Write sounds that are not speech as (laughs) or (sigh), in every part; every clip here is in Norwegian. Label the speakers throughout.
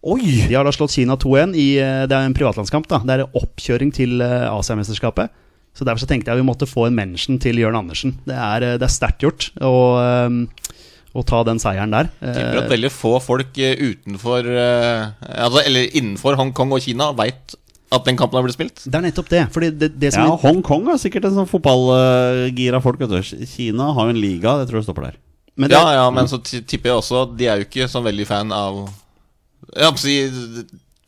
Speaker 1: Oi!
Speaker 2: De har da slått Kina 2-1 i eh, Det er en privatlandskamp, da. Det er en oppkjøring til eh, Asiamesterskapet. Så derfor så tenkte jeg vi måtte få en mention til Jørn Andersen. Det er, eh, det er sterkt gjort å, eh, å ta den seieren der.
Speaker 3: Tipper at
Speaker 2: Eh,
Speaker 3: veldig få folk eh, utenfor eh, altså, Eller innenfor Hongkong og Kina veit at den kampen har blitt spilt.
Speaker 2: Det er nettopp det. Fordi det, det
Speaker 1: Ja,
Speaker 2: som
Speaker 1: Hongkong er sikkert en sånn fotballgira folk. Vet du. Kina har jo en liga, jeg tror det stopper der.
Speaker 2: men det,
Speaker 3: Ja, ja, men så ti- tipper jeg også at de er jo ikke sånn veldig fan av Jeg holdt på å si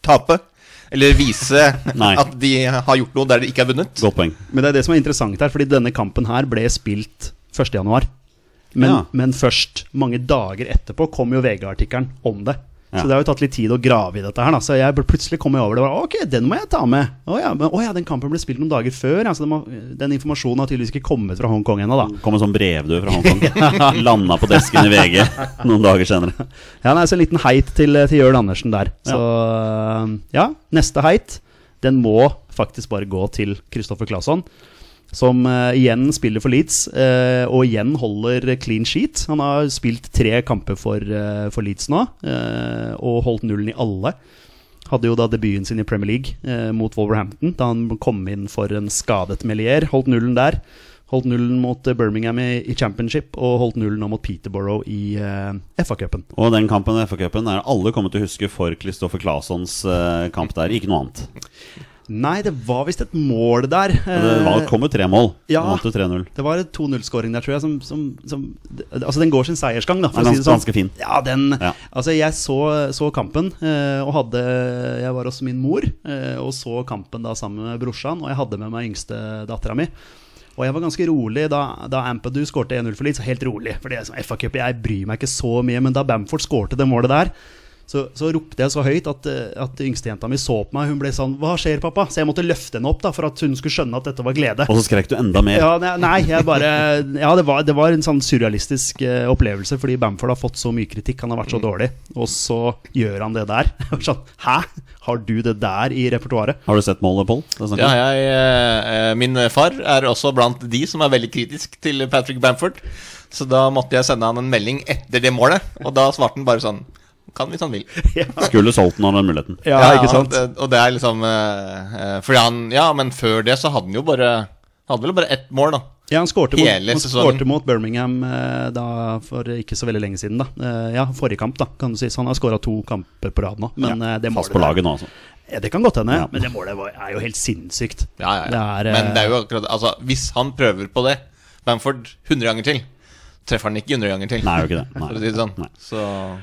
Speaker 3: tape. Eller
Speaker 2: (laughs)
Speaker 3: vise
Speaker 1: Nei.
Speaker 3: at de har gjort noe der de ikke er vunnet.
Speaker 1: Godt poeng.
Speaker 2: men det er det som er interessant her, fordi denne kampen her ble spilt 1.1. Men,
Speaker 1: Ja.
Speaker 2: men først mange dager etterpå kom jo VG-artikkelen om det.
Speaker 1: Ja.
Speaker 2: Så det har jo tatt litt tid å grave i dette her. Da. Så jeg ble- plutselig kom jeg over det. og Bare, ok, den må jeg ta med. Å ja, men, å ja, den kampen ble spilt noen dager før. Altså, den, må, den informasjonen har tydeligvis ikke kommet fra Hongkong ennå, da.
Speaker 1: Kom en sånn brevdue fra Hongkong. Landa på desken i VG noen dager senere.
Speaker 2: Ja, nei, så en liten heit til, til Jørn Andersen der. Så eh, ja, neste heit, den må faktisk bare gå til Kristoffer Claesson. Som eh, igjen spiller for Leeds, eh, og igjen holder clean sheet. Han har spilt tre kamper for, eh, for Leeds nå, eh, og holdt nullen i alle. Hadde jo da debuten sin i Premier League eh, mot Wolverhampton, da han kom inn for en skadet Melier. Holdt nullen der. Holdt nullen mot eh, Birmingham i, i Championship, og holdt nullen nå mot Peterborough i eh, FA-cupen.
Speaker 1: Og den kampen i FA-cupen er alle kommet til å huske for Kristoffer Claessons eh, kamp der. Ikke noe annet.
Speaker 2: Nei, det var visst et mål der. Eh,
Speaker 1: Og Det var, kom jo tre mål.
Speaker 2: ja.
Speaker 1: Han Vant jo 3-0.
Speaker 2: Det var en 2-0-skåring der, tror jeg, som, som, som det- Altså, den går sin seiersgang, da.
Speaker 1: Den er
Speaker 2: å sånn.
Speaker 1: ganske- ganske fin.
Speaker 2: Ja, den
Speaker 1: Ja.
Speaker 2: Altså, jeg så, så kampen, eh, og hadde Jeg var hos min mor, eh, og så kampen da sammen med brorsan, og jeg hadde med meg yngste dattera mi. Og jeg var ganske rolig da, da Ampadu skårte 1-0 for Leeds. Helt rolig, for det er sånn FA-cup, jeg bryr meg ikke så mye. Men da Bamford skårte det målet der, så, så ropte jeg så høyt at, eh, at yngstejenta mi så på meg. Hun ble sånn 'Hva skjer, pappa?' Så jeg måtte løfte henne opp da, for at hun skulle skjønne at dette var glede.
Speaker 1: Og så skrek du enda mer.
Speaker 2: Ja, ne- nei, jeg bare Ja, det var, det var en sånn surrealistisk eh, opplevelse, fordi Bamford har fått så mye kritikk, han har
Speaker 3: Mm.
Speaker 2: vært så dårlig, og så gjør han det der. (laughs) sånn, Hæ? Har du det der i repertoaret? (laughs)
Speaker 1: Har du sett målet, Pål? Det er snakk om?
Speaker 3: Ja, jeg, eh, eh, min far er også blant de som er veldig kritisk til Patrick Bamford. Så da måtte jeg sende han en melding etter det målet, og da svarte han bare sånn Kan hvis han vil.
Speaker 2: Ja,
Speaker 1: Skulle solgt den av den muligheten.
Speaker 2: ikke sant?
Speaker 3: Og det, og det er liksom eh, eh, Fordi han Ja, men før det så hadde han jo bare Hadde vel bare ett mål, da.
Speaker 2: Ja, han skårte mot,
Speaker 3: Hele
Speaker 2: han
Speaker 3: sesongen.
Speaker 2: skårte mot Birmingham eh, da, for ikke så veldig lenge siden. Da. Eh, Ja, forrige kamp, da, kan du si. Så han har skåra to kamper på rad nå. Men eh, det
Speaker 1: Fast
Speaker 2: målet
Speaker 1: på
Speaker 2: der-
Speaker 1: laget nå, altså.
Speaker 2: Ja, det kan godt hende,
Speaker 1: Ja.
Speaker 2: men det målet var, er jo helt sinnssykt.
Speaker 3: Ja, ja, ja.
Speaker 2: Det er, eh,
Speaker 3: men det er jo akkurat Altså, hvis han prøver på det, Bamford 100 ganger til, treffer han ikke 100 ganger til.
Speaker 1: Nei, gjør ikke det.
Speaker 3: For å si
Speaker 1: Nei.
Speaker 3: det sånn.
Speaker 1: Nei.
Speaker 3: Så
Speaker 2: eh,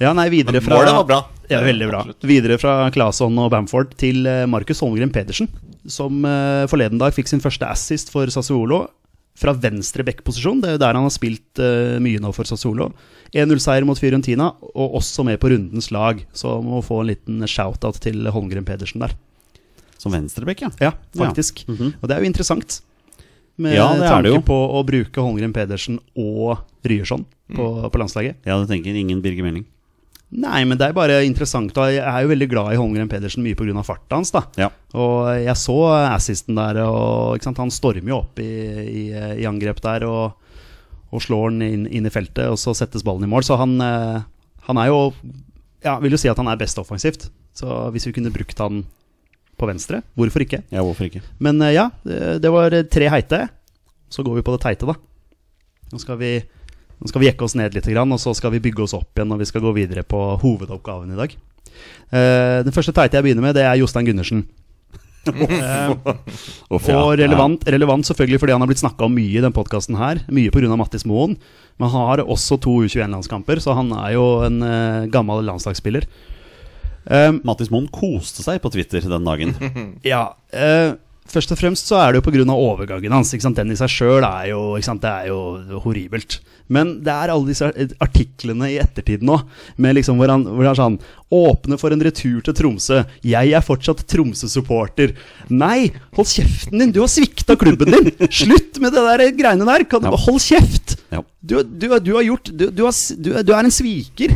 Speaker 2: Ja, nei, videre
Speaker 3: Men
Speaker 2: fra
Speaker 3: målet var bra.
Speaker 2: Ja, veldig bra.
Speaker 3: Absolutt.
Speaker 2: Videre fra Claesson og Bamford til eh, Markus Holmgren Pedersen, som eh, forleden dag fikk sin første assist for Sassuolo. Fra venstre back-posisjon, det er jo der han har spilt eh, mye nå for Sassuolo. 1-0-seier mot Fiorentina, og også med på rundens lag. Så må få en liten shout-out til Holmgren Pedersen der.
Speaker 1: Som venstreback, ja.
Speaker 2: Ja, faktisk.
Speaker 1: Ja. Mhm.
Speaker 2: Og det er jo interessant. Med
Speaker 1: Ja, det er
Speaker 2: tanke
Speaker 1: det jo.
Speaker 2: på å bruke Holmgren Pedersen og Ryerson på, på landslaget.
Speaker 1: Ja, du tenker ingen Birger Meling.
Speaker 2: Nei, men det er bare interessant. Og jeg er jo veldig glad i Holmgren Pedersen mye pga. farta hans. da
Speaker 1: Ja.
Speaker 2: Og jeg så assisten der, og ikke sant? han stormer jo opp i, i, i angrep der og, og slår den inn, inn i feltet, og så settes ballen i mål. Så han, eh, han er jo Ja, vil jo si at han er best offensivt. Så hvis vi kunne brukt han på venstre, hvorfor ikke?
Speaker 1: ja, hvorfor ikke?
Speaker 2: Men eh, ja, det det var tre heite. Så går vi på det teite, da. Nå skal vi, nå skal vi jekke oss ned litt, grann, og så skal vi bygge oss opp igjen når vi skal gå videre på hovedoppgaven i dag. Eh, Den første teite jeg begynner med, det er Jostein Gundersen.
Speaker 1: Uff, ja.
Speaker 2: Og relevant, relevant selvfølgelig fordi han har blitt snakka om mye i den podkasten her. Mye pga. Mattis Moen. Men han har også to U21-landskamper, så han er jo en eh, gammel landslagsspiller. Um,
Speaker 1: Ja. Mattis Moen koste seg på Twitter den dagen.
Speaker 2: Ja. eh, først og fremst så er det jo pga. overgangen hans. Ikke sant? Den i seg sjøl er, jo- ikke sant, det er jo horribelt. Men det er alle disse artiklene i ettertid nå, med liksom hvor han, hvor han sånn Åpne for en retur til Tromsø. Jeg er fortsatt Tromsø-supporter. Nei, hold kjeften din! Du har svikta klubben din! Slutt med det der greiene der! Kan,
Speaker 1: Ja.
Speaker 2: Hold kjeft!
Speaker 1: Ja.
Speaker 2: Du, du, du har gjort du, du, har, s- du, du er en sviker.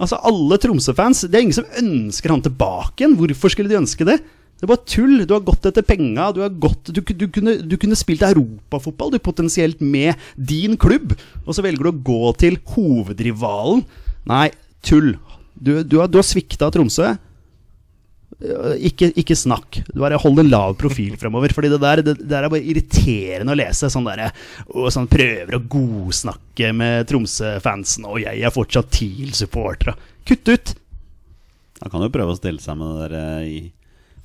Speaker 2: Altså Alle Tromsø-fans Det er ingen som ønsker han tilbake igjen. Hvorfor skulle de ønske det? Det er bare tull. Du har gått etter penga. Du, har gått, du, ku- du, kunne, du kunne spilt europafotball, du, potensielt med din klubb. Og så velger du å gå til hovedrivalen. Nei, tull. Du, du, har, du har svikta Tromsø. Eh, Ikke, ikke snakk. Du bare Hold en lav profil fremover. Fordi det der, det, det der er bare irriterende å lese. Sånn derre og sånn prøver å godsnakke med Tromsø-fansen. Og jeg er fortsatt TIL-supporter. og- Kutt ut!
Speaker 1: Han kan jo prøve å stelle seg med det der eh, i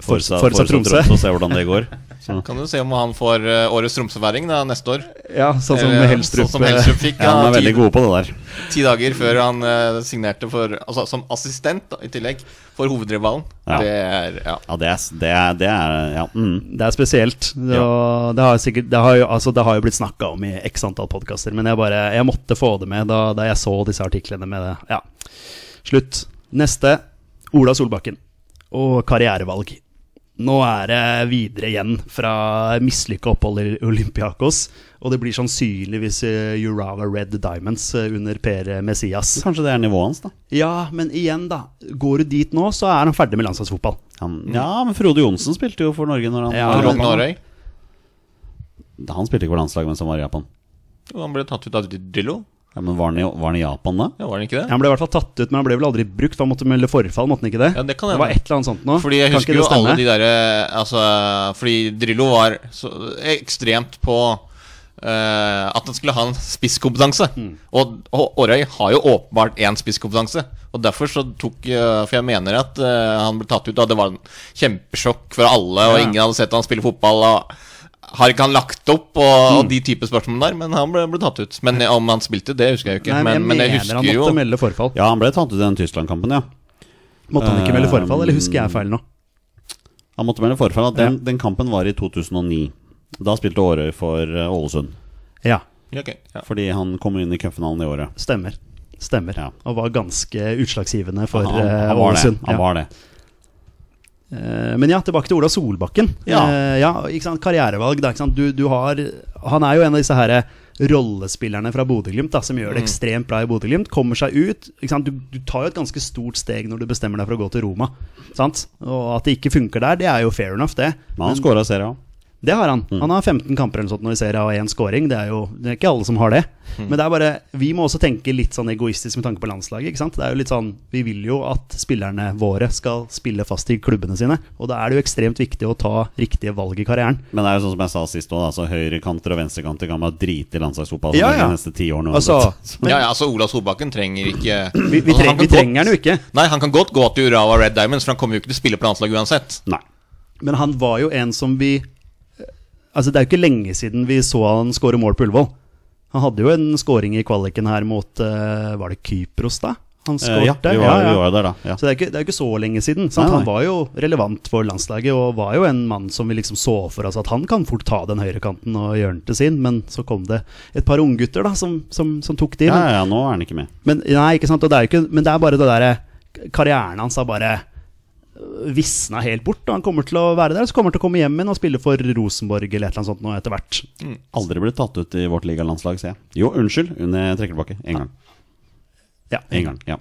Speaker 2: Forsa- Forsa Tromsø.
Speaker 1: og se hvordan (laughs) det går. Så.
Speaker 3: Kan du se om han får eh, årets tromsøværing da, neste år?
Speaker 2: Ja, sånn som
Speaker 3: Eller,
Speaker 2: Helstrup. eh,
Speaker 3: Sånn som Helstrup fikk
Speaker 1: Ja,
Speaker 3: da,
Speaker 1: han er veldig
Speaker 3: ti,
Speaker 1: god på det der.
Speaker 3: ti dager før han eh, signerte for, altså, som assistent da, i tillegg for hovedrivalen.
Speaker 1: Ja.
Speaker 3: Det er ja.
Speaker 1: Ja, det er, s- det er, det er ja. Mm.
Speaker 2: Det er spesielt. Det, og det, har, sikkert, det, har, jo, altså, det har jo blitt snakka om i x antall podkaster, men jeg, bare, jeg måtte få det med da, da jeg så disse artiklene med det. Ja. Slutt. Neste. Ola Solbakken og karrierevalg. Nå er det videre igjen fra mislykka opphold i Olympiakos. Og det blir sannsynligvis eh, Urawa Red Diamonds eh, under Per Messias.
Speaker 1: Kanskje det er nivået hans, da.
Speaker 2: Ja, men igjen, da. Går du dit nå, så er han ferdig med landslagsfotball.
Speaker 1: Han, ja, men Frode Johnsen spilte jo for Norge når han
Speaker 2: Ja,
Speaker 1: var i
Speaker 3: Rådden
Speaker 1: Japan.
Speaker 3: Aarøy.
Speaker 1: Han spilte ikke for landslaget mens han var i Japan.
Speaker 3: Jo, Han ble tatt ut av Drillo.
Speaker 1: Ja, men var han, i, var han i Japan da?
Speaker 3: Ja, var han ikke det?
Speaker 2: Han ble i hvert fall tatt ut, men han ble vel aldri brukt. for Han måtte melde forfall, måtte han ikke det?
Speaker 3: Ja, det kan
Speaker 2: det
Speaker 3: hende.
Speaker 2: var et eller annet sånt nå.
Speaker 3: Fordi jeg
Speaker 2: Kan
Speaker 3: husker
Speaker 2: ikke
Speaker 3: jo
Speaker 2: det stemme?
Speaker 3: alle de derre altså, Fordi Drillo var så ekstremt på eh, at han skulle ha en spisskompetanse.
Speaker 2: Mm.
Speaker 3: Og, og Årøy har jo åpenbart én spisskompetanse. Og derfor så tok eh, For jeg mener at eh, han ble tatt ut, og det var en kjempesjokk for alle, og
Speaker 2: Ja.
Speaker 3: ingen hadde sett han spille fotball. Og har ikke han lagt opp og,
Speaker 2: Mm.
Speaker 3: og de type spørsmål der? Men han ble, ble tatt ut. Men eh, om han spilte, det husker jeg jo ikke.
Speaker 2: Nei,
Speaker 3: men, men jeg
Speaker 2: mener han
Speaker 3: husker
Speaker 2: måtte
Speaker 3: jo
Speaker 2: melde forfall.
Speaker 1: Ja, han ble tatt ut i den Tyskland-kampen, ja.
Speaker 2: Måtte han ikke melde
Speaker 3: Eh,
Speaker 2: forfall, eller husker jeg feil nå?
Speaker 1: Han måtte melde forfall at den, den kampen var i 2009. Da spilte Årøy for eh, Ålesund.
Speaker 2: Ja,
Speaker 3: Ja, ok, ja.
Speaker 1: Fordi han kom inn i cupfinalen i året.
Speaker 2: stemmer. Stemmer.
Speaker 1: Ja.
Speaker 2: Og var ganske utslagsgivende for
Speaker 1: han,
Speaker 2: eh,
Speaker 1: han, var det.
Speaker 2: Ålesund.
Speaker 1: han
Speaker 2: Ja.
Speaker 1: var det.
Speaker 2: Eh, Men ja, tilbake til Ola Solbakken.
Speaker 1: Ja.
Speaker 2: Eh, ja ikke sant? Karrierevalg. Da, ikke sant? Du, du har, han er jo en av disse her eh, rollespillerne fra Bodø-Glimt da, som gjør det ekstremt bra i Bodø-Glimt. Kommer seg ut. Ikke sant? Du, du tar jo et ganske stort steg når du bestemmer deg for å gå til Roma. Sant? Og at det ikke funker der, det er jo fair enough, det.
Speaker 1: Men han skåra serie òg.
Speaker 2: Det har han.
Speaker 1: Mm.
Speaker 2: Han har 15 kamper eller noe sånt når vi ser av én scoring. Det er jo det er ikke alle som har det.
Speaker 1: Mm.
Speaker 2: Men det er bare, vi må også tenke litt sånn egoistisk med tanke på landslaget. ikke sant? Det er jo litt sånn, Vi vil jo at spillerne våre skal spille fast i klubbene sine. Og da er det jo ekstremt viktig å ta riktige valg i karrieren.
Speaker 1: Men det er jo sånn som jeg sa sist òg, altså, høyrekanter og venstrekanter kan bare drite i landslagsfotball
Speaker 2: Ja,
Speaker 1: for
Speaker 2: ja.
Speaker 1: de neste ti årene.
Speaker 2: Altså,
Speaker 1: uansett.
Speaker 3: ja, ja, altså Ola Solbakken trenger ikke
Speaker 2: vi, vi,
Speaker 3: altså,
Speaker 2: treng,
Speaker 3: kan
Speaker 2: vi
Speaker 3: godt-
Speaker 2: trenger han jo ikke.
Speaker 3: Nei, han kan godt gå til Urawa Red Diamonds, for han kommer jo ikke til å spille på landslaget uansett.
Speaker 1: Nei.
Speaker 2: Men han var jo en som vi Altså Det er jo ikke lenge siden vi så han skåre mål på Ullevål. Han hadde jo en skåring i kvaliken her mot eh, Var det Kypros, da? Han
Speaker 1: Eh,
Speaker 2: skårte?
Speaker 1: ja, vi var, Vi var jo der, da. Ja.
Speaker 2: Så det er, ikke, det er jo ikke så lenge siden. Sant?
Speaker 1: Nei, nei.
Speaker 2: Han var jo relevant for landslaget og var jo en mann som vi liksom så for oss at han kan fort ta den høyrekanten og gjøre den til sin, men så kom det et par unggutter da, som, som, som tok de.
Speaker 1: Ja,
Speaker 2: Men,
Speaker 1: ja, nå er han ikke med.
Speaker 2: men, nei, ikke sant? Og det er jo ikke, men det er bare det derre Karrieren hans har bare visna helt bort. Og han kommer til å være der, så kommer han til å komme hjem igjen og spille for Rosenborg eller et eller annet sånt nå etter hvert.
Speaker 1: Aldri blitt tatt ut i vårt ligalandslag, ser jeg. Jo, unnskyld, men jeg trekker tilbake. Én gang.
Speaker 2: Ja.
Speaker 1: En gang, ja.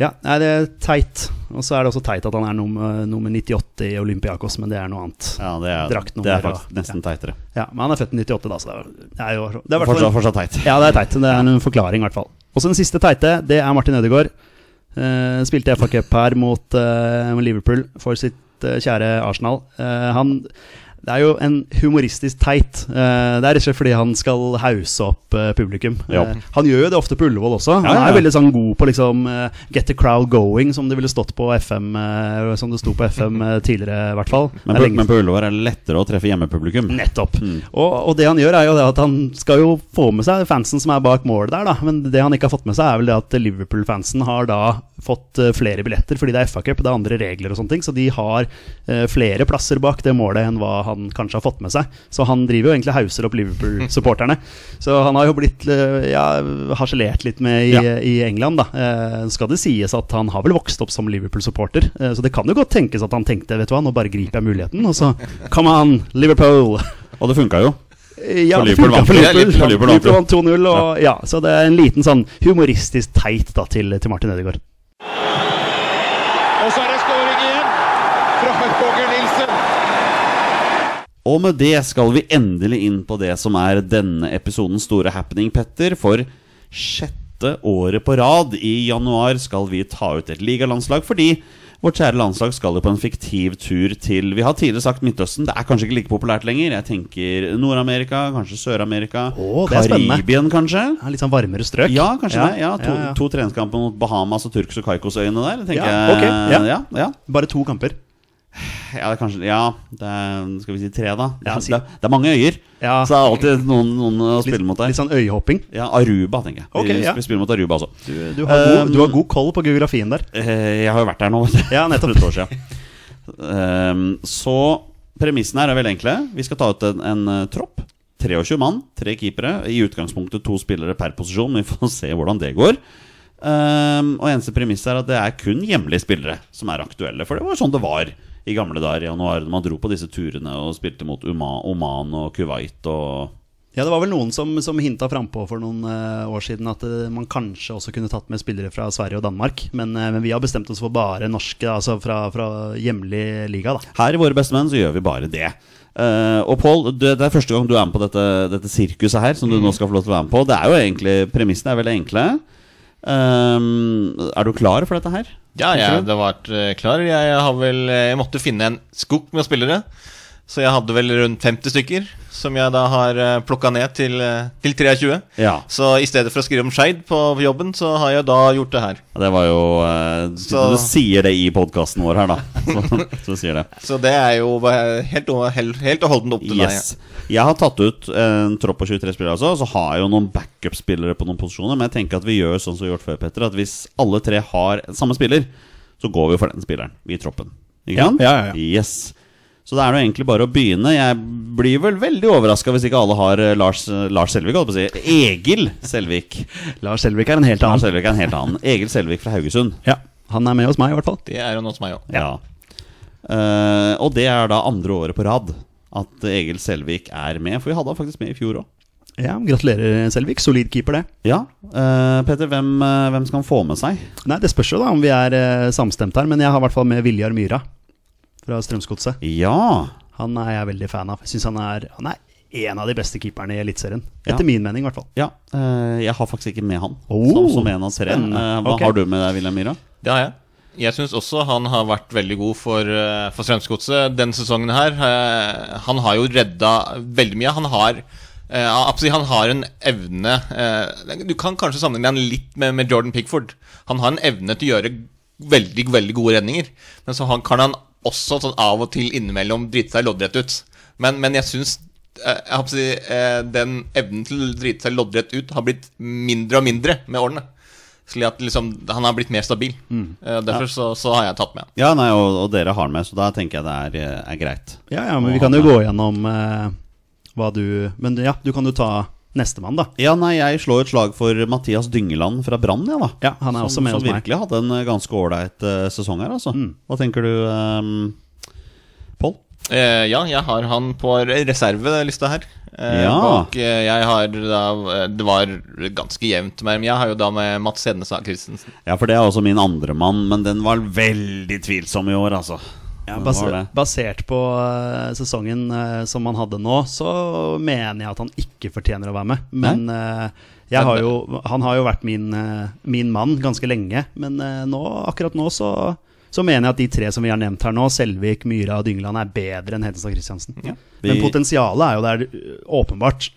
Speaker 2: Ja, nei, det er teit. Og så er det også teit at han er nummer, nummer 98 i Olympiakos, men det er noe annet.
Speaker 1: ja det, er,
Speaker 2: Draktnummer
Speaker 1: det er
Speaker 2: og-
Speaker 1: faktisk nesten teitere.
Speaker 2: Ja, Men han er født i 98, da, så det er, det er jo det er i hvert fall
Speaker 1: Fortsatt,
Speaker 2: en-
Speaker 1: fortsatt teit.
Speaker 2: Ja, det er teit. Det er en forklaring, i hvert fall. Og så den siste teite, det er Martin Ødegaard. Eh, spilte FA Cup her mot eh, Liverpool for sitt eh, kjære Arsenal. Eh, han Det er jo en humoristisk teit. Eh, det er rett og slett fordi han skal hause opp eh, publikum.
Speaker 1: Ja.
Speaker 2: Eh, han gjør jo det ofte på Ullevål også. Han
Speaker 1: Ja, ja, ja.
Speaker 2: er veldig sånn god på liksom eh, get the crowd going, som det ville stått på FM eh, Som det sto på FM eh, tidligere, i hvert fall.
Speaker 1: Men
Speaker 2: Det er
Speaker 1: på,
Speaker 2: lenge
Speaker 1: men på Ullevål er det lettere å treffe hjemmepublikum.
Speaker 2: Nettopp. Og, og det han gjør, er jo det at han skal jo få med seg fansen som er bak målet der, da. Men det han ikke har fått med seg, er vel det at Liverpool-fansen har da fått eh, flere billetter, fordi det er FA-cup, det er andre regler og sånne ting, så de har eh, flere plasser bak det målet enn hva han kanskje har fått med seg. Så han driver jo egentlig og hauser opp Liverpool-supporterne. Så han har jo blitt eh, ja, harselert litt med i,
Speaker 1: Ja.
Speaker 2: i England, da. Eh, skal det sies at han har vel vokst opp som Liverpool-supporter, eh, så det kan jo godt tenkes at han tenkte, vet du hva, nå bare griper jeg muligheten, og så Come on, Liverpool!
Speaker 1: Og det funka jo.
Speaker 2: Ja,
Speaker 1: For
Speaker 2: det
Speaker 1: Liverpool
Speaker 2: funka
Speaker 1: vant. (laughs)
Speaker 2: for
Speaker 1: Ja,
Speaker 2: Liverpool.
Speaker 1: Liverpool vant,
Speaker 2: Liverpool vant 2-0. Og, ja, så det er en liten sånn humoristisk teit da til, til Martin Ødegaard.
Speaker 4: Og så er det skåring igjen fra Roger Nilsen.
Speaker 1: Og med det skal vi endelig inn på det som er denne episodens store happening, Petter. For sjette året på rad i januar skal vi ta ut et ligalandslag fordi vårt kjære landslag skal jo på en fiktiv tur til Vi har tidligere sagt Midtøsten. Det er kanskje ikke like populært lenger. Jeg tenker Nord-Amerika, kanskje Sør-Amerika.
Speaker 2: Å, det er spennende.
Speaker 1: Karibien, kanskje.
Speaker 2: Ja, Litt sånn varmere strøk.
Speaker 1: Ja, kanskje det. Ja, to,
Speaker 2: ja, ja.
Speaker 1: to treningskamper mot Bahamas og Turks og Kaikosøyene der. tenker
Speaker 2: Ja,
Speaker 1: jeg.
Speaker 2: ok, ja.
Speaker 1: ja, ja.
Speaker 2: Bare to kamper.
Speaker 1: Ja, det er kanskje Ja, det er, skal vi si tre, da? Det
Speaker 2: Ja,
Speaker 1: er,
Speaker 2: si-
Speaker 1: det er, det er mange øyer,
Speaker 2: Ja.
Speaker 1: så det er alltid noen, noen å spille mot der.
Speaker 2: Litt sånn øyehopping.
Speaker 1: Ja, Aruba, tenker jeg.
Speaker 2: Ok,
Speaker 1: vi,
Speaker 2: ja.
Speaker 1: vi spiller mot Aruba også.
Speaker 2: Du har,
Speaker 1: Um,
Speaker 2: god, du har god koll på geografien der.
Speaker 1: Eh, Jeg har jo vært der nå, vet du.
Speaker 2: Ja, nettopp.
Speaker 1: For et år siden. Ehm, så premissene her er veldig enkle. Vi skal ta ut en, en eh, tropp. 23 mann, tre keepere. I utgangspunktet to spillere per posisjon. Vi får (laughs) se hvordan det går. Ehm, og eneste premiss er at det er kun hjemlige spillere som er aktuelle. For det var jo sånn det var i gamle dager i januar, når man dro på disse turene og spilte mot Uma, Oman og Kuwait og
Speaker 2: Ja, Det var vel noen som, som hinta frampå for noen eh, år siden at eh, man kanskje også kunne tatt med spillere fra Sverige og Danmark. Men, eh, men vi har bestemt oss for bare norske, altså fra, fra hjemlig liga, da.
Speaker 1: Her i Våre beste menn så gjør vi bare det. Eh, og Pål, det, det er første gang du er med på dette, dette sirkuset her, som du nå skal få lov til å være med på. Det er jo egentlig, Premissene er veldig enkle. Ehm, er du klar for dette her?
Speaker 3: Ja, jeg det har vært eh, klar. Jeg, har vel, eh, jeg måtte finne en skog med spillere. Så jeg hadde vel rundt 50 stykker, som jeg da har plukka ned til, eh, til 23.
Speaker 1: Ja.
Speaker 3: Så i stedet for å skrive om Skeid på jobben, så har jeg da gjort det her.
Speaker 1: Det var jo eh,
Speaker 3: Så-
Speaker 1: Du sier det i podkasten vår her, da. (laughs) Så, så sier det.
Speaker 3: Så det er jo bare helt, o- helt, helt og holdent opp til deg.
Speaker 1: Yes. Jeg har tatt ut en tropp på 23 spillere, altså. Og så har jeg jo noen backup-spillere på noen posisjoner. Men jeg tenker at vi gjør sånn som vi har gjort før, Petter. At hvis alle tre har samme spiller, så går vi for den spilleren i troppen. Ikke sant?
Speaker 2: ja, ja, ja.
Speaker 1: Yes. Så det er nå egentlig bare å begynne. Jeg blir vel veldig overraska hvis ikke alle har eh, Lars, eh, Lars Selvik, holdt på å si. Egil Selvik.
Speaker 2: Lars Selvik er en (laughs) helt
Speaker 1: Lars
Speaker 2: annen.
Speaker 1: Selvik er en helt annen. Egil Selvik fra Haugesund.
Speaker 2: Ja, Han er med hos meg, i hvert fall.
Speaker 3: Det er jo noe som meg òg.
Speaker 1: Ja. Eh, og det er da andre året på rad at Egil Selvik er med. For vi hadde han faktisk med i fjor òg.
Speaker 2: Ja, Gratulerer, Selvik. Solid keeper, det.
Speaker 1: Ja. eh, Petter, hvem, eh, hvem skal han få med seg?
Speaker 2: Nei, Det spørs jo da om vi er eh, samstemt her, men jeg har i hvert fall med Viljar Myhra fra Strømsgodset.
Speaker 1: Ja.
Speaker 2: Han er jeg veldig fan av. Jeg synes han, er, han er en av de beste keeperne i Eliteserien.
Speaker 1: Ja.
Speaker 2: Etter min mening, i hvert fall.
Speaker 1: ja eh, jeg har faktisk ikke med han
Speaker 2: Oh,
Speaker 1: som, som en av tre. Eh,
Speaker 2: spennende.
Speaker 1: hva
Speaker 2: Ok.
Speaker 1: har du med deg, Wilhelm Myhra?
Speaker 3: Det har jeg. Jeg syns også han har vært veldig god for, eh, for Strømsgodset denne sesongen her. Eh, Han har jo redda veldig mye. Han har eh, absolutt, han har en evne eh, Du kan kanskje sammenligne han litt med, med Jordan Pickford. Han har en evne til å gjøre veldig veldig gode redninger. Men så han, kan han også sånn av og til innimellom drite seg loddrett ut. Men, men jeg syns jeg håper å si, eh, den evnen til å drite seg loddrett ut har blitt mindre og mindre med årene. Slik at liksom, han har blitt mer stabil.
Speaker 1: Mm.
Speaker 3: Eh, Derfor så, så har jeg tatt med han.
Speaker 1: Ja, nei, og, og dere har han med, så da tenker jeg det er, eh, er greit.
Speaker 2: Ja, ja, men vi kan jo gå gjennom eh, hva du Men ja, du kan jo ta nestemann, da.
Speaker 1: Ja, nei, jeg slår et slag for Mathias Dyngeland fra Brann, ja da.
Speaker 2: Ja, han er også
Speaker 1: som,
Speaker 2: med
Speaker 1: som
Speaker 2: hos meg.
Speaker 1: virkelig hadde en eh, ganske ålreit eh, sesong her, altså. Hva tenker du, eh, Pål?
Speaker 3: Eh, ja, jeg har han på reservelista her. Eh,
Speaker 1: Ja.
Speaker 3: Bak, eh, jeg har da eh, Det var ganske jevnt, med- men jeg har jo da med Mats Hednestad Christensen.
Speaker 1: Ja, for det er også min andre mann, men den var veldig tvilsom i år, altså.
Speaker 2: Ja,
Speaker 1: Den
Speaker 2: bas
Speaker 1: var det.
Speaker 2: basert på eh, sesongen eh, som han hadde nå, så mener jeg at han ikke fortjener å være med. Men eh, jeg har jo, han har jo vært min, eh, min mann ganske lenge. Men eh, nå, akkurat nå så, så mener jeg at de tre som vi har nevnt her nå, Selvik, Myra og Dyngeland, er bedre enn Hedenstad Christiansen.
Speaker 1: Vi-
Speaker 2: Men potensialet er jo der, eh, åpenbart.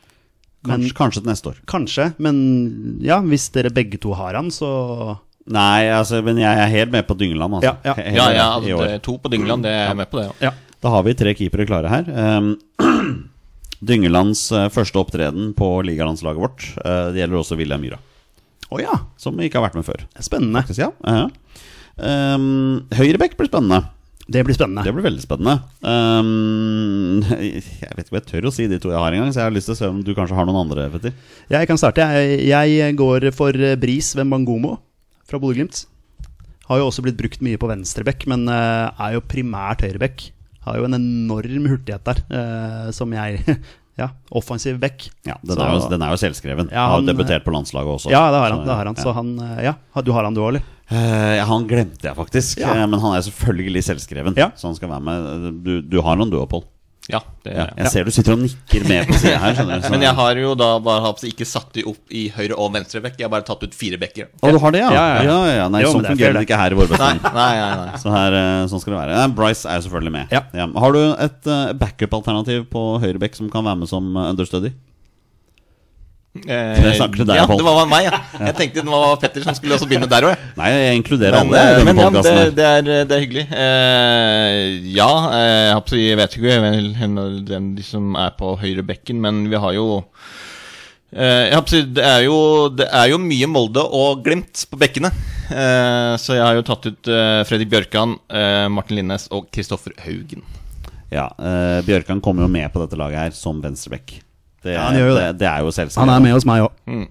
Speaker 2: Men
Speaker 1: Kanskje, kanskje til neste år.
Speaker 2: kanskje. Men ja, hvis dere begge to har han, så
Speaker 1: Nei, altså, men jeg er helt med på Dyngeland, altså.
Speaker 2: Ja, ja.
Speaker 1: Helt
Speaker 3: Ja, ja,
Speaker 1: i
Speaker 3: altså,
Speaker 1: år.
Speaker 3: det- to på Dyngeland, det er jeg med på det. Ja.
Speaker 2: ja.
Speaker 1: Da har vi tre keepere klare her. Ehm, (clears throat) Dyngelands eh, første opptreden på ligalandslaget vårt. eh, det gjelder også William Myhra,
Speaker 2: Å ja,
Speaker 1: som ikke har vært med før.
Speaker 2: spennende.
Speaker 1: Skal vi si, ja. Ja. Ehm, Høyrebekk blir spennende.
Speaker 2: Det blir spennende.
Speaker 1: Det blir veldig spennende. Ehm, (laughs) jeg vet ikke om jeg tør å si de to jeg har engang, så jeg har lyst til å se om du kanskje har noen andre, Petter.
Speaker 2: Jeg kan starte. Jeg, jeg går for eh, Bris ved Mangomo fra Bodø-Glimt. Har jo også blitt brukt mye på venstrebekk, men eh, er jo primært høyrebekk. Har jo en enorm hurtighet der, eh, som jeg (laughs) Ja, offensiv bekk.
Speaker 1: Ja, den,
Speaker 2: Så-
Speaker 1: er jo, den er jo selvskreven.
Speaker 2: Ja,
Speaker 1: han, har
Speaker 2: han-
Speaker 1: jo debutert på landslaget også.
Speaker 2: Ja, det har han.
Speaker 1: Så,
Speaker 2: Det har han.
Speaker 1: ja.
Speaker 2: Så han eh, Ja, du har han du òg, eller?
Speaker 1: Eh, ja, han glemte jeg faktisk,
Speaker 2: Ja.
Speaker 1: eh, men han er selvfølgelig selvskreven.
Speaker 2: Ja.
Speaker 1: Så han skal være med. Du, du har noen du òg, Pål.
Speaker 3: ja, det
Speaker 1: Ja.
Speaker 3: er jeg.
Speaker 1: Jeg ser du sitter og nikker med på sida her. skjønner
Speaker 2: (laughs)
Speaker 1: du. Så-
Speaker 3: Men jeg har jo da bare hatt- ikke satt de opp i høyre og venstre bekk. Jeg har bare tatt ut fire bekker.
Speaker 1: Å, du har det, ja?
Speaker 2: Ja, ja, ja.
Speaker 1: Nei,
Speaker 2: Jo,
Speaker 1: sånn
Speaker 2: men det er
Speaker 1: fungerer
Speaker 2: fair,
Speaker 1: det
Speaker 2: det.
Speaker 1: ikke her i vår
Speaker 3: Nei,
Speaker 1: bestemt.
Speaker 3: nei, nei, nei.
Speaker 1: Så her, eh, sånn skal det være. Nei, Bryce er jo selvfølgelig med.
Speaker 2: Ja.
Speaker 1: Har du et eh, backup-alternativ på høyreback som kan være med som eh, understudy?
Speaker 3: Eh,
Speaker 1: (laughs) Det snakker til deg,
Speaker 3: ja,
Speaker 1: Pål.
Speaker 3: det var meg, ja. Jeg tenkte det var Petter som skulle også begynne der òg.
Speaker 1: Nei, jeg inkluderer
Speaker 3: Men,
Speaker 1: alle i
Speaker 3: eh,
Speaker 1: denne
Speaker 3: men ja,
Speaker 1: podcasten
Speaker 3: det,
Speaker 1: her.
Speaker 3: det, er, det er hyggelig. Eh, ja, eh, jeg håper- jeg vet ikke vel, hvem- hvem de som er på høyre bekken, men vi har jo eh, jeg håper, det, er jo, det er jo mye Molde og Glimt på bekkene. Eh, så jeg har jo tatt ut eh, Fredrik Bjørkan, eh, Martin Linnes og Kristoffer Haugen.
Speaker 1: Ja, eh, Bjørkan kommer jo med på dette laget her som venstreback. Det,
Speaker 2: Ja, han gjør jo
Speaker 1: det. det er jo
Speaker 2: Han
Speaker 1: selvsagt.
Speaker 2: er med hos meg òg.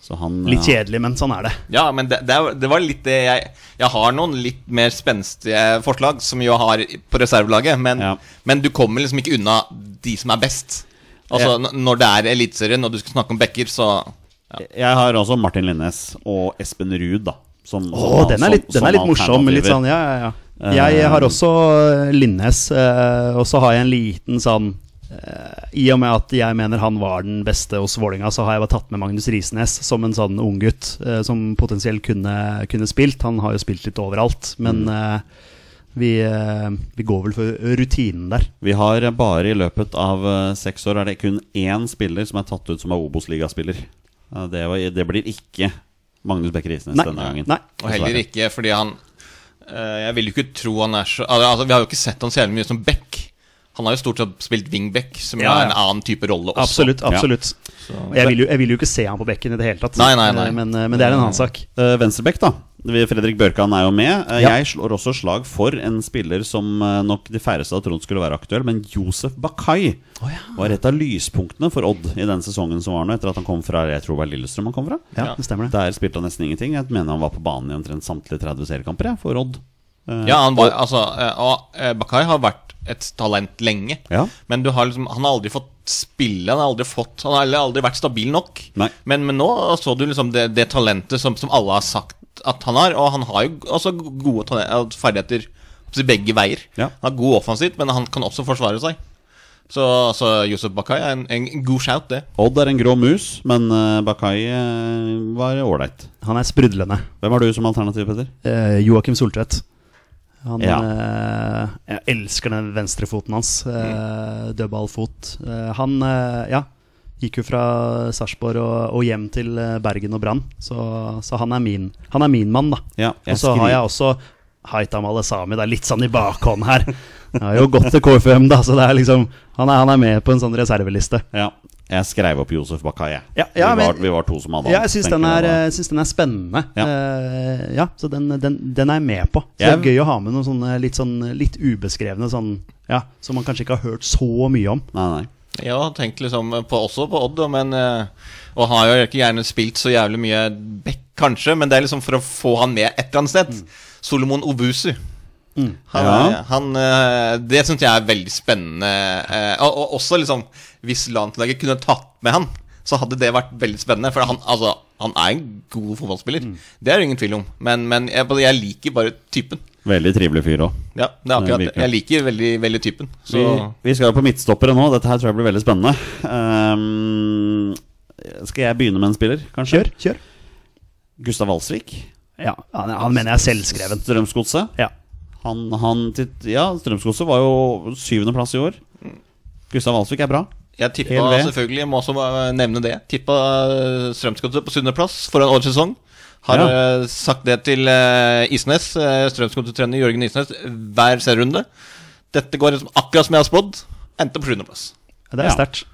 Speaker 1: Så han, eh,
Speaker 2: Litt
Speaker 1: ja.
Speaker 2: kjedelig, men sånn er det.
Speaker 3: Ja, men det, det, er- det var litt det jeg Jeg har noen litt mer spenstige forslag, som jeg har på reservelaget, men,
Speaker 1: Ja.
Speaker 3: men du kommer liksom ikke unna de som er best. Altså,
Speaker 1: Ja.
Speaker 3: n- Når det er Eliteserien, og du skal snakke om backer, så
Speaker 1: Jeg har også Martin Linnes og Espen Ruud, da. Som,
Speaker 2: Å, den
Speaker 3: sånn-
Speaker 2: er litt, den er litt morsom. Litt sånn, ja, ja, ja. Jeg eh, har også eh, Linnes, eh, og så har jeg en liten sånn eh, I og med at jeg mener han var den beste hos Vålinga, så har jeg bare tatt med Magnus Risnes som en sånn unggutt uh, som potensielt kunne, kunne spilt. Han har jo spilt litt overalt, men
Speaker 3: Mm.
Speaker 2: eh, vi, eh, vi går vel for rutinen der.
Speaker 1: Vi har bare i løpet av eh, seks år er det kun én spiller som er tatt ut som er Obos-ligaspiller. Eh, Det, var- det blir ikke Magnus Bekker Isnes
Speaker 2: Nei,
Speaker 1: denne gangen.
Speaker 2: nei.
Speaker 3: Og heller
Speaker 1: Dessverre.
Speaker 3: ikke fordi han eh, Jeg vil jo ikke tro han er så al- Altså, Vi har jo ikke sett han så jævlig mye som back. Han har jo stort sett spilt wingback, som
Speaker 2: Ja,
Speaker 3: er en annen type rolle også.
Speaker 2: Absolutt.
Speaker 1: Ja.
Speaker 2: absolutt jeg, vil jo, jeg vil jo ikke se han på bekken i det hele tatt,
Speaker 3: Nei, nei, nei. Mm.
Speaker 2: Men, eh, men det er en annen sak.
Speaker 1: Eh, Venstrebekk, da. Vi- Fredrik Børkan er jo med. Eh,
Speaker 2: Ja.
Speaker 1: Jeg slår også slag for en spiller som eh, nok de færreste hadde trodd skulle være aktuell, men Josef Bakai var et av lyspunktene for Odd i den sesongen som var nå, etter at han kom fra jeg tror det var Lillestrøm han kom fra.
Speaker 2: Ja, det stemmer det.
Speaker 1: Der spilte han nesten ingenting. Jeg mener han var på banen i omtrent samtlige 30 seriekamper jeg, for Odd. Eh,
Speaker 3: Ja, han var, altså, eh, og eh, Bakai har vært et talent lenge.
Speaker 1: Ja.
Speaker 3: Men du har liksom, han har aldri fått spille, han har aldri, fått, han har heller aldri vært stabil nok.
Speaker 1: Nei.
Speaker 3: Men, men nå så du liksom det, det talentet som, som alle har sagt at han har, og han har jo også gode tale- eh, ferdigheter på begge veier.
Speaker 1: Ja.
Speaker 3: Han er god offensivt, men han kan også forsvare seg. Så, så Josef Bakai er en, en god shout, det.
Speaker 1: Odd er en grå mus, men eh, Bakai eh, var ålreit.
Speaker 2: Han er sprudlende.
Speaker 1: Hvem har du som alternativ, Petter?
Speaker 2: Eh, Joakim Soltvedt. Han,
Speaker 1: Ja.
Speaker 2: eh, jeg elsker den venstrefoten hans.
Speaker 1: Mm.
Speaker 2: Eh, Dødballfot. Eh, han eh, ja, gikk jo fra Sarpsborg og, og hjem til eh, Bergen og Brann, så, så han, er min, han er min mann, da.
Speaker 1: Ja, jeg
Speaker 2: og så
Speaker 1: skriver-
Speaker 2: har jeg også Haitam Alesami. Det er litt sånn i bakhånd her. Han har jo gått til KFUM, da, så det er liksom han er, han er med på en sånn reserveliste.
Speaker 1: Ja, jeg skrev opp Josef Bakai. jeg.
Speaker 2: Ja, ja,
Speaker 1: vi, var,
Speaker 2: men-
Speaker 1: vi var to som hadde
Speaker 2: Ja, jeg syns
Speaker 1: tenker
Speaker 2: den,
Speaker 1: jeg
Speaker 2: er, eh,
Speaker 1: da.
Speaker 2: jeg synes den er spennende.
Speaker 1: Ja.
Speaker 2: Eh, ja så den, den, den er jeg med på. Så
Speaker 1: Jeg-
Speaker 2: Det er gøy å ha med noen sånne litt, sånn, litt ubeskrevne sånn, ja, som man kanskje ikke har hørt så mye om.
Speaker 1: Nei, nei.
Speaker 3: Jeg har tenkt liksom på, også på Odd, men eh, Og har jo ikke gjerne spilt så jævlig mye back, kanskje, men det er liksom for å få han med et eller annet sted. Solomon Obusu. Han,
Speaker 1: Ja.
Speaker 3: er- han, eh, det syns jeg er veldig spennende. eh, Og, og også liksom Hvis landslaget kunne tatt med han, så hadde det vært veldig spennende. For han, altså, han er en god fotballspiller. Det er det ingen tvil om. Men, men jeg, jeg liker bare typen.
Speaker 1: Veldig trivelig fyr òg.
Speaker 3: Ja, det er akkurat det.
Speaker 1: virker.
Speaker 3: Jeg liker veldig, veldig typen. Så
Speaker 1: Vi, vi skal jo på midtstoppere nå. Dette her tror jeg blir veldig spennende. Ehm, skal jeg begynne med en spiller, kanskje?
Speaker 2: Kjør, kjør.
Speaker 1: Gustav Alsvik.
Speaker 2: Ja, han, han mener jeg er selvskreven.
Speaker 1: Strømsgodset.
Speaker 2: Ja.
Speaker 1: Han, han til, ja, Strømsgodset var jo syvendeplass i år. Gustav Alsvik er bra.
Speaker 3: jeg tippa
Speaker 1: Hel ved.
Speaker 3: selvfølgelig, jeg må også eh, nevne det, tippa eh, Strømsgodset på syvendeplass for en årets sesong. Har
Speaker 1: Ja.
Speaker 3: eh, sagt det til eh, Isnes, eh, Strømsgodset-trener Jørgen Isnes, hver serierunde. Dette går liksom akkurat som jeg har spådd. Endte på sjuendeplass.
Speaker 2: Ja, Det
Speaker 1: Ja.
Speaker 2: er sterkt.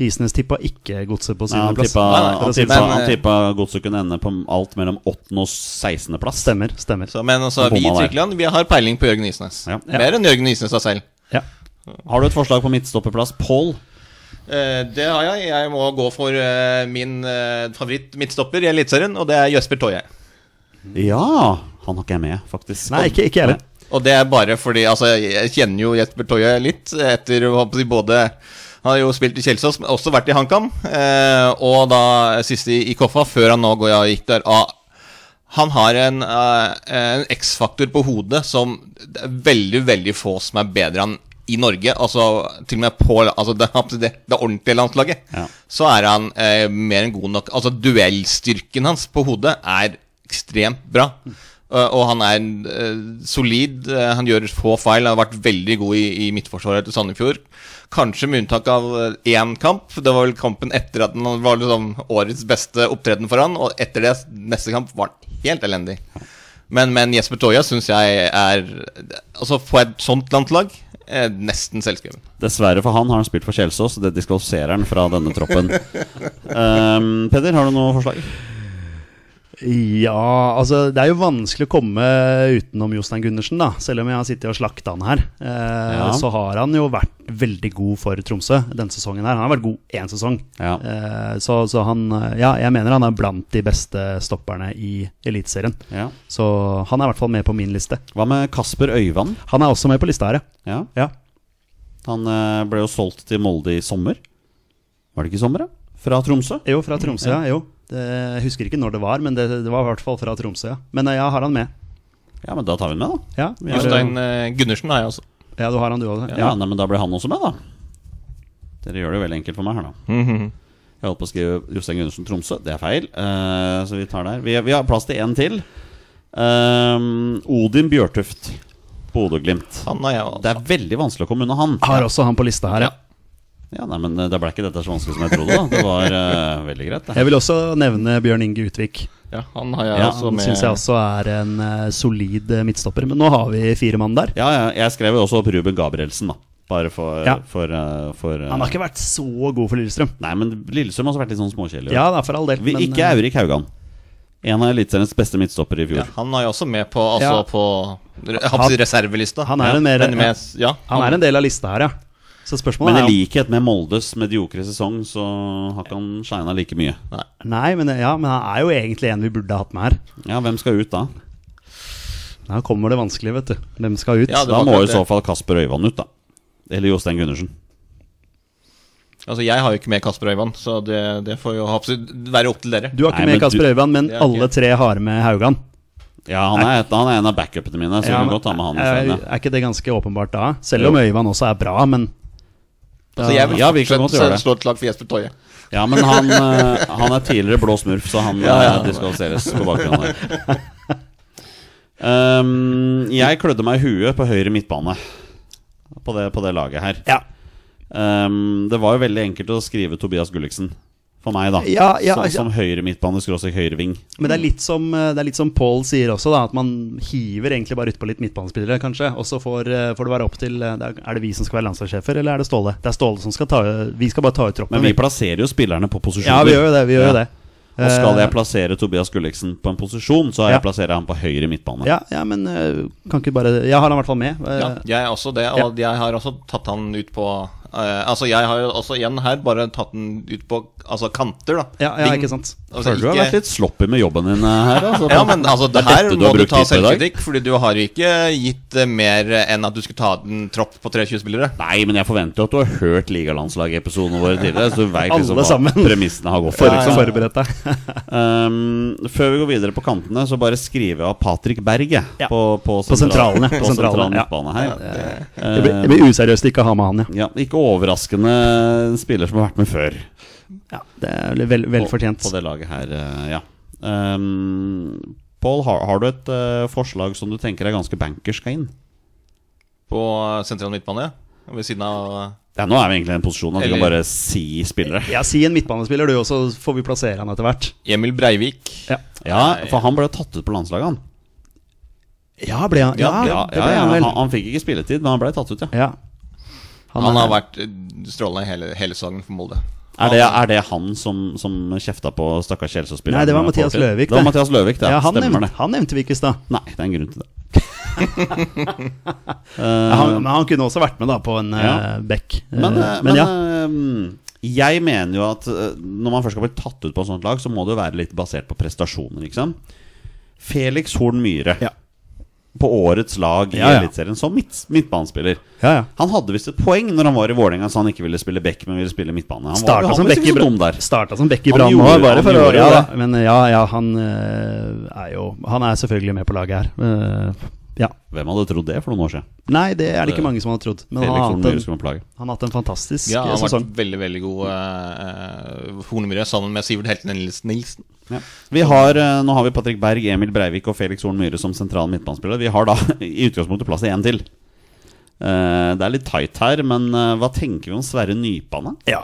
Speaker 2: Isnes tippa ikke godset på
Speaker 1: Nei, Han
Speaker 2: syvendeplass.
Speaker 1: tippa,
Speaker 3: Nei, nei,
Speaker 1: han
Speaker 3: men-
Speaker 1: tippa, han
Speaker 3: eh,
Speaker 1: tippa godset kunne ende på alt mellom åttende- og sekstendeplass.
Speaker 2: sånn. Stemmer. stemmer
Speaker 3: Så, men altså,
Speaker 1: Han
Speaker 3: vi i
Speaker 1: bomma der.
Speaker 3: Tyrkland vi har peiling på Jørgen Isnes.
Speaker 1: Ja.
Speaker 3: Mer enn Jørgen Isnes har selv.
Speaker 2: ja.
Speaker 1: Har du et forslag på midtstopperplass? Pål?
Speaker 3: Eh, det har jeg. Jeg må gå for eh, min eh, favoritt midtstopper i Eliteserien, og det er Jøsper Toje.
Speaker 1: Ja! Han har ikke jeg med, faktisk.
Speaker 2: Nei, ikke, ikke jeg heller.
Speaker 3: Og det er bare fordi altså, jeg kjenner jo Jesper Toje litt etter å ha- både Han har jo spilt i Kjelsås, men også vært i HamKam. Eh, og da sist i, i Koffa, før han nå går, ja, gikk der. Ah, han har en, eh, en X-faktor på hodet som det er veldig, veldig få som er bedre enn i Norge. Altså til og med på altså, det, det, det ordentlige landslaget.
Speaker 1: Ja.
Speaker 3: Så er han eh, mer enn god nok. Altså duellstyrken hans på hodet er ekstremt bra. Eh, og han er eh, solid. eh, han gjør få feil. Han har vært veldig god i, i midtforsvaret til Sandefjord. Kanskje med unntak av eh, én kamp. Det var vel kampen etter at han var liksom årets beste opptreden for han. Og etter det, neste kamp, var han helt elendig. Men, men Jesper Toja syns jeg er Altså, på et sånt landslag, eh, nesten selvskreven.
Speaker 1: Dessverre for han har han spilt for Kjelsås, og det diskvalifiserer han fra denne troppen. Ehm, Peder, har du noe forslag?
Speaker 2: Ja, altså Det er jo vanskelig å komme utenom Jostein Gundersen, da. Selv om jeg har sittet og slakta han her. Eh,
Speaker 1: Ja.
Speaker 2: Så har han jo vært veldig god for Tromsø denne sesongen her. Han har vært god én sesong.
Speaker 1: Ja.
Speaker 2: Eh, så, så han eh, Ja, jeg mener han er blant de beste stopperne i Eliteserien.
Speaker 1: Ja.
Speaker 2: Så han er i hvert fall med på min liste.
Speaker 1: Hva med Kasper Øyvand?
Speaker 2: Han er også med på lista her,
Speaker 1: Ja.
Speaker 2: ja. ja.
Speaker 1: Han eh, ble jo solgt til Molde i sommer. Var det ikke i sommer, da? Fra Tromsø?
Speaker 2: Jo, fra Tromsø, ja. Jo. Det, jeg husker ikke når det var, men det, det var i hvert fall fra Tromsø. ja Men eh, ja, har han med.
Speaker 1: Ja, men da tar vi den med, da.
Speaker 2: Ja, vi har-
Speaker 3: Jostein eh, Gundersen har jeg også.
Speaker 2: ja du har han du òg.
Speaker 1: Ja, nei, men da blir han også med, da. Dere gjør det jo veldig enkelt for meg her, da. Jeg holdt på å skrive Jostein Gundersen Tromsø. Det er feil, eh, så vi tar der. Vi, vi har plass til én til. Ehm, Odin Bjørtuft. Bodø-Glimt.
Speaker 3: Han har jeg også.
Speaker 1: Det er veldig vanskelig å komme unna han.
Speaker 2: Har også han på lista her, ja.
Speaker 1: Ja, nei, men eh, Da ble ikke dette så vanskelig som jeg trodde. da Det var eh, veldig greit. Det.
Speaker 2: Jeg vil også nevne Bjørn Inge Utvik.
Speaker 3: Ja, han har jeg
Speaker 1: Ja,
Speaker 3: også
Speaker 2: Han
Speaker 3: med.
Speaker 2: syns jeg også er en eh, solid eh, midtstopper. Men nå har vi fire mann der.
Speaker 1: Ja, ja, jeg skrev jo også opp Ruben Gabrielsen, da. Bare for,
Speaker 2: Ja.
Speaker 1: for, eh, for eh,
Speaker 2: Han har ikke vært så god for Lillestrøm.
Speaker 1: Nei, men Lillestrøm har også vært litt sånn småkjedelig.
Speaker 2: Ja, det er for all del.
Speaker 1: Vi-
Speaker 2: men,
Speaker 1: Ikke
Speaker 2: eh,
Speaker 1: Aurik Haugan. En av eliteseriens beste midtstoppere i fjor.
Speaker 3: Ja, han har jeg også med på, altså,
Speaker 2: Ja.
Speaker 3: på re- jeg håper å si reservelista.
Speaker 2: han er
Speaker 3: ja,
Speaker 2: en mer-
Speaker 3: men med, ja,
Speaker 2: eh, Han er en del av lista her, ja. Så spørsmålet
Speaker 1: Men i
Speaker 2: er om-
Speaker 1: likhet med Moldes mediokre sesong, så har ikke han shina like mye.
Speaker 2: Nei, men, eh, ja, men han er jo egentlig en vi burde hatt med her.
Speaker 1: Ja, hvem skal ut da?
Speaker 2: Da kommer det vanskelige, vet du. Hvem skal ut?
Speaker 3: Ja, det
Speaker 1: Da
Speaker 3: var
Speaker 1: må
Speaker 3: akkurat
Speaker 1: i så
Speaker 3: det.
Speaker 1: fall Kasper Øyvand ut, da. Eller Jostein Gundersen.
Speaker 3: Altså, jeg har jo ikke med Kasper Øyvand, så det, det får jo håper å si, være opp til dere.
Speaker 2: Du har ikke
Speaker 1: Nei, men
Speaker 2: med Kasper
Speaker 1: du-
Speaker 2: Øyvand, men
Speaker 3: Det er
Speaker 2: alle
Speaker 3: ikke-
Speaker 2: tre har med Haugan.
Speaker 1: Ja, han er, et, han er en av backupene mine, så vi
Speaker 2: Ja,
Speaker 1: kan
Speaker 2: men eh,
Speaker 1: godt ta med han.
Speaker 2: er,
Speaker 1: isteden, ja.
Speaker 2: er ikke det ganske åpenbart da? Selv om Øyvand også er bra, men da,
Speaker 3: Så Altså, jeg vil
Speaker 1: Ja, vi kan godt
Speaker 3: fortsatt
Speaker 1: gjøre det.
Speaker 3: slå et lag for Jesper Toje.
Speaker 1: ja, men han, eh, han er tidligere blå smurf, så han ja,
Speaker 3: Ja, ja.
Speaker 1: diskvalifiseres på bakgrunn av det. Um, jeg klødde meg i huet på høyre midtbane på det, på det laget her.
Speaker 2: ja.
Speaker 1: Um, det var jo veldig enkelt å skrive Tobias Gulliksen. For meg, da.
Speaker 2: Ja, ja,
Speaker 1: som,
Speaker 2: ja.
Speaker 1: som høyre midtbane, skråstrek høyre ving.
Speaker 2: Men det er litt som, eh, det er litt som Paul sier også, da, at man hiver egentlig bare utpå litt midtbanespillere, kanskje. Og så får, eh, får det være opp til eh, det Er er det vi som skal være landslagssjefer, eller er det Ståle? Det er Ståle som skal ta Vi skal bare ta ut troppen.
Speaker 1: Men vi plasserer jo spillerne på posisjoner.
Speaker 2: ja, vi gjør jo det. Vi gjør
Speaker 1: Ja.
Speaker 2: jo det.
Speaker 1: Og skal
Speaker 2: Eh,
Speaker 1: jeg plassere Tobias Gulliksen på en posisjon, så har jeg
Speaker 2: Ja.
Speaker 1: plasserer han på høyre midtbane.
Speaker 2: Ja, ja men eh, kan ikke bare Jeg har han i hvert fall med. Eh,
Speaker 3: Ja, jeg er også det, og jeg har også tatt han ut på eh, Altså, jeg har jo også igjen her bare tatt den ut på altså, kanter, da.
Speaker 2: ja, ja
Speaker 3: Wing.
Speaker 2: ikke sant.
Speaker 3: Altså,
Speaker 1: Føler du har
Speaker 3: ikke-
Speaker 1: vært litt sloppy med jobben din eh, her? Altså,
Speaker 3: Ja, men altså, det her
Speaker 1: dette du
Speaker 3: må
Speaker 1: har
Speaker 3: du
Speaker 1: brukt
Speaker 3: ta
Speaker 1: tid på i dag?
Speaker 3: selvkritikk, fordi du har jo ikke gitt eh, mer enn at du skulle ta en tropp på 23 spillere.
Speaker 1: Nei, men jeg forventer jo at du har hørt ligalandslagepisodene våre tidligere. Så du vet
Speaker 2: Alle
Speaker 1: liksom hva
Speaker 2: sammen.
Speaker 1: premissene har gått
Speaker 2: For,
Speaker 1: for. ikke sant?
Speaker 2: Forberedt
Speaker 1: (laughs)
Speaker 2: deg.
Speaker 1: Um, før vi går videre på kantene, så bare skriver jeg av Patrick Berg jeg,
Speaker 2: Ja.
Speaker 1: på, på,
Speaker 2: På sentralen, ja.
Speaker 1: på
Speaker 2: På sentralen,
Speaker 1: sentral
Speaker 2: ja.
Speaker 1: midtbane her.
Speaker 2: Det blir, det blir useriøst ikke å ha med han,
Speaker 1: Ja,
Speaker 2: ja.
Speaker 1: ikke overraskende en spiller som har vært med før.
Speaker 2: ja det er vel- vel, velfortjent.
Speaker 1: På, på det laget her, eh, ja. Um, Pål, har, har du et eh, forslag som du tenker er ganske bankers skal inn?
Speaker 3: På sentral midtbane, ved siden av
Speaker 1: Ja, nå er vi egentlig i en posisjon at vi kan
Speaker 3: Eller-
Speaker 1: bare si spillere.
Speaker 2: Ja, Si en midtbanespiller, du, og så får vi plassere han etter hvert.
Speaker 3: Emil Breivik.
Speaker 2: Ja,
Speaker 1: Ja, for han ble tatt ut på landslaget, han.
Speaker 2: ja ble han Ja,
Speaker 1: Ja, ja,
Speaker 2: det ble han
Speaker 1: han,
Speaker 2: vel.
Speaker 1: han fikk ikke spilletid, men han ble tatt ut, ja.
Speaker 2: Ja.
Speaker 3: Han,
Speaker 2: er-
Speaker 3: har vært eh, strålende hele, hele sesongen for Molde.
Speaker 1: Er det, er det han som, som kjefta på stakkars Kjelsås-spilleren?
Speaker 2: Altså. Nei, det var
Speaker 1: med
Speaker 2: Mathias
Speaker 1: fortid?
Speaker 2: Løvik,
Speaker 1: Det var
Speaker 2: det.
Speaker 1: Mathias Løvik, det.
Speaker 2: ja, han,
Speaker 1: Stemmer
Speaker 2: nevnte, Eh,
Speaker 1: det.
Speaker 2: han nevnte vi ikke i stad.
Speaker 1: Nei, det er en grunn til det.
Speaker 2: Ja, han- Men han kunne også vært med da på en ja.
Speaker 1: Eh, Ja.
Speaker 2: bekk. Eh,
Speaker 1: Men, eh,
Speaker 2: men
Speaker 1: men
Speaker 2: ja.
Speaker 1: eh, jeg mener jo at eh, når man først skal bli tatt ut på et sånt lag, så må det jo være litt basert på prestasjoner, ikke sant? Felix Horn Myhre
Speaker 2: Ja.
Speaker 1: på årets lag i
Speaker 2: Ja, ja.
Speaker 1: Eliteserien som midt, midtbanespiller.
Speaker 2: Ja, ja.
Speaker 1: Han hadde visst et poeng når han var i Vålerenga, så han ikke ville spille back, men ville spille midtbane. Han var,
Speaker 2: Starta
Speaker 1: han
Speaker 2: som
Speaker 1: var
Speaker 2: bekk
Speaker 1: ikke
Speaker 2: i
Speaker 1: så dum
Speaker 2: Brann.
Speaker 1: der.
Speaker 2: Starta som bekk i
Speaker 1: Han
Speaker 2: Brann nå,
Speaker 1: gjorde-
Speaker 2: bare
Speaker 1: han
Speaker 2: for å
Speaker 1: gjorde
Speaker 2: ja,
Speaker 1: det.
Speaker 2: da. Men ja, ja, han eh, er jo Han er selvfølgelig med på laget her. Eh, ja.
Speaker 1: Hvem hadde trodd det for noen år siden?
Speaker 2: Nei, det er det
Speaker 1: Det-
Speaker 2: ikke mange som hadde trodd. Men han
Speaker 1: Eh, Felix
Speaker 2: har
Speaker 1: Horn
Speaker 2: hatt
Speaker 1: Myhre
Speaker 2: en,
Speaker 1: skulle man plage.
Speaker 2: han har hatt en fantastisk
Speaker 3: Ja,
Speaker 2: eh,
Speaker 3: han har
Speaker 2: sesong.
Speaker 3: vært veldig veldig god uh, hornemyre sammen med Sivert Helten Nilsen. Nilsen.
Speaker 1: Ja. Vi har, eh, nå har vi Patrick Berg, Emil Breivik og Felix Horn Myhre som sentrale midtbanespillere. Vi har da (laughs) i utgangspunktet plass til én til. Eh, det er litt tight her, men eh, hva tenker vi om Sverre Nypane?
Speaker 2: Ja.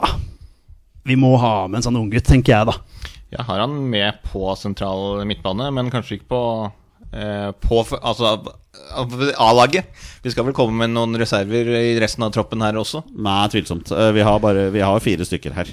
Speaker 2: Vi må ha med en sånn unggutt, tenker jeg, da.
Speaker 3: Jeg har han med på sentral midtbane, men kanskje ikke på eh, på, f- altså av- av A-laget. Vi skal vel komme med noen reserver i resten av troppen her også.
Speaker 1: Nei, tvilsomt. Eh, vi, har bare, vi har fire stykker her.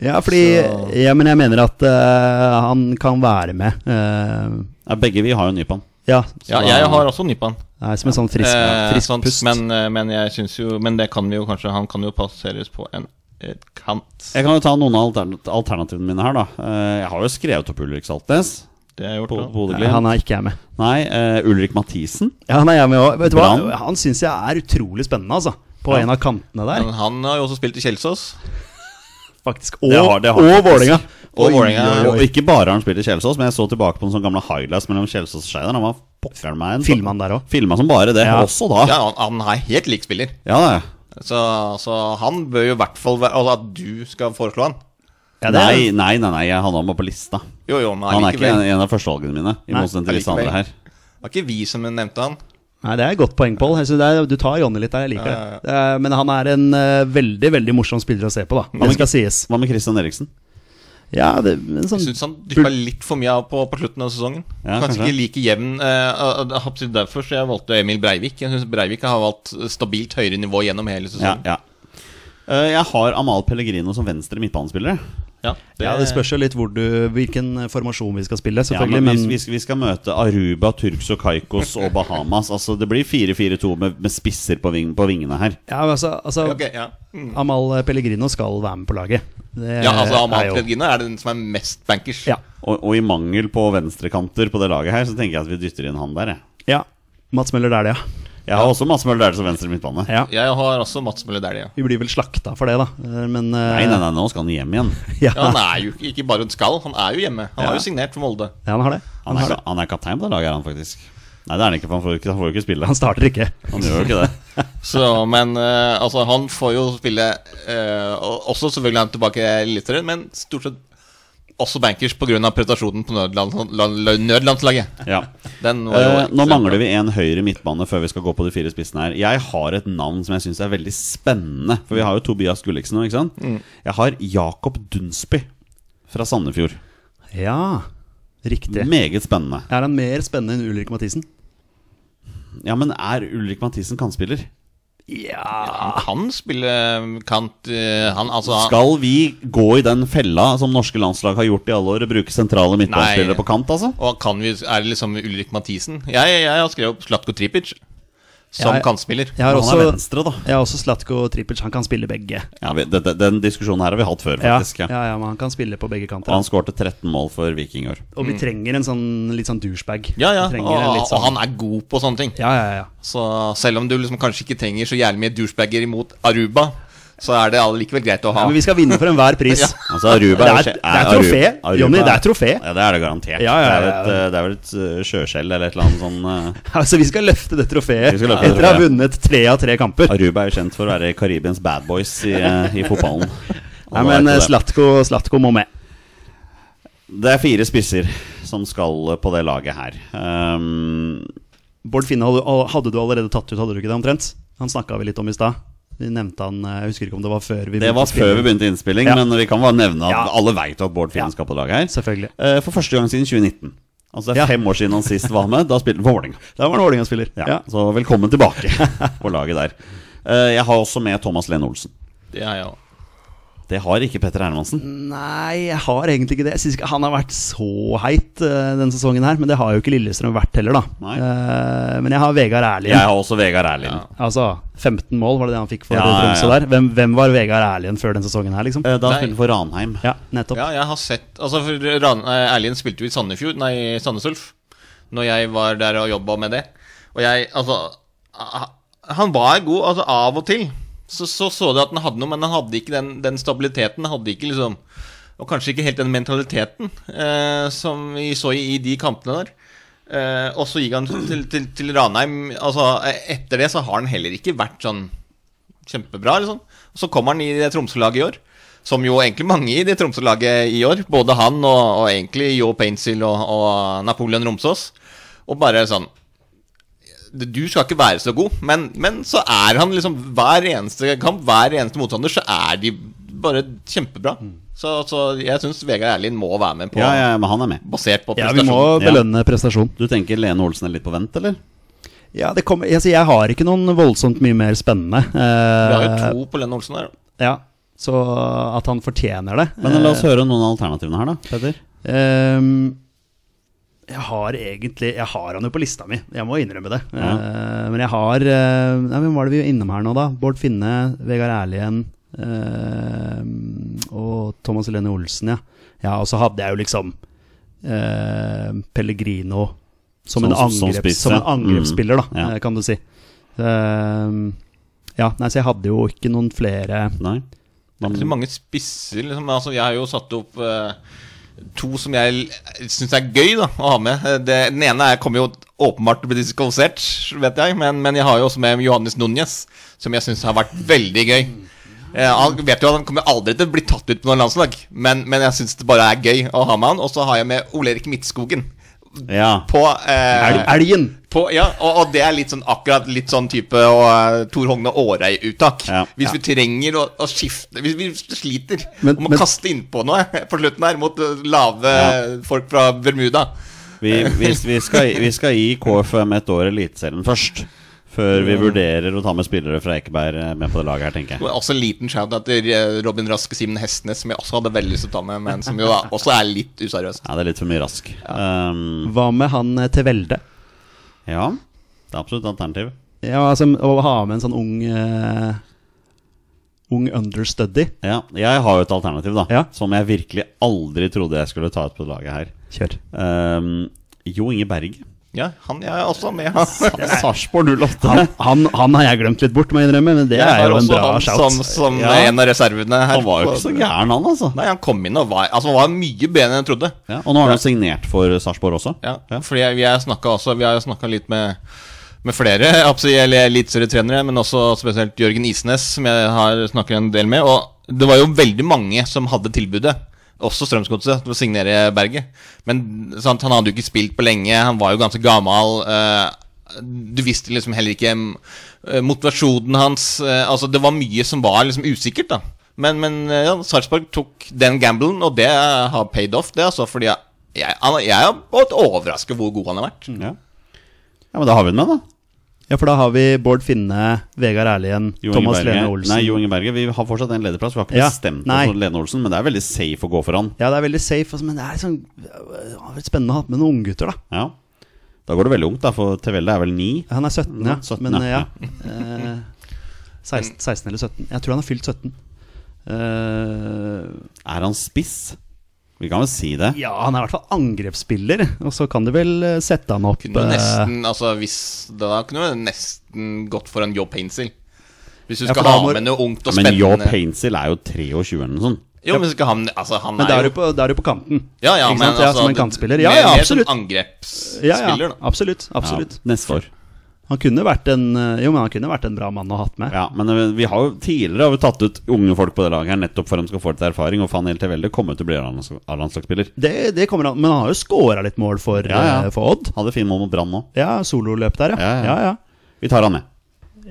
Speaker 2: Ja, fordi
Speaker 3: Så-
Speaker 2: ja, Men jeg mener at eh, han kan være med. eh,
Speaker 1: Ja, begge vi har jo Nypan.
Speaker 2: ja,
Speaker 3: Ja,
Speaker 1: da-
Speaker 3: jeg har også Nypan.
Speaker 2: er som en sånn frisk,
Speaker 3: Eh,
Speaker 2: frisk
Speaker 3: sånt,
Speaker 2: pust.
Speaker 3: Men, eh, men jeg synes jo Men det kan vi jo kanskje Han kan jo passeres på en eh, kant.
Speaker 1: Jeg kan jo ta noen av altern- alternativene mine her, da. Eh, jeg har jo skrevet opp Ulrik Saltnes.
Speaker 3: Det er gjort.
Speaker 1: På,
Speaker 3: da.
Speaker 1: på Bodø
Speaker 2: Nei,
Speaker 1: Glimt.
Speaker 2: han er ikke jeg med.
Speaker 1: Nei, eh, Ulrik Mathisen.
Speaker 2: Ja, han er jeg med også. Vet du hva?
Speaker 1: Brann.
Speaker 2: Han syns jeg er utrolig spennende, altså. På
Speaker 1: Ja.
Speaker 2: en av kantene der,
Speaker 3: Men han har jo også spilt i Kjelsås.
Speaker 2: faktisk. Og,
Speaker 1: Det har- det har han
Speaker 2: og
Speaker 1: faktisk.
Speaker 2: Vålerenga.
Speaker 3: Og
Speaker 2: Oi,
Speaker 3: Vålerenga.
Speaker 2: oi, oi.
Speaker 1: Og ikke bare har han spilt i Kjelsås, men jeg så tilbake på den sånne gamle highlights mellom Kjelsås og Skeidar. Han var pokkeren meg en
Speaker 2: Filma han der òg.
Speaker 1: Filma som bare det.
Speaker 2: Ja.
Speaker 1: Også da.
Speaker 3: Ja, han, han er helt lik spiller.
Speaker 1: Ja, da, ja.
Speaker 3: Så, så han bør jo i hvert fall være Altså at du skal foreslå han.
Speaker 2: Ja, det er-
Speaker 1: nei, nei, nei, nei, jeg hadde han bare på lista.
Speaker 3: Jo, jo, men
Speaker 1: Han er ikke en,
Speaker 3: allikevel.
Speaker 1: en av førstevalgene mine. I
Speaker 2: Nei,
Speaker 1: motsetning til disse andre her.
Speaker 3: Det var ikke vi som nevnte han.
Speaker 2: Nei, det er et godt poeng, Pål. Jeg synes det er- Du tar Jonny litt der, jeg liker
Speaker 3: Ja, ja,
Speaker 2: det. Eh, Men han er en eh, veldig veldig morsom spiller å se på, da. Det skal sies.
Speaker 1: Hva med Christian Eriksen?
Speaker 2: Ja, det, men sånn,
Speaker 3: Jeg syns han dyppa litt for mye av på, på slutten av sesongen.
Speaker 1: Ja,
Speaker 3: kanskje
Speaker 1: kanskje.
Speaker 3: ikke like jevn. eh, og- og det er absolutt derfor så jeg valgte Emil Breivik. Jeg synes Breivik har valgt stabilt høyere nivå gjennom hele
Speaker 1: Ja,
Speaker 3: sesongen.
Speaker 1: ja. Eh, Jeg har Amal Pellegrino som venstre midtbanespiller.
Speaker 3: Ja, det,
Speaker 2: ja, det spørs jo litt hvor du, hvilken eh, formasjon vi skal spille,
Speaker 1: Ja,
Speaker 2: selvfølgelig.
Speaker 1: men
Speaker 2: men
Speaker 1: vi, vi, vi skal møte Aruba, Turks og Kaikos og Bahamas. Altså, det blir 4-4-2 med, med spisser på, ving, på vingene her.
Speaker 2: ja, men altså, altså
Speaker 3: Ok, ja. Mm.
Speaker 2: Amal Pellegrino skal være med på laget. Det
Speaker 3: Ja,
Speaker 1: Eh,
Speaker 3: altså
Speaker 2: er
Speaker 3: Amahl
Speaker 2: jo-
Speaker 3: Fredgina er den som er mest bankers.
Speaker 2: Ja.
Speaker 1: Og, og i mangel på venstrekanter på det laget her, så tenker jeg at vi dytter inn han der. Jeg,
Speaker 2: ja. Mats Møller der, det,
Speaker 1: jeg
Speaker 2: ja.
Speaker 1: har også Mads Møller der som venstre midtbane.
Speaker 2: ja.
Speaker 3: Jeg har også Mats Møller Dæhlie. Ja.
Speaker 2: Vi blir vel slakta for det, da. Eh, Men
Speaker 1: Nei, nei, nei, nå skal han hjem igjen.
Speaker 2: (laughs) Ja,
Speaker 3: Ja, han er jo ikke bare en skall, han er jo hjemme. Han
Speaker 1: Ja.
Speaker 3: har jo signert for Molde.
Speaker 2: Ja, han har det.
Speaker 1: Han er, ka- han er kaptein på det laget her, han faktisk. Nei, det er han ikke, for han får jo ikke, han får jo ikke spille.
Speaker 2: Han starter ikke.
Speaker 1: Han gjør jo ikke det.
Speaker 3: Så, men eh, altså, han får jo spille eh, og- Også selvfølgelig er han tilbake i Eliteserien, men stort sett også bankers pga. prestasjonen på nødland, la- la- nødlandslaget.
Speaker 2: (laughs)
Speaker 1: Ja.
Speaker 3: Den var jo
Speaker 1: Eh, nå mangler vi en høyre midtbane før vi skal gå på de fire spissene her. Jeg har et navn som jeg syns er veldig spennende. For vi har jo Tobias Gulliksen nå, ikke sant?
Speaker 2: Mm.
Speaker 1: Jeg har Jakob Dunsby fra Sandefjord.
Speaker 2: Ja, riktig.
Speaker 1: Meget spennende.
Speaker 2: Er han mer spennende enn Ulrik Mathisen?
Speaker 1: Ja, men er Ulrik Mathisen kantspiller?
Speaker 2: Ja
Speaker 3: Han spiller kant eh, Han altså han-
Speaker 1: Skal vi gå i den fella som norske landslag har gjort i alle år, og bruke sentrale midtbanespillere
Speaker 3: Nei.
Speaker 1: på kant, altså?
Speaker 3: Og kan vi, er det liksom Ulrik Mathisen? Jeg, jeg, jeg har skrevet Slatko Tripic som
Speaker 2: Jeg-
Speaker 3: kantspiller.
Speaker 2: Jeg har
Speaker 1: Han er
Speaker 2: også,
Speaker 1: venstre, da.
Speaker 2: jeg har også Slatko Tripic. Han kan spille begge.
Speaker 1: Ja, vi, det, det, den diskusjonen her har vi hatt før,
Speaker 2: Ja,
Speaker 1: faktisk.
Speaker 2: ja,
Speaker 1: Ja.
Speaker 2: ja, men han kan spille på begge kanter.
Speaker 1: Og han Mm. skårte 13 mål for Viking i år.
Speaker 2: Og vi trenger en sånn litt sånn douchebag.
Speaker 3: Ja, ja,
Speaker 2: Vi
Speaker 3: og,
Speaker 2: trenger
Speaker 1: Ah,
Speaker 2: en litt
Speaker 3: og
Speaker 2: sånn,
Speaker 3: han er god på sånne ting.
Speaker 2: ja, ja, ja.
Speaker 3: Så selv om du liksom kanskje ikke trenger så jævlig mye douchebager imot Aruba, så er det likevel greit å ha.
Speaker 2: Ja, Men vi skal vinne for enhver
Speaker 1: (laughs)
Speaker 2: pris.
Speaker 3: Ja.
Speaker 1: Altså, Aruba
Speaker 2: Det
Speaker 1: jo-
Speaker 2: er- det er trofé,
Speaker 1: Aruba-
Speaker 2: Jonny, det er trofé.
Speaker 1: Ja, det er det garantert.
Speaker 2: Ja, ja, ja,
Speaker 1: Det, er
Speaker 2: ja.
Speaker 1: vel et, eh, det er vel et eh, sjøskjell eller et eller annet sånn eh,
Speaker 2: (laughs) Altså, vi skal løfte det trofeet
Speaker 1: Vi skal løfte det
Speaker 2: etter å ha
Speaker 1: trofeet.
Speaker 2: vunnet tre av tre kamper.
Speaker 1: Aruba er jo kjent for å være Karibiens bad boys i, eh, i fotballen.
Speaker 2: (laughs) Nei,
Speaker 1: Alle vet
Speaker 2: men
Speaker 1: jo
Speaker 2: eh,
Speaker 1: det.
Speaker 2: Slatko, Slatko må med.
Speaker 1: Det er fire spisser som skal på det laget her. Um,
Speaker 2: Bård Finne hadde, al- hadde du allerede tatt ut, hadde du ikke det omtrent? Han snakka vi litt om i stad. Vi nevnte han eh, Jeg husker ikke om det var før vi
Speaker 1: det var
Speaker 2: å
Speaker 1: før
Speaker 2: spille.
Speaker 1: vi begynte innspilling,
Speaker 2: Ja.
Speaker 1: men vi kan bare nevne at
Speaker 2: Ja.
Speaker 1: alle veit at Bård Finn
Speaker 2: Ja.
Speaker 1: skal på det laget her.
Speaker 2: Selvfølgelig.
Speaker 1: Eh, For første gang siden 2019. Altså Det er
Speaker 2: Ja.
Speaker 1: fem år siden han sist var med. Da spilte han for Vålerenga.
Speaker 2: Da var han Vålerenga-spiller.
Speaker 1: Ja,
Speaker 2: Ja.
Speaker 1: Så velkommen tilbake på laget der. Eh, Jeg har også med Thomas Lene Olsen.
Speaker 3: Det er jo
Speaker 1: Det har ikke Petter
Speaker 2: Mm.
Speaker 1: Hermansen.
Speaker 2: Nei, jeg har egentlig ikke det. Jeg synes ikke Han har vært så heit eh, denne sesongen her, men det har jo ikke Lillestrøm vært heller, da.
Speaker 1: Nei.
Speaker 2: Eh, men jeg har Vegard Erlien.
Speaker 1: Jeg har også Vegard Erlien.
Speaker 2: Altså, 15 mål var det det han fikk for
Speaker 1: Ja,
Speaker 2: Tromsø
Speaker 1: ja, ja.
Speaker 2: der. Hvem, hvem var Vegard Erlien før denne sesongen her, liksom?
Speaker 1: Eh, Da
Speaker 3: Nei.
Speaker 1: spilte han for Ranheim.
Speaker 2: Ja, nettopp.
Speaker 3: Ja, jeg har sett Altså, for Ran- eh, Erlien spilte jo i Sandefjord, nei, Sandnes Ulf, når jeg var der og jobba med det. Og jeg, altså a- Han var god, altså, av og til. Så så, så du at han hadde noe, men han hadde ikke den, den stabiliteten. Han Hadde ikke liksom Og kanskje ikke helt den mentaliteten eh, som vi så i, i de kampene der. Eh, og så gikk han til, til, til Ranheim. Altså, eh, etter det så har han heller ikke vært sånn kjempebra. Liksom. Og så kommer han i det Tromsø-laget i år, som jo egentlig mange i det Tromsø-laget i år. Både han og, og egentlig Jo Painsil og, og Napoleon Romsås. Og bare sånn Du skal ikke være så god, men, men så er han liksom Hver eneste kamp, hver eneste motstander, så er de bare kjempebra.
Speaker 2: Mm.
Speaker 3: Så, så jeg syns Vegard Erlien må være med på
Speaker 1: Ja, ja, men han er med.
Speaker 3: Basert på
Speaker 2: Ja, vi må
Speaker 3: prestasjonen.
Speaker 2: belønne prestasjon.
Speaker 1: Du tenker Lene Olsen er litt på vent, eller?
Speaker 2: Ja, det kommer, altså, jeg har ikke noen voldsomt mye mer spennende.
Speaker 3: Vi har jo
Speaker 2: Eh,
Speaker 3: to på Lenn Olsen her.
Speaker 2: ja, så at han fortjener det
Speaker 1: Men la
Speaker 2: Eh.
Speaker 1: oss høre noen av alternativene her, da. Petter
Speaker 2: Ehm, jeg har egentlig Jeg har han jo på lista mi, jeg må innrømme det.
Speaker 1: Ja.
Speaker 2: Eh, men jeg har eh, nei, Hvem var det vi var innom her nå, da? Bård Finne, Vegard Erlien eh, og Thomas Helene Olsen, ja. ja. Og så hadde jeg jo liksom eh, Pellegrino som, en,
Speaker 1: Som- som- som
Speaker 2: angreps,
Speaker 1: spiss,
Speaker 2: som en
Speaker 1: ja. Mm.
Speaker 2: angrepsspiller, da,
Speaker 1: Ja.
Speaker 2: eh, kan du si. Ehm, ja, nei, så jeg hadde jo ikke noen flere
Speaker 1: Nei? Da-
Speaker 3: Det er ikke så mange spisser, liksom. Altså, jeg har jo satt opp eh, to som jeg syns er gøy da, å ha med. Eh, Det, den ene er, kommer jo åpenbart til å bli diskvalifisert, vet jeg, men, men jeg har jo også med Johannes Núñez, som jeg syns har vært veldig gøy. Eh, han vet jo at han kommer aldri til å bli tatt ut på noe landslag, men, men jeg syns det bare er gøy å ha med han. Og så har jeg med Ole-Erik Midtskogen
Speaker 1: Ja.
Speaker 3: på eh,
Speaker 2: Elg- Elgen!
Speaker 3: på, ja, og, og det er litt sånn akkurat litt sånn type og, eh, Tor Hogne Aarøy-uttak.
Speaker 1: Ja.
Speaker 3: Hvis vi trenger å, å skifte Hvis vi sliter
Speaker 2: Men-
Speaker 3: om å
Speaker 2: men-
Speaker 3: kaste innpå noe (laughs) på slutten her mot eh, lave
Speaker 1: Ja.
Speaker 3: folk fra Bermuda
Speaker 1: Vi, vi, vi, skal, vi skal gi KFM et år Eliteserien først. Før vi vurderer å ta med spillere fra Ekeberg eh, med på det laget her,
Speaker 3: Det
Speaker 1: tenker jeg.
Speaker 3: var Også en liten shout til eh, Robin Rask og Simen Hestnes, som jeg også hadde veldig lyst til å ta med, men som jo
Speaker 1: (laughs)
Speaker 3: da også er litt useriøst.
Speaker 1: Ja, det er litt for mye rask. Um,
Speaker 2: Hva med han eh, Tevelde?
Speaker 1: ja, det er absolutt et alternativ.
Speaker 2: Ja, altså å ha med en sånn ung eh, Ung understudy.
Speaker 1: Ja, jeg har jo et alternativ, da.
Speaker 2: Ja.
Speaker 1: Som jeg virkelig aldri trodde jeg skulle ta ut på det laget her.
Speaker 2: Kjør.
Speaker 1: Um, jo Inge Berg.
Speaker 3: Ja, han jeg er også med. Han.
Speaker 1: Sarpsborg 08.
Speaker 2: Han, han, han har jeg glemt litt bort, må jeg innrømme, men det
Speaker 3: Jeg
Speaker 2: er
Speaker 3: har
Speaker 2: jo en
Speaker 3: også
Speaker 2: bra
Speaker 3: han
Speaker 2: shout.
Speaker 3: Som, som
Speaker 1: Ja.
Speaker 3: eh, en av reservene her.
Speaker 1: Han var jo ikke så gæren, han, altså.
Speaker 3: Nei, han kom inn og var, altså, han var mye bedre enn jeg trodde.
Speaker 1: Ja, og nå har han signert for Sarpsborg også.
Speaker 3: Ja, fordi jeg- vi har snakket også Vi har snakka litt med, med flere (laughs) absolutt, Eller litt større trenere, men også spesielt Jørgen Isnes, som jeg har snakket en del med. Og det var jo veldig mange som hadde tilbudet, også Strømsgodset, til å signere Berget. Men sant, han hadde jo ikke spilt på lenge, han var jo ganske gammel. eh, du visste liksom heller ikke eh, motivasjonen hans. eh, altså Det var mye som var liksom usikkert. da Men, men eh, ja, Sarpsborg tok den gamblen, og det har paid off, det. altså Fordi jeg, jeg, han- jeg er overrasket hvor god han har vært.
Speaker 1: Ja. ja, men da har vi den med, da.
Speaker 2: Ja, for da har vi Bård Finne, Vegard Erlien,
Speaker 1: Jo Inge
Speaker 2: Thomas
Speaker 1: Berge.
Speaker 2: Lene Olsen.
Speaker 1: Nei, Jo Inge Berge. Vi har fortsatt en lederplass. Vi har ikke
Speaker 2: Ja,
Speaker 1: bestemt
Speaker 2: nei.
Speaker 1: oss for Lene Olsen, men det er veldig safe å gå for han.
Speaker 2: Ja, det er veldig safe, altså, men det er sånn, det har vært spennende å ha med noen unggutter, da.
Speaker 1: Ja. Da går det veldig ungt, da, for Tevelde er vel ni.
Speaker 2: Han er 17, ja.
Speaker 1: Ja, 17,
Speaker 2: men
Speaker 1: ja.
Speaker 2: Mm, ja. eh, 16, 16 eller 17. Jeg tror han har fylt 17. Eh,
Speaker 1: Er han spiss? Vi kan vel si det.
Speaker 2: ja, han er i hvert fall angrepsspiller, og så kan du vel eh, sette han opp
Speaker 3: Kunne jo
Speaker 2: eh,
Speaker 3: nesten, altså hvis Da kunne du nesten gått for en Job Hainsil. Hvis du
Speaker 2: Ja,
Speaker 3: skal
Speaker 2: for da
Speaker 3: ha
Speaker 2: må-
Speaker 3: med noe ungt og
Speaker 1: Men
Speaker 3: spennende.
Speaker 1: Jo Painsil er jo 23 eller noe sånt.
Speaker 3: Jo, men skal han Altså, han
Speaker 2: Men da
Speaker 3: er
Speaker 2: er
Speaker 3: jo
Speaker 2: du på, da er du på kanten.
Speaker 3: Ja, ja,
Speaker 2: ikke
Speaker 3: men
Speaker 2: sant? Ja,
Speaker 1: altså,
Speaker 2: som en
Speaker 3: du-
Speaker 2: kantspiller. Ja,
Speaker 3: mer- mer
Speaker 2: ja,
Speaker 3: som
Speaker 2: absolutt. Ja, ja,
Speaker 3: angrepsspiller, da.
Speaker 2: absolutt.
Speaker 1: sånn Ja,
Speaker 2: absolutt
Speaker 1: neste år.
Speaker 2: Han kunne vært en eh, Jo, men han kunne vært en bra mann å ha hatt med.
Speaker 1: Ja, men eh, vi har jo tidligere har vi tatt ut unge folk på det laget her nettopp for at de skal få litt erfaring, og Fanel Tevelde kommer til å bli A-lands- A-landslagsspiller.
Speaker 2: Det, det kommer han, Men han har jo scora litt mål for,
Speaker 1: Ja, ja.
Speaker 2: eh, for Odd.
Speaker 1: Hadde fin mål mot Brann nå.
Speaker 2: Ja, sololøp der, ja.
Speaker 1: Ja, ja.
Speaker 2: ja, ja.
Speaker 1: Vi tar han med.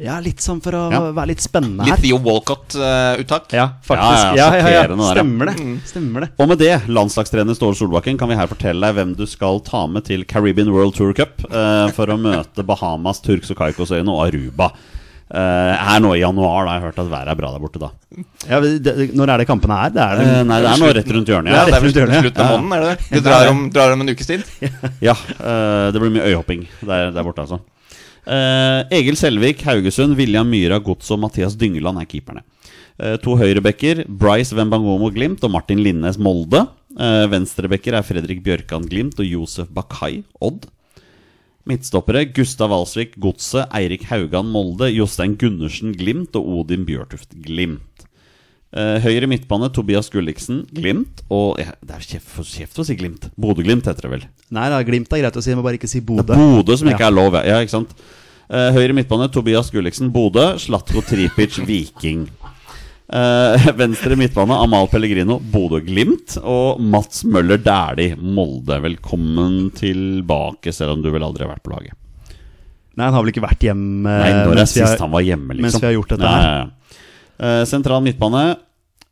Speaker 2: Ja, litt sånn for å
Speaker 1: Ja.
Speaker 2: være litt spennende
Speaker 3: Litt
Speaker 2: her.
Speaker 3: Theo Walcott-uttak.
Speaker 2: Ja,
Speaker 1: Ja,
Speaker 2: faktisk.
Speaker 1: ja,
Speaker 2: Ja, ja, ja,
Speaker 1: sjokkerende der, ja.
Speaker 2: Stemmer det. Stemmer det.
Speaker 1: Og med det, landslagstrener Ståle Solbakken, kan vi her fortelle deg hvem du skal ta med til Caribbean World Tour Cup eh, for å møte Bahamas, Turks og Caicosøyene og Aruba. Eh, her nå i januar, da har jeg hørt at været er bra der borte da.
Speaker 2: Ja, men det, det- når er det kampene her? Det er det
Speaker 1: Eh, nei, det er nå rett rundt hjørnet.
Speaker 3: Ja, det er vel
Speaker 2: definitivt, ja.
Speaker 3: slutten av måneden, er det det? Du drar om, drar om en ukes tid?
Speaker 1: Ja, eh, det blir mye øyhopping der, der borte, altså. Eh, Egil Selvik, Haugesund, William Myhra, Gods og Mathias Dyngeland er keeperne. Eh, to høyrebacker, Bryce Wembangomo Glimt og Martin Linnes Molde. Eh, Venstrebacker er Fredrik Bjørkan Glimt og Josef Bakai Odd. Midtstoppere Gustav Alsvik Godset, Eirik Haugan Molde, Jostein Gundersen Glimt og Odin Bjørtuft Glimt. Eh, høyre midtbane Tobias Gulliksen Glimt og ja, Det er kjeft, for kjeft å si Glimt. Bodø-Glimt heter det vel.
Speaker 2: Nei, da, Glimt er greit å si, men bare ikke si Bodø.
Speaker 1: Bodø som ikke
Speaker 2: Ja.
Speaker 1: er lov, ja. ja ikke sant? Eh, høyre midtbane Tobias Gulliksen, Bodø. Slatko Tripic,
Speaker 2: (laughs)
Speaker 1: Viking. Eh, venstre midtbane Amal Pellegrino, Bodø-Glimt. Og Mats Møller Dæhlie, Molde. Velkommen tilbake, selv om du vel aldri har vært på laget.
Speaker 2: Nei, han har vel ikke vært hjem eh,
Speaker 1: Nei, når er
Speaker 2: mens vi har-
Speaker 1: sist han var hjemme, liksom?
Speaker 2: mens vi har gjort dette
Speaker 1: Nei,
Speaker 2: her.
Speaker 1: ja, ja. Eh, sentral midtbane.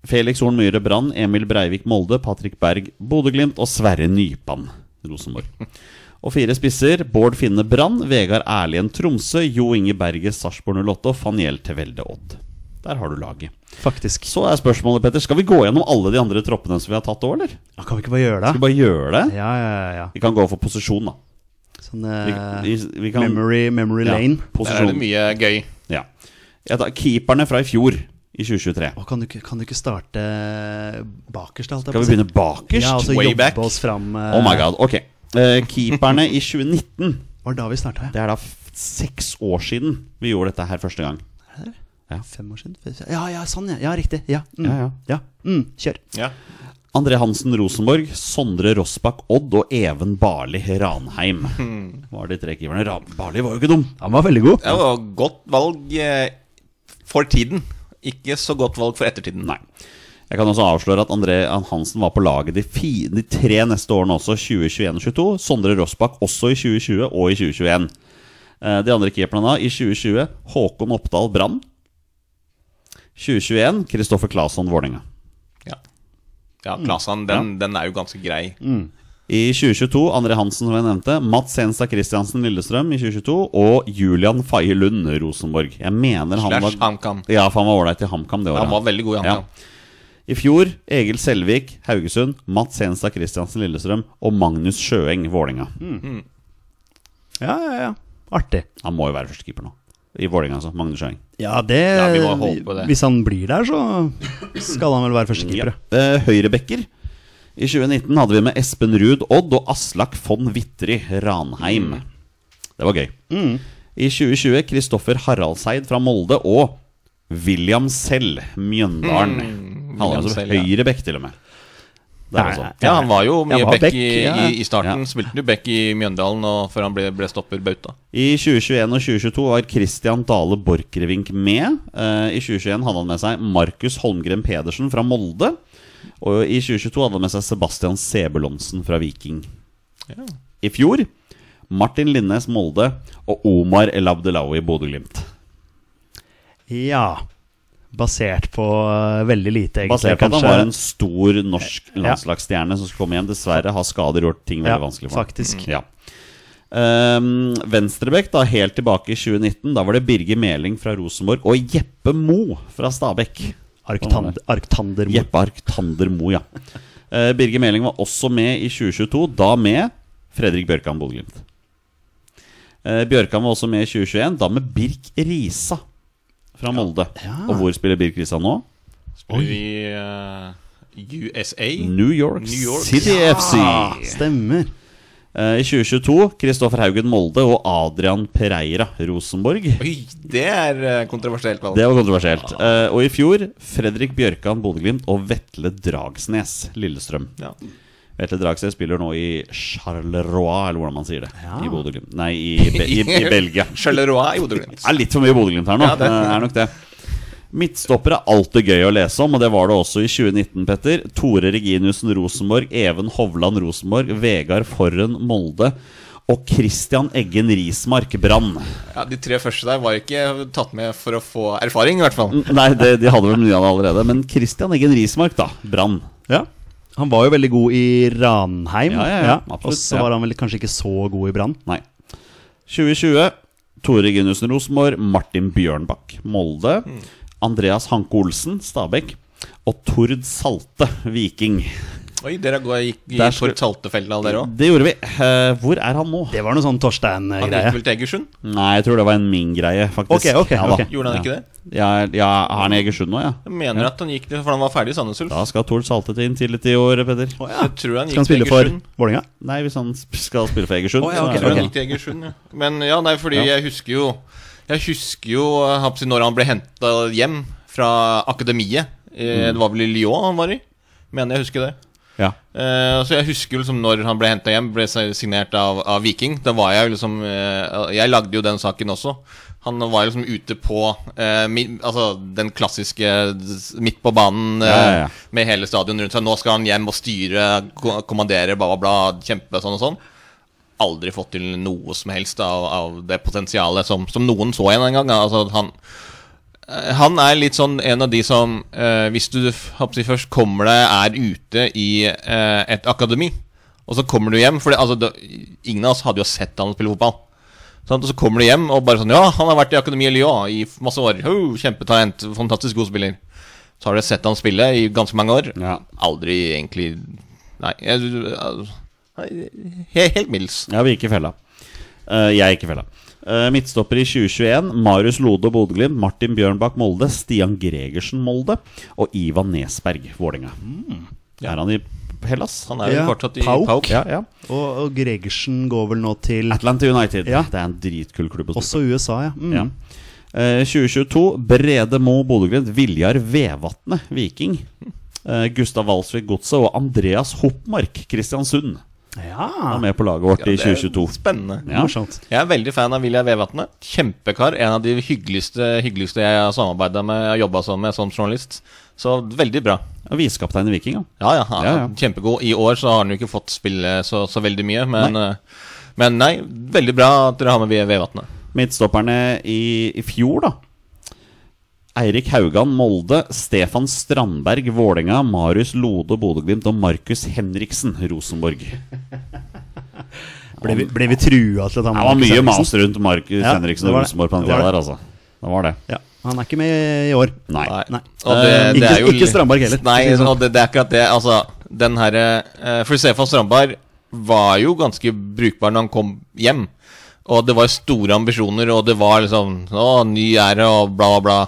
Speaker 1: Felix Horn Myhre Brann, Emil Breivik Molde, Patrick Berg Bodø-Glimt og Sverre Nypan Rosenborg. Og fire spisser. Bård Finne Brann, Vegard Erlien Tromsø, Jo Inge Berge Sarpsborg 08 og Faniel Tevelde Odd. Der har du laget.
Speaker 2: Faktisk.
Speaker 1: Så er spørsmålet, Petter, skal vi gå gjennom alle de andre troppene som vi har tatt òg, eller?
Speaker 2: Ja, kan vi ikke bare gjøre
Speaker 1: Skal vi
Speaker 2: det?
Speaker 1: bare gjøre det?
Speaker 2: Ja, ja, ja. ja.
Speaker 1: Vi kan gå for posisjon, da.
Speaker 2: Sånn
Speaker 1: Vi,
Speaker 2: eh,
Speaker 1: vi, vi kan,
Speaker 2: memory, memory
Speaker 1: ja,
Speaker 2: lane.
Speaker 3: Der er det
Speaker 1: posisjon.
Speaker 3: mye gøy.
Speaker 1: Ja. Jeg tar keeperne fra i fjor, i 2023.
Speaker 2: Å, kan, du, ikke- kan du ikke starte bakerst? Alt jeg
Speaker 1: Skal
Speaker 2: på
Speaker 1: vi
Speaker 2: å si?
Speaker 1: begynne bakerst?
Speaker 2: Ja, og så
Speaker 3: Way
Speaker 2: jobbe
Speaker 3: back?
Speaker 2: oss fram. eh,
Speaker 1: Oh my god, ok Eh, Keeperne i 2019
Speaker 2: Var det da vi starta?
Speaker 1: Det er da f- seks år siden vi gjorde dette her første gang
Speaker 2: Fem år siden? Ja, ja, sånn, ja. Ja, riktig. Ja. Mm.
Speaker 1: Ja, ja.
Speaker 2: Mm, kjør.
Speaker 3: Ja.
Speaker 1: André Hansen Rosenborg, Sondre Rossbakk Odd og Even Barli Ranheim Var de tre keeperne Ra- Barli var jo ikke dum
Speaker 2: Han var veldig god.
Speaker 3: Det var godt valg eh, for tiden. Ikke så godt valg for ettertiden.
Speaker 1: Nei Jeg kan også avsløre at André Hansen var på laget de, fi- de tre neste årene også 2021 og 22 Sondre Rossbakk også i 2020 og i 2021 Eh, De andre keeperne da i 2020 Håkon Oppdal Brann 2021 Kristoffer Claesson Vålinga
Speaker 3: Ja, ja Klasan, den, den er jo ganske grei.
Speaker 1: I 2022, André Hansen som jeg nevnte, Mats Henstad Christiansen Lillestrøm i 2022 og Julian Faye Lund Rosenborg. Jeg mener han
Speaker 3: Slash
Speaker 1: var
Speaker 3: HamKam.
Speaker 1: Ja, for han var ålreit i HamKam det året.
Speaker 3: Han var veldig god i
Speaker 1: Ja.
Speaker 3: HamKam.
Speaker 1: I fjor Egil Selvik Haugesund, Mats Henstad Christiansen Lillestrøm og Magnus Sjøeng Vålinga.
Speaker 2: Ja, ja, ja. Artig.
Speaker 1: Han må jo være førstekeeper nå. I Vålinga, altså. Magnus Sjøeng.
Speaker 2: Ja, det,
Speaker 3: Ja, vi må holde på det.
Speaker 2: Hvis han blir der, så skal han vel være førstekeeper.
Speaker 1: Ja.
Speaker 2: Ja.
Speaker 1: Eh, Høyrebekker. I 2019 hadde vi med Espen Ruud Odd og Aslak von Wittry Ranheim.
Speaker 3: Mm.
Speaker 1: Det var gøy. I 2020 Kristoffer Haraldseid fra Molde og William Sell Mjøndalen. Han var
Speaker 3: Mm. William
Speaker 1: altså
Speaker 3: Sell, ja.
Speaker 1: høyrebekk, til og med. sånn. Der
Speaker 2: Nei,
Speaker 1: også.
Speaker 3: Ja, han var jo mye
Speaker 2: Jeg var
Speaker 3: back,
Speaker 2: back,
Speaker 3: i,
Speaker 2: ja.
Speaker 3: i, i starten. Spilte jo back i Mjøndalen og før han ble, ble stopper bauta.
Speaker 1: I 2021 og 2022 var Christian Dale Borchgrevink med. Eh, I 2021 hadde han med seg Markus Holmgren Pedersen fra Molde. Og i 2022 hadde han med seg Sebastian Sebulonsen fra Viking. I fjor Martin Linnes Molde og Omar El Abdelawi Bodø-Glimt.
Speaker 2: Basert på eh, veldig lite, egentlig.
Speaker 1: Basert på at han
Speaker 2: kanskje.
Speaker 1: var en stor norsk landslagsstjerne som skulle komme hjem. Dessverre har skader gjort ting veldig
Speaker 2: ja,
Speaker 3: Mm.
Speaker 1: vanskelig for ham.
Speaker 2: Faktisk.
Speaker 1: Ja. Um, Venstrebekk da helt tilbake i 2019. Da var det Birger Meling fra Rosenborg og Jeppe Mo fra Stabekk.
Speaker 3: Mm.
Speaker 1: Mm.
Speaker 2: Arktander, Arktander Mo.
Speaker 1: Jeppe Arktander Mo, ja. Eh, Birger Meling var også med i 2022, da med Fredrik Bjørkan Bodø-Glimt. Eh, Bjørkan var også med i 2021, da med Birk Risa fra Molde.
Speaker 2: Ja.
Speaker 1: Og hvor spiller Birk Risa nå?
Speaker 3: Spiller i eh, USA.
Speaker 1: New York,
Speaker 3: New York.
Speaker 1: City FC.
Speaker 2: Stemmer.
Speaker 1: Eh, I 2022 Kristoffer Haugen Molde og Adrian Pereira Rosenborg.
Speaker 3: Oi, det er eh, kontroversielt valg.
Speaker 1: Det var kontroversielt. Eh, og i fjor Fredrik Bjørkan Bodø-Glimt og Vetle Dragsnes Lillestrøm.
Speaker 3: Ja.
Speaker 1: Vetle Dragsnes spiller nå i Charleroi, eller hvordan man sier det.
Speaker 2: Ja.
Speaker 1: I Bodø-Glimt. Nei,
Speaker 3: (laughs)
Speaker 1: i, Be i, i Belgia.
Speaker 3: Charleroi i Bodø-Glimt.
Speaker 1: Det er litt for mye Bodø-Glimt her nå.
Speaker 3: Ja, det-
Speaker 1: det er nok det. Midtstopper er alltid gøy å lese om, og det var det også i 2019, Petter. Tore Reginiussen Rosenborg, Even Hovland Rosenborg, Vegard Forren Molde og Christian Eggen Rismark Brann.
Speaker 3: Ja, De tre første der var ikke tatt med for å få erfaring, i hvert fall.
Speaker 1: Nei, det, de hadde vel mye av det allerede, men Christian Eggen Rismark, da. Brann.
Speaker 2: Ja. Han var jo veldig god i Ranheim.
Speaker 1: Ja, ja, ja,
Speaker 2: Og
Speaker 1: absolutt,
Speaker 2: så
Speaker 1: ja.
Speaker 2: var han vel kanskje ikke så god i Brann.
Speaker 1: Nei. 2020 Tore Gunnussen Rosenborg, Martin Bjørnbakk Molde,
Speaker 2: Mm.
Speaker 1: Andreas Hanke Olsen Stabæk og Tord Salte Viking.
Speaker 3: Oi, dere går, gikk,
Speaker 1: Der
Speaker 3: gikk
Speaker 1: skulle-
Speaker 3: for Saltefeltet alle dere òg?
Speaker 1: Det gjorde vi. Eh, hvor er han nå?
Speaker 2: Det var noe
Speaker 3: Han
Speaker 2: sånn
Speaker 3: gikk
Speaker 2: Torstein-greie.
Speaker 3: vel til Egersund?
Speaker 1: Nei, jeg tror det var en min-greie, faktisk.
Speaker 2: Ok, ok,
Speaker 1: ja, da.
Speaker 2: ok.
Speaker 3: Gjorde han ikke det?
Speaker 1: Ja, ja, er han i Egersund nå, ja?
Speaker 3: Jeg mener at han gikk til, for han var ferdig i Sandnes Ulf.
Speaker 1: Da skal Tord Salte til inn tidlig i år, Peder.
Speaker 3: Jeg tror han
Speaker 2: Skal
Speaker 3: gikk
Speaker 2: han spille
Speaker 3: til
Speaker 2: for
Speaker 3: Egersund.
Speaker 2: Vålerenga?
Speaker 1: Nei, hvis han sp- skal spille for Egersund.
Speaker 2: Å,
Speaker 1: så
Speaker 2: ja, ok,
Speaker 1: er
Speaker 3: Jeg tror
Speaker 1: det
Speaker 3: han gikk til Egersund, ja. Men ja, nei, fordi
Speaker 1: Ja.
Speaker 3: jeg husker jo Jeg husker jo eh, hva skal jeg si, når han ble henta hjem fra akademiet.
Speaker 1: Mm.
Speaker 3: Eh, Det var vel i Lyon han var i, mener jeg husker det.
Speaker 1: Ja.
Speaker 3: Eh, så jeg husker jo liksom når han ble henta hjem, ble signert av, av Viking. Da var jeg jo liksom eh, Jeg lagde jo den saken også. Han var jo liksom ute på eh, mi, Altså den klassiske s- midt på banen eh,
Speaker 1: Ja, ja, ja.
Speaker 3: med hele stadion rundt seg. Nå skal han hjem og styre, ko- kommandere, bla, bla, bla, kjempe sånn og sånn. Aldri fått til noe som helst av, av det potensialet som, som noen så igjen en gang. da. Altså han Eh, Han er litt sånn en av de som eh, Hvis du f- hva skal jeg si, først kommer deg er ute i eh, et akademi, og så kommer du hjem For det, altså, det, ingen av oss hadde jo sett han spille fotball. Sant? Og så kommer du hjem og bare sånn Ja, han har vært i akademi i Lyon i f- masse år. Oh, kjempetalent. Fantastisk god spiller. Så har du sett han spille i ganske mange år.
Speaker 1: Ja.
Speaker 3: Aldri egentlig Nei. Jeg, jeg, jeg, he- helt middels.
Speaker 1: Ja, vi gikk i fella. Eh, jeg gikk i fella. Eh, midtstopper i 2021. Marius Lode Bodø-Glimt. Martin Bjørnbakk Molde. Stian Gregersen Molde. Og Ivan Nesberg Vålerenga. Er han i Hellas?
Speaker 3: Mm, Han er jo
Speaker 2: Ja,
Speaker 3: fortsatt i
Speaker 2: Pauk.
Speaker 3: Pauk.
Speaker 1: Ja, ja.
Speaker 2: Og, og Gregersen går vel nå til
Speaker 1: Atlanta United.
Speaker 2: Ja.
Speaker 1: Det er en dritkul klubb. å spille
Speaker 2: også USA, ja. Mm.
Speaker 1: Ja. Eh, 2022 Brede Mo Bodø-Glimt, Viljar Vevatnet Viking. Eh, Gustav Walsvik Godset og Andreas Hoppmark Kristiansund
Speaker 2: Ja,
Speaker 1: er med på laget vårt i
Speaker 3: Det er
Speaker 1: 2022.
Speaker 3: Spennende.
Speaker 1: Ja.
Speaker 2: Morsomt.
Speaker 3: Jeg er veldig fan av Vilja Vevatnet. Kjempekar. En av de hyggeligste, hyggeligste jeg har samarbeida med og jobba sammen med som journalist. Så veldig bra.
Speaker 1: Og Visekaptein i Viking, ja.
Speaker 3: Ja, ja, han er
Speaker 1: Ja, ja.
Speaker 3: Kjempegod. I år så har han jo ikke fått spille så, så veldig mye, men nei. men nei, veldig bra at dere har med Vilja Vevatnet.
Speaker 1: Midtstopperne i, i fjor, da. Eirik Haugan Molde, Stefan Strandberg Vålerenga, Marius Lode Bodø-Glimt og Markus Henriksen Rosenborg. Det
Speaker 2: Ble vi, ble vi trua til at han
Speaker 1: var
Speaker 2: Markus
Speaker 1: mye
Speaker 2: Henriksen?
Speaker 1: mas rundt Markus
Speaker 2: Ja,
Speaker 1: Henriksen
Speaker 2: det
Speaker 1: og
Speaker 2: var det.
Speaker 1: Rosenborg på den
Speaker 2: Det var
Speaker 1: tida
Speaker 2: det.
Speaker 1: der, altså. Det var det.
Speaker 2: Ja, han er ikke med i år.
Speaker 1: Nei.
Speaker 2: Nei.
Speaker 3: Og det,
Speaker 2: Eh,
Speaker 3: det
Speaker 2: ikke-
Speaker 3: er jo,
Speaker 2: ikke Strandberg heller,
Speaker 3: Nei,
Speaker 2: for å si det sånn.
Speaker 3: og det, det er akkurat det. Altså, den herre eh, For Stefan Strandberg var jo ganske brukbar når han kom hjem. Og det var store ambisjoner, og det var liksom Å, ny ære, og bla, bla, bla.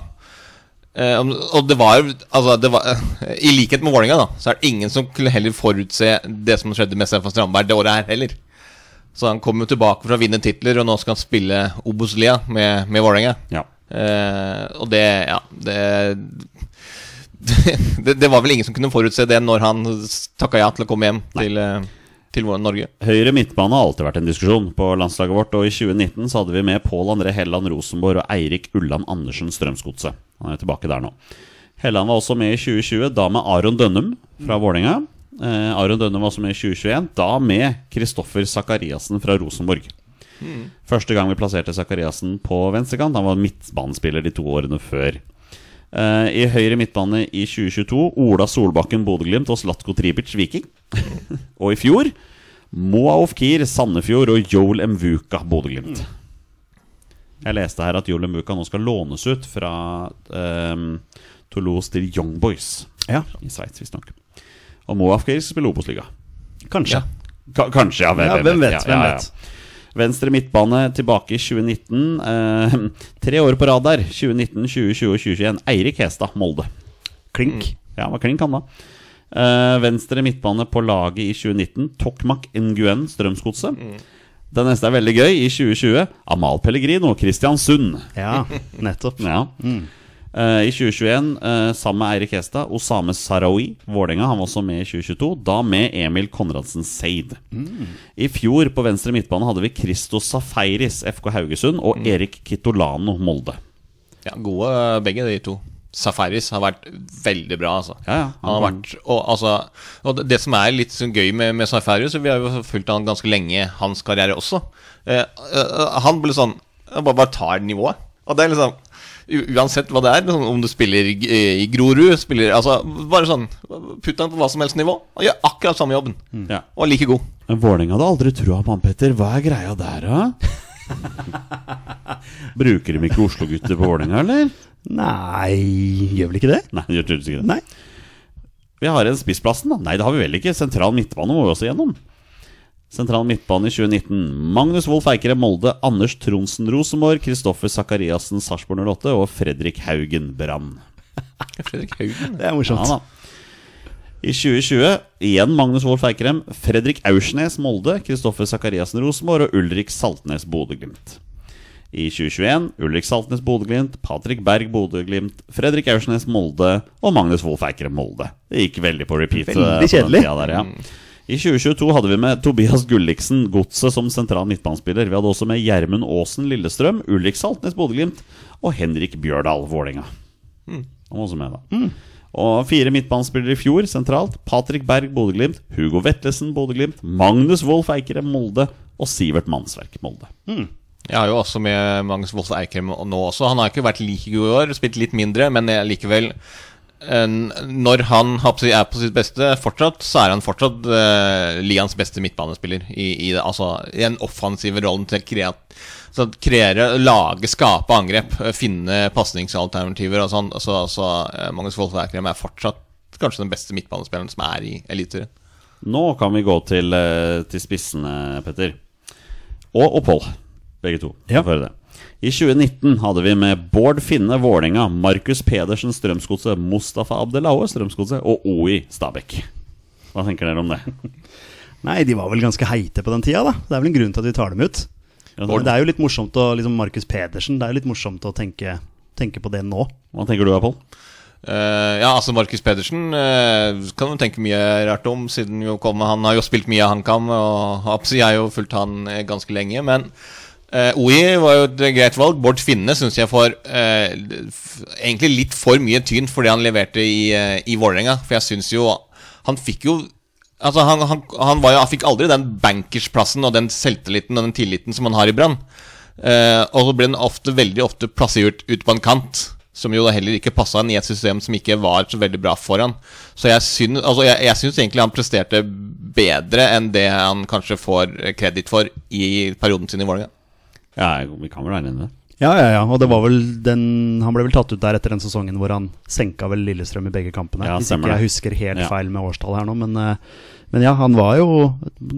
Speaker 3: Eh, om- og det var jo altså, det var, (laughs) I likhet med Vålerenga, da, så er det ingen som kunne heller forutse det som skjedde med Stefan Strandberg det året her heller. Så han kom jo tilbake for å vinne titler, og nå skal han spille Obos-lia med, med Vålerenga.
Speaker 1: Ja.
Speaker 3: Eh, og det Ja. Det, (laughs) det, det var vel ingen som kunne forutse det når han s- takka ja til å komme hjem til, eh, til vår- Norge.
Speaker 1: Høyre midtbane har alltid vært en diskusjon på landslaget vårt, og i 2019 så hadde vi med Pål André Helland Rosenborg og Eirik Ulland Andersen Strømsgodset. Han er tilbake der nå. Helland var også med i 2020, da med Aron Dønnum fra Vålerenga. Eh, Aron Dønnum var også med i 2021, da med Kristoffer Sakariassen fra Rosenborg. Første gang vi plasserte Sakariassen på venstrekant. Han var midtbanespiller de to årene før. Eh, I høyre midtbane i 2022 Ola Solbakken Bodø-Glimt (laughs) og Slatko Tripic Viking. og i fjor Moa Ofkir, Sandefjord og Joel Mvuka, Bodø-Glimt. Jeg leste her at Joel Mvuka nå skal lånes ut fra ehm, Toulouse til Young Boys
Speaker 2: Ja.
Speaker 1: i Sveits, visstnok. Og Moa Ofkir skal spille Obos-liga.
Speaker 2: Kanskje.
Speaker 1: Ka- Kanskje, ja. Hvem,
Speaker 2: Ja, hvem vet, hvem
Speaker 1: ja.
Speaker 2: vet.
Speaker 1: Venstre midtbane tilbake i 2019. Eh, tre år på rad der. 2019, 2020 og 2021. Eirik Hestad, Molde.
Speaker 2: Klink.
Speaker 1: Ja, hva klink han, da. Eh, venstre midtbane på laget i 2019. Tokmak Nguen, Strømsgodset. Den neste er veldig gøy. I 2020 Amal Pellegrino, Kristiansund. (laughs)
Speaker 2: Ja, nettopp.
Speaker 1: Ja. Eh, I 2021, eh, sammen med Eirik Hestad, Osame Sarawi, Vålerenga, han var også med i 2022. Da med Emil Konradsen Seid. I fjor på venstre midtbane hadde vi Christos Safeiris, FK Haugesund, og Erik Kitolano, Molde.
Speaker 3: Ja, gode eh, begge de to. Safaris har vært veldig bra, altså.
Speaker 1: Ja, ja.
Speaker 3: Han har vært, og, altså, og det- det som er litt sånn gøy med, med Safaris, vi har jo fulgt han ganske lenge, hans karriere også. Eh, eh, han ble sånn han bare, bare tar nivået. Og det er liksom u- Uansett hva det er, liksom, om du spiller i, i Grorud spiller, altså, Bare sånn Putt han på hva som helst nivå. Han gjør akkurat samme jobben.
Speaker 1: Ja.
Speaker 3: Og er like god.
Speaker 1: Men Vålerenga hadde aldri trua på han, Petter. Hva er greia der, da? (laughs) Bruker de ikke Oslo-gutter på Vålerenga, eller?
Speaker 2: Nei, gjør vel ikke det?
Speaker 1: Nei, de gjør tydeligvis ikke det.
Speaker 2: Nei.
Speaker 1: Vi har en spissplassen, da. Nei, det har vi vel ikke. Sentral midtbane må vi også gjennom. Sentral midtbane i 2019. Magnus Wolff Eikere, Molde. Anders Tronsen Rosenborg. Kristoffer Sakariassen, Sarpsborg 08. Og Fredrik Haugen, Brann.
Speaker 3: Fredrik Haugen.
Speaker 2: Det er morsomt.
Speaker 1: Ja, da. I 2020 igjen Magnus Wolff Eikrem, Fredrik Aursnes Molde, Kristoffer Sakariassen Rosenborg og Ulrik Saltnes Bodø-Glimt. I 2021 Ulrik Saltnes Bodø-Glimt, Patrick Berg Bodø-Glimt, Fredrik Aursnes Molde og Magnus Wolff Eikrem Molde. Det gikk veldig på repeat. eh,
Speaker 2: Veldig
Speaker 1: på den
Speaker 2: kjedelig.
Speaker 1: tida Der, ja. I 2022 hadde vi med Tobias Gulliksen Godset som sentral midtbanespiller. Vi hadde også med Gjermund Aasen Lillestrøm, Ulrik Saltnes Bodø-Glimt og Henrik Bjørdal Vålerenga. Han var også med, da. Og fire midtbanespillere i fjor sentralt. Patrick Berg, Bodø-Glimt. Hugo Vetlesen, Bodø-Glimt. Magnus Wolff Eikere, Molde. Og Sivert Mannsverk, Molde.
Speaker 3: Jeg har jo også med Magnus Wolff Eikrem nå også. Han har ikke vært like god i år, spilt litt mindre, men jeg- likevel eh, Når han har på si- er på sitt beste fortsatt, så er han fortsatt uh, ligaens beste midtbanespiller. I, i, det- altså, I den offensive rollen til å krea- så at kreere, lage, skape angrep, eh, finne pasningsalternativer og sånn. Altså, altså, eh, Magnus Wolff Eikrem er fortsatt kanskje den beste midtbanespilleren som er i Eliteserien.
Speaker 1: Nå kan vi gå til, eh, til spissene, Petter. Og opphold. Begge to.
Speaker 2: Ja.
Speaker 1: Få høre det. I 2019 hadde vi med Bård Finne Vålerenga, Markus Pedersen Strømsgodset, Mustafa Abdelaue Strømsgodset og OI Stabæk. Hva tenker dere om det?
Speaker 2: Nei, de var vel ganske heite på den tida, da. Det er vel en grunn til at vi tar dem ut. Men det er jo litt morsomt å liksom Markus Pedersen, det er jo litt morsomt å tenke, tenke på det nå.
Speaker 1: Hva tenker du, Apple?
Speaker 3: Eh, ja, altså Markus Pedersen eh, kan du tenke mye rart om, siden jo kom, han har jo spilt mye av HamKam. Og Absi har jo fulgt han eh, ganske lenge. Men eh, OI var jo et greit valg. Bård Finne syns jeg får eh, f- egentlig litt for mye tyn for det han leverte i, eh, i Vålerenga. For jeg syns jo Han fikk jo Altså Han, han, han, var jo, han fikk aldri den bankersplassen og den selvtilliten og den tilliten som han har i Brann. Eh, og så ble han ofte, veldig ofte plassert ut på en kant, som jo da heller ikke passa han i et system som ikke var så veldig bra for han. Så jeg syns, altså jeg, jeg syns egentlig han presterte bedre enn det han kanskje får kreditt for i perioden sin i Vålerenga.
Speaker 1: Ja, vi kan vel være enige i det.
Speaker 2: Ja, ja, ja. Og det var vel den Han ble vel tatt ut der etter den sesongen hvor han senka vel Lillestrøm i begge kampene.
Speaker 1: Ja,
Speaker 2: Hvis
Speaker 1: stemmer
Speaker 2: ikke jeg
Speaker 1: det.
Speaker 2: husker helt
Speaker 1: Ja.
Speaker 2: feil med årstallet her nå, men, eh, men ja, han var jo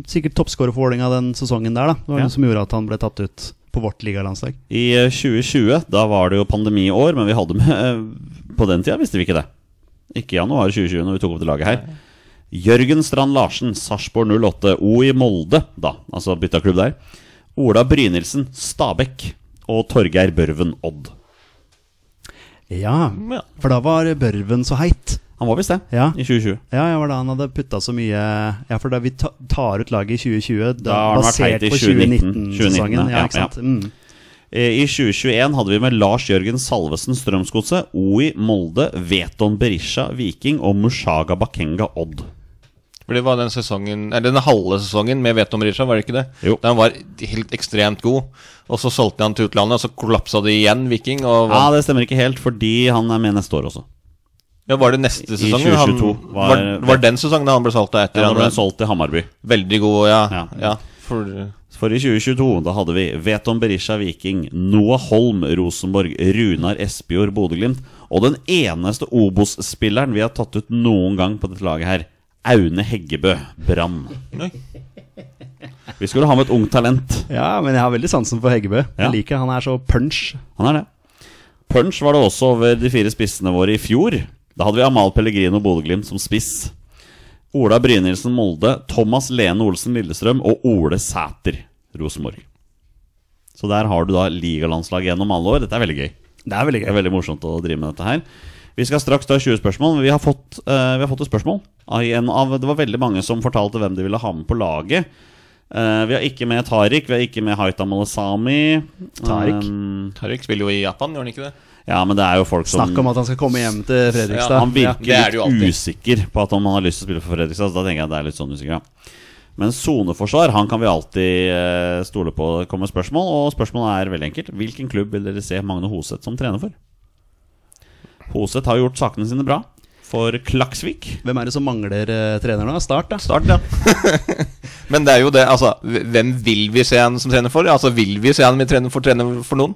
Speaker 2: sikkert toppskårer for Vålerenga den sesongen der, da. Det var
Speaker 1: Ja.
Speaker 2: noe som gjorde at han ble tatt ut på vårt ligalandslag.
Speaker 1: I eh, 2020, da var det jo pandemiår, men vi hadde med eh, På den tida visste vi ikke det. Ikke i januar 2020 når vi tok opp det laget her. Jørgen Strand Larsen, Sarpsborg 08, O i Molde, da, altså bytta klubb der. Ola Brynildsen, Stabekk. Og Torgeir Børven Odd.
Speaker 2: Ja,
Speaker 3: Ja.
Speaker 2: for da var Børven så heit.
Speaker 1: Han var visst det,
Speaker 2: Ja.
Speaker 1: i 2020.
Speaker 2: Ja, ja, var da han hadde putta så mye Ja, for da vi ta, tar ut laget i 2020,
Speaker 1: Da
Speaker 2: da,
Speaker 1: har han vært heit
Speaker 2: basert
Speaker 1: i
Speaker 2: på
Speaker 1: 2019,
Speaker 2: 2019-sesongen. Ja,
Speaker 1: ja,
Speaker 2: ikke sant.
Speaker 1: ja.
Speaker 2: Mm.
Speaker 1: Eh, I 2021 hadde vi med Lars Jørgen Salvesen Strømsgodset, OI Molde, Veton Berisha Viking og Mushaga Bakenga Odd.
Speaker 3: For det var den sesongen Eller den halve sesongen med Veton Risha, var det ikke det?
Speaker 1: Jo.
Speaker 3: Der han var helt ekstremt god, og så solgte han til utlandet, og så kollapsa det igjen, Viking. Og
Speaker 1: Ja, Det stemmer ikke helt, fordi han er med neste år også.
Speaker 3: Ja, var det neste sesong?
Speaker 1: 2022
Speaker 3: han,
Speaker 1: var-
Speaker 3: var, var den sesongen han ble solgt da, etter
Speaker 1: Ja, da
Speaker 3: han
Speaker 1: ble
Speaker 3: ble
Speaker 1: han solgt til Hammarby.
Speaker 3: Veldig god, ja.
Speaker 1: sånn- Ja.
Speaker 3: ja. for,
Speaker 1: For i 2022 da hadde vi Veton Berisha Viking, Noah Holm Rosenborg, Runar Espejord Bodø-Glimt og den eneste Obos-spilleren vi har tatt ut noen gang på dette laget her, Aune Heggebø Brann.
Speaker 3: Oi.
Speaker 1: Vi skulle ha med et ungt talent.
Speaker 2: Ja, men jeg har veldig sansen for Heggebø.
Speaker 1: Ja.
Speaker 2: Jeg liker Han er så punch.
Speaker 1: Han er det. Punch var det også over de fire spissene våre i fjor. Da hadde vi Amal Pellegrino Bodø-Glimt som spiss. Ola Brynildsen Molde, Thomas Lene Olsen Lillestrøm og Ole Sæter Rosenborg. Så der har du da ligalandslaget gjennom alle år. Dette er veldig gøy.
Speaker 2: Det er veldig
Speaker 1: Det er veldig morsomt å drive med dette her. Vi skal straks ta 20 spørsmål, men vi har fått, eh, vi har fått et spørsmål. Av en av, det var veldig mange som fortalte hvem de ville ha med på laget. Eh, vi har ikke med Tariq, vi har ikke med Haita Malesami.
Speaker 2: Tariq?
Speaker 1: Um,
Speaker 3: Tariq spiller jo i Japan, gjør han ikke det?
Speaker 1: ja, men det er jo folk som
Speaker 2: Snakk om at han skal komme hjem til Fredrikstad.
Speaker 3: Ja,
Speaker 1: sånn Han virker
Speaker 3: det er det jo alltid.
Speaker 1: litt usikker på at om han har lyst til å spille for Fredrikstad. Så da tenker jeg at det er litt sånn usikker, ja. Men soneforsvar han kan vi alltid eh, stole på det kommer spørsmål. Og spørsmålet er veldig enkelt. Hvilken klubb vil dere se Magne Hoseth som trener for? Hoseth har gjort sakene sine bra for Klaksvik.
Speaker 2: Hvem er det som mangler eh, trener nå? Start, da.
Speaker 1: Start, ja.
Speaker 3: Men det er jo det, altså Hvem vil vi se han som trener for? Altså, Vil vi se han vi trener for trener for noen?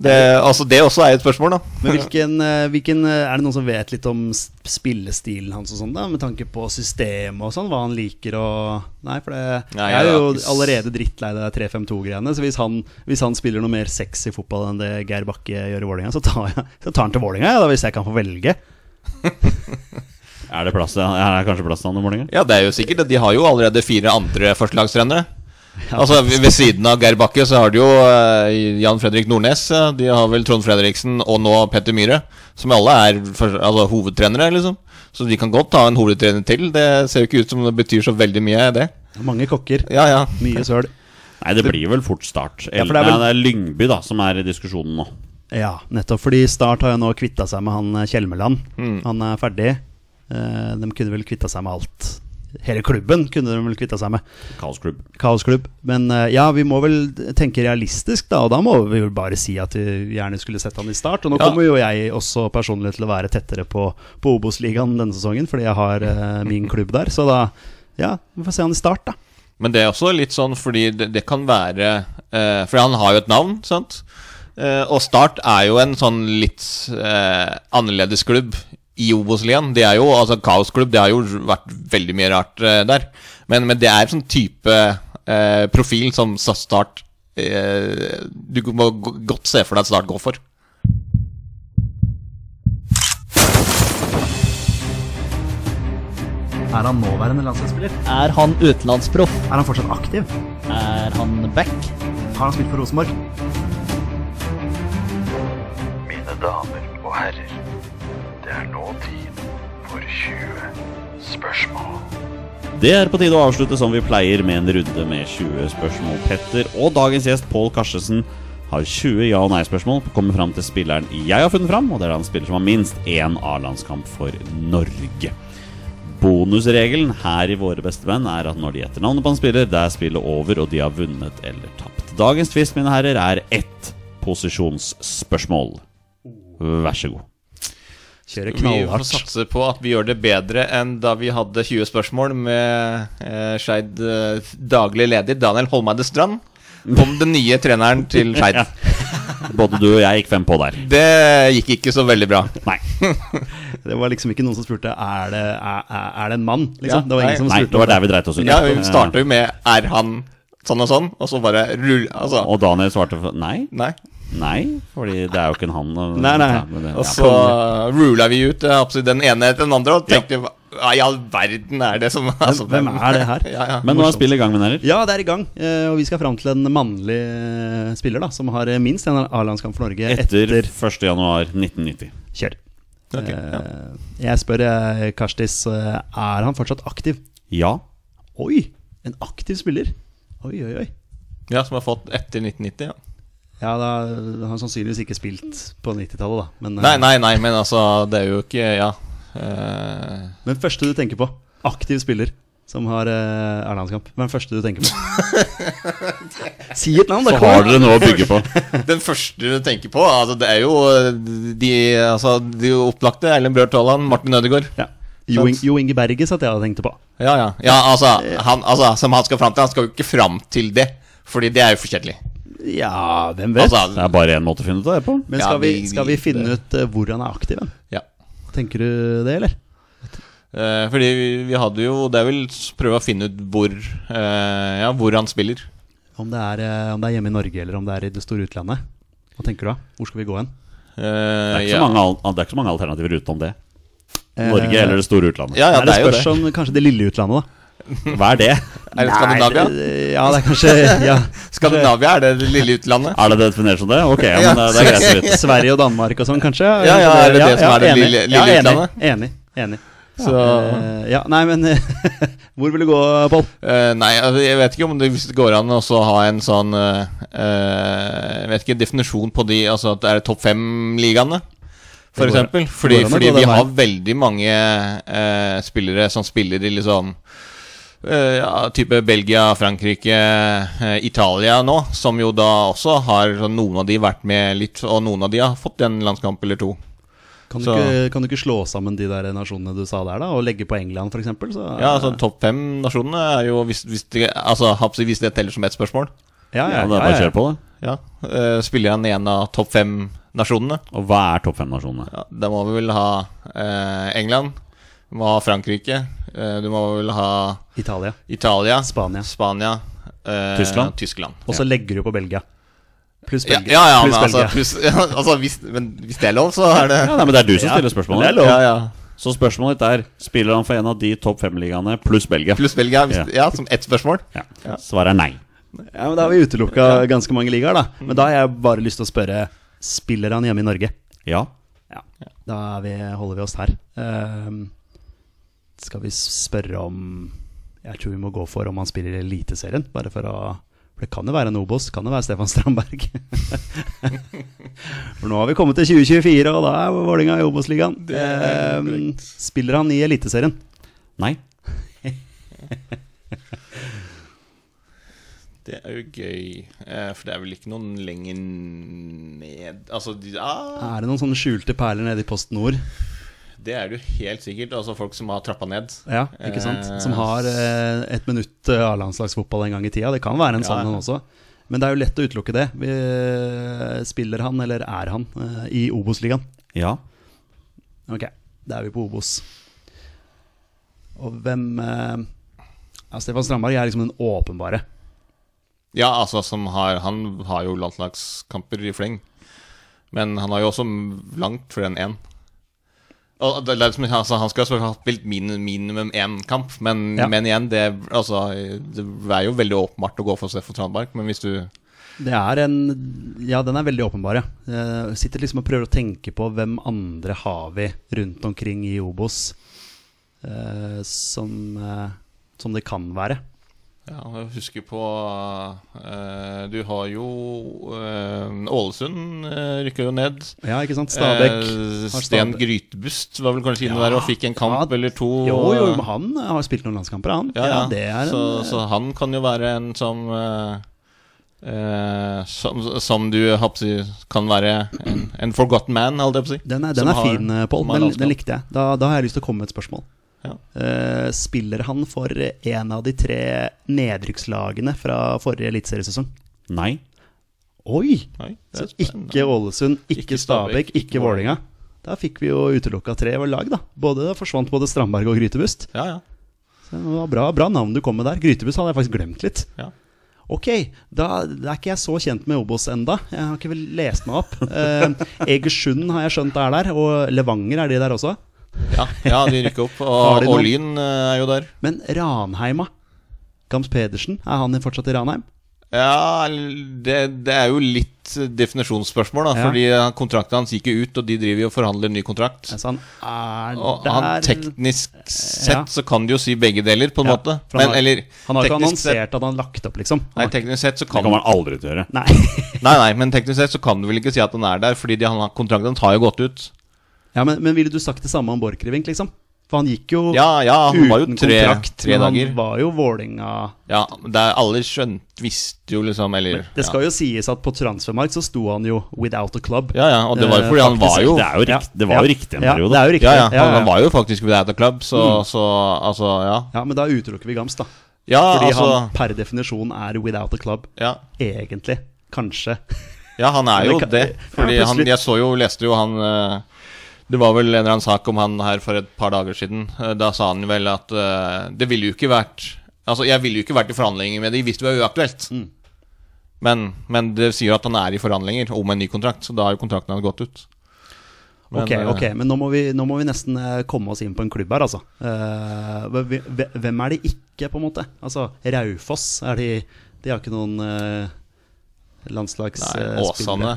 Speaker 3: Det, altså, det også er et spørsmål, da.
Speaker 2: Men hvilken, eh, hvilken eh, Er det noen som vet litt om s- spillestilen hans og sånn, da? Med tanke på systemet og sånn, hva han liker og Nei, for det
Speaker 3: Nei,
Speaker 2: Jeg er
Speaker 3: jeg
Speaker 2: jo
Speaker 3: har ikke s-
Speaker 2: allerede drittlei det der 3-5-2-greiene. Så hvis han, hvis han spiller noe mer sexy fotball enn det Geir Bakke gjør i Vålerenga, så, tar jeg- så tar han til Vålerenga, ja, da, hvis jeg kan få velge.
Speaker 1: Er det plass til Er det kanskje plass til han i morgen?
Speaker 3: Ja, det er jo sikkert. De har jo allerede fire andre førstelagstrenere. Altså, ved ved siden av Geir Bakke så har de jo eh, Jan Fredrik Nordnes. eh, De har vel Trond Fredriksen og nå Petter Myhre. Som alle er for, altså, hovedtrenere, liksom. Så de kan godt ta en hovedtrener til. Det ser jo ikke ut som det betyr så veldig mye, det.
Speaker 2: Mange kokker,
Speaker 3: Ja, ja.
Speaker 2: mye søl.
Speaker 1: Nei, det blir vel fort Start.
Speaker 2: Ja, for
Speaker 1: Eller,
Speaker 2: det er vel-
Speaker 1: Nei, det er Lyngby da som er i diskusjonen nå.
Speaker 2: Ja, nettopp fordi Start har jo nå kvitta seg med han eh, Kjelmeland.
Speaker 3: Mm.
Speaker 2: Han er ferdig. Eh, De kunne vel kvitta seg med alt. Hele klubben kunne de vel kvitta seg med.
Speaker 1: Kaosklubb.
Speaker 2: Kaosklubb. Men eh, ja, vi må vel tenke realistisk, da. Og da må vi jo bare si at vi gjerne skulle sett han i start. Og nå
Speaker 3: Ja.
Speaker 2: kommer jo jeg også personlig til å være tettere på, på Obos-ligaen denne sesongen, fordi jeg har eh, min klubb der. Så da ja, vi får se han i start, da.
Speaker 3: Men det er også litt sånn fordi det, det kan være eh, For han har jo et navn, sant? Eh, og Start er jo en sånn litt eh, annerledes klubb i Obos-ligaen. Det er jo altså kaosklubb. Det har jo vært veldig mye rart eh, der. Men, men det er sånn type eh, profil som sa- Start eh, Du må g- godt se for deg at Start går for.
Speaker 2: Er han nåværende landslagsspiller?
Speaker 5: Er han utenlandsproff?
Speaker 2: Er han fortsatt aktiv?
Speaker 5: Er han back?
Speaker 2: Har han spilt for Rosenborg?
Speaker 6: Mine damer og herrer, det er nå tid for 20 spørsmål.
Speaker 1: Det er på tide å avslutte som vi pleier med en runde med 20 spørsmål. Petter og dagens gjest Pål Karstensen har 20 ja- og nei-spørsmål på å komme fram til spilleren jeg har funnet fram, og det er da en spiller som har minst én A-landskamp for Norge. Bonusregelen her i Våre beste menn er at når de gjetter navnet på en spiller, det er spillet over, og de har vunnet eller tapt. Dagens tvist, mine herrer, er ett posisjonsspørsmål. Vær så god.
Speaker 3: Vi
Speaker 2: Kjører
Speaker 3: får
Speaker 2: knallhardt.
Speaker 3: satse på at vi gjør det bedre enn da vi hadde 20 spørsmål med eh, Skeid eh, daglig leder Daniel Holmeide Strand om den nye treneren
Speaker 2: (laughs)
Speaker 3: til Skeid.
Speaker 1: Ja. Både du og jeg gikk fem på der.
Speaker 3: Det gikk ikke så veldig bra.
Speaker 1: Nei.
Speaker 2: Det var liksom ikke noen som spurte Er det, er, er- er det en mann. Liksom.
Speaker 3: Ja,
Speaker 2: det var
Speaker 3: nei,
Speaker 2: ingen som
Speaker 1: Nei,
Speaker 2: spurte
Speaker 1: det var der vi dreit oss ut.
Speaker 3: Ja, Vi starta jo med 'er han sånn og sånn', og så bare rull... Altså,
Speaker 1: Og Daniel svarte for- nei,
Speaker 3: nei.
Speaker 1: nei, fordi det er jo ikke en han. og-
Speaker 2: Nei, nei.
Speaker 1: Ja, men det,
Speaker 3: Og
Speaker 1: ja.
Speaker 3: så rula vi ut eh, absolutt den ene etter den andre og tenkte hva i all verden er det som altså,
Speaker 2: Hvem er det her?
Speaker 3: (laughs) Ja, ja.
Speaker 1: Men nå er spillet i gang, min herrer.
Speaker 2: Ja, det er i gang. eh, Og vi skal fram til en mannlig eh, spiller da som har eh, minst en A-landskamp for Norge.
Speaker 1: Etter 1.1.1990.
Speaker 2: Kjør.
Speaker 3: Ok, ja.
Speaker 2: Eh, Jeg spør eh, Karstis, eh, er han fortsatt aktiv?
Speaker 1: Ja.
Speaker 2: Oi, en aktiv spiller. Oi, oi, oi.
Speaker 3: ja, som har fått etter 1990. ja
Speaker 2: Ja, da har han sannsynligvis ikke spilt på 90-tallet, da. Men, eh,
Speaker 3: Nei, nei, nei, men altså, det er jo ikke Ja. Eh,
Speaker 2: men første du tenker på. Aktiv spiller som har uh, Erlandskamp. Hvem er den første du tenker på?
Speaker 3: (laughs)
Speaker 2: si et navn, da.
Speaker 1: Så
Speaker 2: kom
Speaker 1: har
Speaker 2: igjen.
Speaker 1: dere noe å bygge på.
Speaker 3: Den første du tenker på, altså det er jo eh, de, altså, de opplagte. Erlend Bjørt Haaland, Martin Ødegaard.
Speaker 2: Ja. Jo, In jo Inge Berge satt jeg og tenkte på.
Speaker 3: Ja, ja. ja altså, han, altså, som han skal fram til. Han skal jo ikke fram til det, Fordi det er jo forkjedelig.
Speaker 2: Ja, hvem vet?
Speaker 3: Altså,
Speaker 1: Det er bare én måte å finne ut av det på.
Speaker 2: Men
Speaker 3: Ja,
Speaker 2: skal vi,
Speaker 3: vi-
Speaker 2: skal vi finne ut eh, hvor han er aktiv? hen?
Speaker 3: ja.
Speaker 2: Tenker du det, eller?
Speaker 3: Eh, fordi vi, vi hadde jo Det er vel s- prøve å finne ut hvor eh, Ja, hvor han spiller.
Speaker 2: Om det, er, eh, om det er hjemme i Norge, eller om det er i det store utlandet? Hva tenker du da? Hvor skal vi gå hen?
Speaker 3: Eh,
Speaker 1: Det er
Speaker 3: ja.
Speaker 1: ikke så mange, al- det er ikke så mange alternativer utenom det. Norge
Speaker 2: Eh,
Speaker 1: eller det store utlandet.
Speaker 3: Ja, ja,
Speaker 2: Nei,
Speaker 3: det er jo
Speaker 2: spørs
Speaker 3: det.
Speaker 2: om kanskje det lille utlandet, da.
Speaker 1: Hva er det?
Speaker 3: Er det Skandinavia?
Speaker 2: Nei, det- Ja, det er kanskje
Speaker 3: (laughs)
Speaker 2: ja.
Speaker 3: Skandinavia er det det lille utlandet?
Speaker 1: Er det det definert som det? Ok, ja, men eh, det er greit å vite.
Speaker 2: Sverige og Danmark og sånn, kanskje?
Speaker 3: Ja, ja, er det
Speaker 2: Ja,
Speaker 3: det som
Speaker 2: ja,
Speaker 3: er det
Speaker 2: enig.
Speaker 3: lille-
Speaker 2: Ja,
Speaker 3: lille
Speaker 2: enig,
Speaker 3: utlandet?
Speaker 2: Enig. enig.
Speaker 3: Så
Speaker 2: Eh, ja, nei, men (laughs) Hvor vil du gå, Pål?
Speaker 3: Eh, nei, altså, jeg vet ikke om det, hvis det går an å også ha en sånn eh, eh, Jeg vet ikke, definisjon på de Altså at det er topp fem-ligaene,
Speaker 2: Det går-
Speaker 3: f.eks. Fordi,
Speaker 2: går an å
Speaker 3: fordi
Speaker 2: gå den
Speaker 3: vi har
Speaker 2: veien.
Speaker 3: veldig mange eh, spillere som spiller i liksom eh, ja, type Belgia, Frankrike, eh, Italia nå, som jo da også har sånn, Noen av de vært med litt, og noen av de har fått en landskamp eller to.
Speaker 2: Kan, du
Speaker 3: Så-
Speaker 2: ikke- kan du ikke slå sammen de der nasjonene du sa der, da, og legge på England, f.eks.?
Speaker 3: Ja, altså Topp fem-nasjonene er jo hvis, hvis, det, altså, hvis det teller som ett spørsmål.
Speaker 2: (laughs) ja,
Speaker 1: Ja, det er bare å kjøre på, det.
Speaker 3: Ja, eh, Spiller han i en av topp fem nasjonene?
Speaker 1: Og hva er topp fem-nasjonene?
Speaker 3: Ja, da må vi vel ha eh, England, vi må ha Frankrike, eh, du må vel ha
Speaker 2: Italia.
Speaker 3: Italia,
Speaker 2: Spania.
Speaker 3: Spania eh,
Speaker 1: Tyskland?
Speaker 3: Tyskland.
Speaker 2: Og så legger du på Belgia. Pluss
Speaker 3: Ja,
Speaker 2: Belgia.
Speaker 3: ja, ja men,
Speaker 2: Pluss
Speaker 3: altså,
Speaker 2: Belgia.
Speaker 3: pluss, (laughs) ja, altså hvis, men hvis det er lov, så er det
Speaker 1: Ja, nei, men Det er du som stiller spørsmålet.
Speaker 3: Ja, ja.
Speaker 1: Så spørsmålet ditt er Spiller han for en av de topp fem-ligaene pluss Belgia?
Speaker 3: Pluss Belgia, hvis,
Speaker 1: Ja.
Speaker 3: ja, som ett spørsmål.
Speaker 1: Ja. Svaret er nei.
Speaker 2: Ja, men Da har vi utelukka ganske mange ligaer, da. Men da har jeg bare lyst til å spørre Spiller han hjemme i Norge?
Speaker 1: Ja.
Speaker 2: Ja. Da er vi, holder vi oss her. Ehm, skal vi spørre om Jeg tror vi må gå for om han spiller i Eliteserien. Bare for å For det kan jo være en Obos. Kan jo være Stefan Strandberg. (laughs) for nå har vi kommet til 2024, og da er Vålinga i Obos-ligaen. Ehm, spiller han i Eliteserien?
Speaker 1: Nei.
Speaker 3: Det er jo gøy, eh, for det er vel ikke noen lenger ned Altså, de, ah,
Speaker 2: Er det noen sånne skjulte perler nede i Post Nord?
Speaker 3: det er det jo helt sikkert. Altså folk som har trappa ned.
Speaker 2: Ja, ikke sant?
Speaker 3: Eh,
Speaker 2: Som har eh, et minutt eh, A-landslagsfotball en gang i tida. Det kan være en
Speaker 3: Ja,
Speaker 2: sånn en
Speaker 3: ja.
Speaker 2: også. Men det er jo lett å utelukke det. Vi, eh, spiller han, eller er han, eh, i Obos-ligaen?
Speaker 1: Ja.
Speaker 2: Ok, da er vi på Obos. Og hvem eh, ja, Stefan Strandberg er liksom den åpenbare.
Speaker 3: Ja, altså som har, Han har jo landslagskamper i fleng. Men han har jo også m- langt flere enn én. Og det er liksom, altså, han skal selvfølgelig ha spilt min, minimum én kamp, men,
Speaker 2: Ja.
Speaker 3: men igjen det, altså, det er jo veldig åpenbart å gå for Steffen Strandberg. Men hvis du
Speaker 2: Det er en Ja, den er veldig åpenbar, ja. Eh, sitter liksom og prøver å tenke på hvem andre har vi rundt omkring i Obos eh, som, eh, som det kan være.
Speaker 3: ja, jeg husker på eh, Du har jo eh, Ålesund uh, rykker jo ned.
Speaker 2: Ja, ikke sant? Stabæk.
Speaker 3: Eh,
Speaker 2: har
Speaker 3: Sten
Speaker 2: Stabæk-
Speaker 3: Grytebust var vel kanskje inne der og fikk en kamp
Speaker 2: Ja,
Speaker 3: eller to.
Speaker 2: Jo, jo, men han har spilt noen landskamper, han. Ja, det er en, eh,
Speaker 3: så, så han kan jo være en som eh, eh, som, som du jeg håper å si, kan være en, en forgotten man, holdt jeg på å si.
Speaker 2: Den er,
Speaker 3: Som
Speaker 2: den er
Speaker 3: har-
Speaker 2: fin, eh, Pål.
Speaker 3: som har
Speaker 2: Den,
Speaker 3: landskap.
Speaker 2: den likte jeg. Da, da har jeg lyst til å komme med et spørsmål.
Speaker 3: Ja.
Speaker 2: Eh, spiller han for en av de tre nedrykkslagene fra forrige eliteseriesesong?
Speaker 1: Nei.
Speaker 2: Oi!
Speaker 3: Oi, det
Speaker 2: Så
Speaker 3: er spennende.
Speaker 2: ikke Ålesund, ikke,
Speaker 3: Ikke
Speaker 2: Stabæk,
Speaker 3: Stabæk, ikke
Speaker 2: ikke Vålinga. Da fikk vi jo utelukka tre lag, da. Både, da forsvant både Strandberg og Grytebust.
Speaker 3: Ja, ja.
Speaker 2: Så Det var bra, bra navn du kom med der. Grytebust hadde jeg faktisk glemt litt.
Speaker 3: Ja.
Speaker 2: Ok, da er ikke jeg så kjent med Obos enda. Jeg har ikke vel lest meg opp. Eh, Egersund har jeg skjønt er der, og Levanger er de der også.
Speaker 3: Ja, ja, de rykker opp.
Speaker 2: Har
Speaker 3: Og,
Speaker 2: de noen?
Speaker 3: og Lyn eh, er jo der.
Speaker 2: Men Ranheima Gams Pedersen, er han fortsatt i Ranheim?
Speaker 3: Ja, det, det er jo litt definisjonsspørsmål, da.
Speaker 2: Ja.
Speaker 3: Fordi eh, kontrakten hans gikk jo ut, og de driver jo og forhandler ny kontrakt.
Speaker 2: Altså, han er
Speaker 3: Og
Speaker 2: der
Speaker 3: han teknisk sett
Speaker 2: Ja.
Speaker 3: så kan du jo si begge deler, på en
Speaker 2: Ja,
Speaker 3: måte.
Speaker 2: for han
Speaker 3: Men
Speaker 2: har-
Speaker 3: eller
Speaker 2: Han har ikke
Speaker 3: teknisk sett-
Speaker 2: annonsert at han har lagt opp, liksom. Han
Speaker 3: Nei,
Speaker 2: har-
Speaker 3: teknisk sett så
Speaker 1: Det
Speaker 3: kan
Speaker 1: kommer han aldri til å gjøre.
Speaker 2: Nei. (laughs)
Speaker 3: Nei, nei, men teknisk sett så kan du vel ikke si at han er der, fordi de, han, har- kontrakten har jo gått ut.
Speaker 2: Ja, men, men ville du sagt det samme om Borchgrevink, liksom? For han gikk jo
Speaker 3: Ja, ja, han var jo
Speaker 2: uten
Speaker 3: tre,
Speaker 2: kontrakt,
Speaker 3: tre
Speaker 2: men
Speaker 3: dager.
Speaker 2: han var jo Vålinga
Speaker 3: Ja, der alle skjønt visste jo liksom Eller
Speaker 2: Det skal jo sies at på transfermarkt så sto han jo without a club.
Speaker 3: Ja, ja, og det var jo fordi
Speaker 2: Eh,
Speaker 3: han var
Speaker 2: faktisk.
Speaker 3: jo
Speaker 1: Det, er jo rikt, det var jo riktig en
Speaker 2: ja, Mm.
Speaker 1: periode.
Speaker 2: det er jo riktig.
Speaker 3: ja, ja, han han var jo faktisk ved Data Club, så, så altså, ja.
Speaker 2: Ja, men da utelukker vi Gams, da.
Speaker 3: Ja,
Speaker 2: Fordi
Speaker 3: altså
Speaker 2: han per definisjon er without a club,
Speaker 3: ja.
Speaker 2: egentlig. Kanskje.
Speaker 3: ja, han er
Speaker 2: Men
Speaker 3: jo
Speaker 2: det kan-
Speaker 3: det. Fordi
Speaker 2: Ja,
Speaker 3: han
Speaker 2: plutselig-
Speaker 3: Jeg så jo, leste jo han eh, Det var vel en eller annen sak om han her for et par dager siden. Eh, Da sa han vel at eh, det ville jo ikke vært Altså, jeg ville jo ikke vært i forhandlinger med de hvis det var uaktuelt.
Speaker 2: Mm.
Speaker 3: Men, men det sier jo at han er i forhandlinger om en ny kontrakt, så da har jo kontrakten hans gått ut. (laughs) Men,
Speaker 2: ok,
Speaker 3: eh,
Speaker 2: ok, men nå må, vi, nå må vi nesten eh, komme oss inn på en klubb her, altså. Eh, hve- hve- hvem er det ikke, på en måte? Altså, Raufoss er de De har ikke noen uh,
Speaker 3: Nei,
Speaker 2: landslagsspillere.
Speaker 3: Åsane.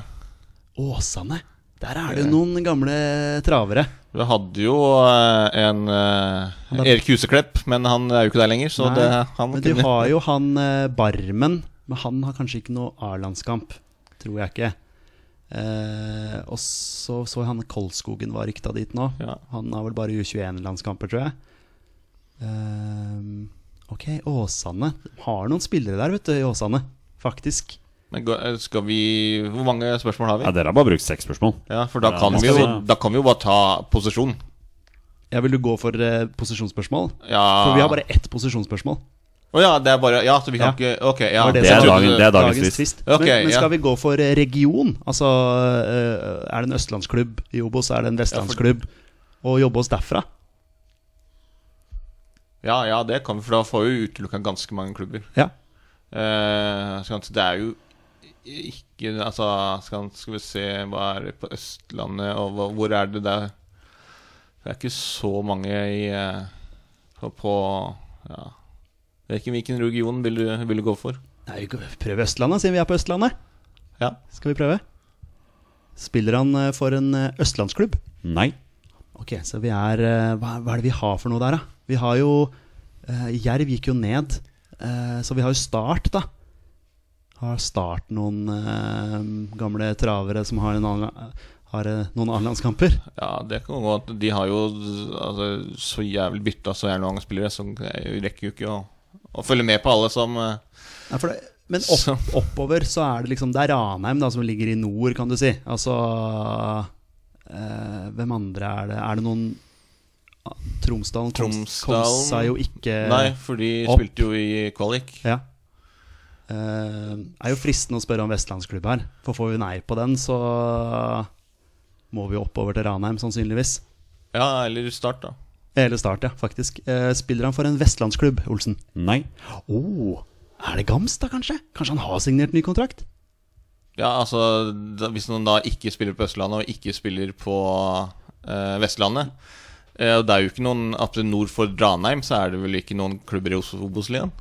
Speaker 2: Åsane. Der er det jo noen gamle travere.
Speaker 3: Vi hadde jo eh, en eh, Erik Huseklepp, men han er jo ikke der lenger, så
Speaker 2: Nei,
Speaker 3: det, han
Speaker 2: men
Speaker 3: kunne
Speaker 2: de har jo han eh, Barmen, men han har kanskje ikke noe A-landskamp. Tror jeg ikke. Eh, og så så jeg han Kolskogen var rykta dit nå.
Speaker 3: Ja.
Speaker 2: Han har vel bare U21-landskamper, tror jeg. Eh, ok, Åsane. De har noen spillere der, vet du, i Åsane. Faktisk.
Speaker 3: Men gå- eh, skal vi Hvor mange spørsmål har vi?
Speaker 1: Ja, dere har bare brukt seks spørsmål.
Speaker 3: Ja, for da
Speaker 1: Ja,
Speaker 3: kan,
Speaker 1: nå
Speaker 3: vi
Speaker 1: skal
Speaker 3: jo,
Speaker 1: vi-
Speaker 3: da kan vi jo bare ta posisjon.
Speaker 2: Ja, Vil du gå for eh, posisjonsspørsmål?
Speaker 3: Ja.
Speaker 2: For vi har bare ett posisjonsspørsmål.
Speaker 3: Å ja, det er bare Ja, så vi kan
Speaker 2: Ja.
Speaker 3: ikke Ok, ja.
Speaker 2: var
Speaker 1: Det er,
Speaker 2: som-
Speaker 3: Jeg trodde-
Speaker 1: dagen, det er dagens tvist.
Speaker 3: Ok,
Speaker 2: men, men skal
Speaker 3: ja.
Speaker 2: vi gå for eh, region? Altså, eh, er det en østlandsklubb i Obos? Er det en vestlandsklubb? Og jobbe oss derfra?
Speaker 3: ja, ja, det kan vi, for da får vi utelukka ganske mange klubber.
Speaker 2: Ja.
Speaker 3: Eh, skal vi- det er jo ikke Altså, skal, skal vi se Hva er det på Østlandet, og hva, hvor er det der Det er ikke så mange i eh, På, på Ja. Jeg vet ikke hvilken region vil du, vil du gå for.
Speaker 2: Nei, vi kan prøve Østlandet, siden vi er på Østlandet.
Speaker 3: Ja.
Speaker 2: Skal vi prøve? Spiller han eh, for en eh, østlandsklubb?
Speaker 1: Nei.
Speaker 2: Ok, så vi er eh, hva, hva er det vi har for noe der, da? Vi har jo eh, Jerv gikk jo ned, eh, så vi har jo Start, da. Har Start noen eh, gamle travere som har, en annen, har eh, noen A-landskamper?
Speaker 3: Ja, det kan gå at De har jo altså, så jævlig bytta så jævlig mange spillere, så jeg rekker jo ikke å, å følge med på alle som eh,
Speaker 2: Nei, for det, men
Speaker 3: Så-
Speaker 2: opp, oppover så er det liksom Det er Ranheim da, som ligger i nord, kan du si. Altså eh, Hvem andre er det? Er det noen ah, Tromsdalen? Troms,
Speaker 3: Tromsdalen.
Speaker 2: Kols er jo ikke
Speaker 3: Nei, for de
Speaker 2: Eh, opp.
Speaker 3: spilte jo i kvalik.
Speaker 2: Ja. Eh, er jo fristende å spørre om vestlandsklubb her. For får vi nei på den, så må vi oppover til Ranheim, sannsynligvis.
Speaker 3: Ja, eller Start, da.
Speaker 2: Eller Start, ja, faktisk. Eh, spiller han for en vestlandsklubb, Olsen?
Speaker 1: Nei.
Speaker 2: Oh, er det Gams, da, kanskje? Kanskje han har signert ny kontrakt?
Speaker 3: Ja, altså da, Hvis noen da ikke spiller på Østlandet, og ikke spiller på eh, Vestlandet eh, og Det er jo ikke noen at Nord for Dranheim så er det vel ikke noen klubber i Os- Obos-ligaen?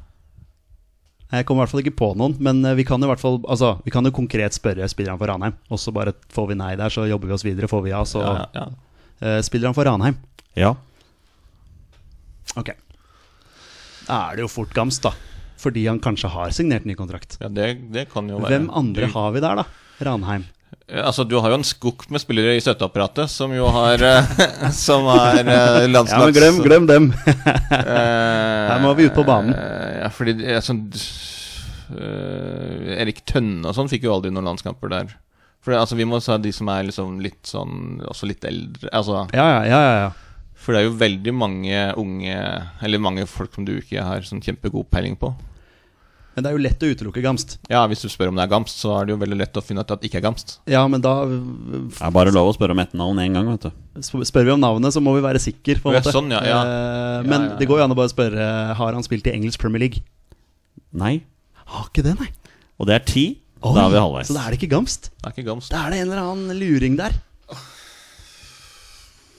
Speaker 2: Jeg kommer i hvert fall ikke på noen, men eh, vi kan jo, i hvert fall, altså, vi kan jo konkret spørre spilleren for Ranheim. Og så bare får vi nei der, så jobber vi oss videre. Får vi ja, så
Speaker 3: Ja, ja.
Speaker 2: eh, spiller han for Ranheim.
Speaker 1: Ja.
Speaker 2: Ok. Da er det jo fort Gams, da. Fordi han kanskje har signert ny kontrakt.
Speaker 3: ja det, det kan jo være
Speaker 2: Hvem andre har vi der, da? Ranheim.
Speaker 3: Ja, Altså, Du har jo en skokk med spillere i støtteapparatet som jo har eh, (laughs) Som har eh, landslags...
Speaker 2: glem dem!
Speaker 3: (laughs) Her
Speaker 2: må vi ut på banen.
Speaker 3: eh, Ja, fordi det er sånn eh, Erik Tønne og sånn fikk jo aldri noen landskamper der. For det, altså, vi må ta de som er liksom litt sånn Også litt eldre. Altså,
Speaker 2: ja, ja, ja, ja, ja.
Speaker 3: for det er jo veldig mange unge Eller mange folk som du ikke har sånn kjempegod peiling på.
Speaker 2: Men det er jo lett å utelukke Gamst.
Speaker 3: Ja, Hvis du spør om det er Gamst, så er det jo veldig lett å finne ut at det ikke er Gamst.
Speaker 2: Ja, men da øh,
Speaker 1: Det er bare lov å spørre om etternavn én gang, vet du.
Speaker 2: sp- spør vi om navnet, så må vi være sikre. På en
Speaker 3: Ja,
Speaker 2: måte.
Speaker 3: sånn, ja, ja. Ja,
Speaker 2: Eh, Men
Speaker 3: ja, ja.
Speaker 2: det går jo an å bare spørre eh, Har han spilt i engelsk Premier League.
Speaker 1: Nei.
Speaker 2: Har ikke det, nei.
Speaker 1: Og det er ti.
Speaker 2: Oi,
Speaker 1: Da er vi halvveis.
Speaker 2: Så da er det ikke Gamst.
Speaker 3: Det er ikke Gamst.
Speaker 2: Da er det en eller annen luring der.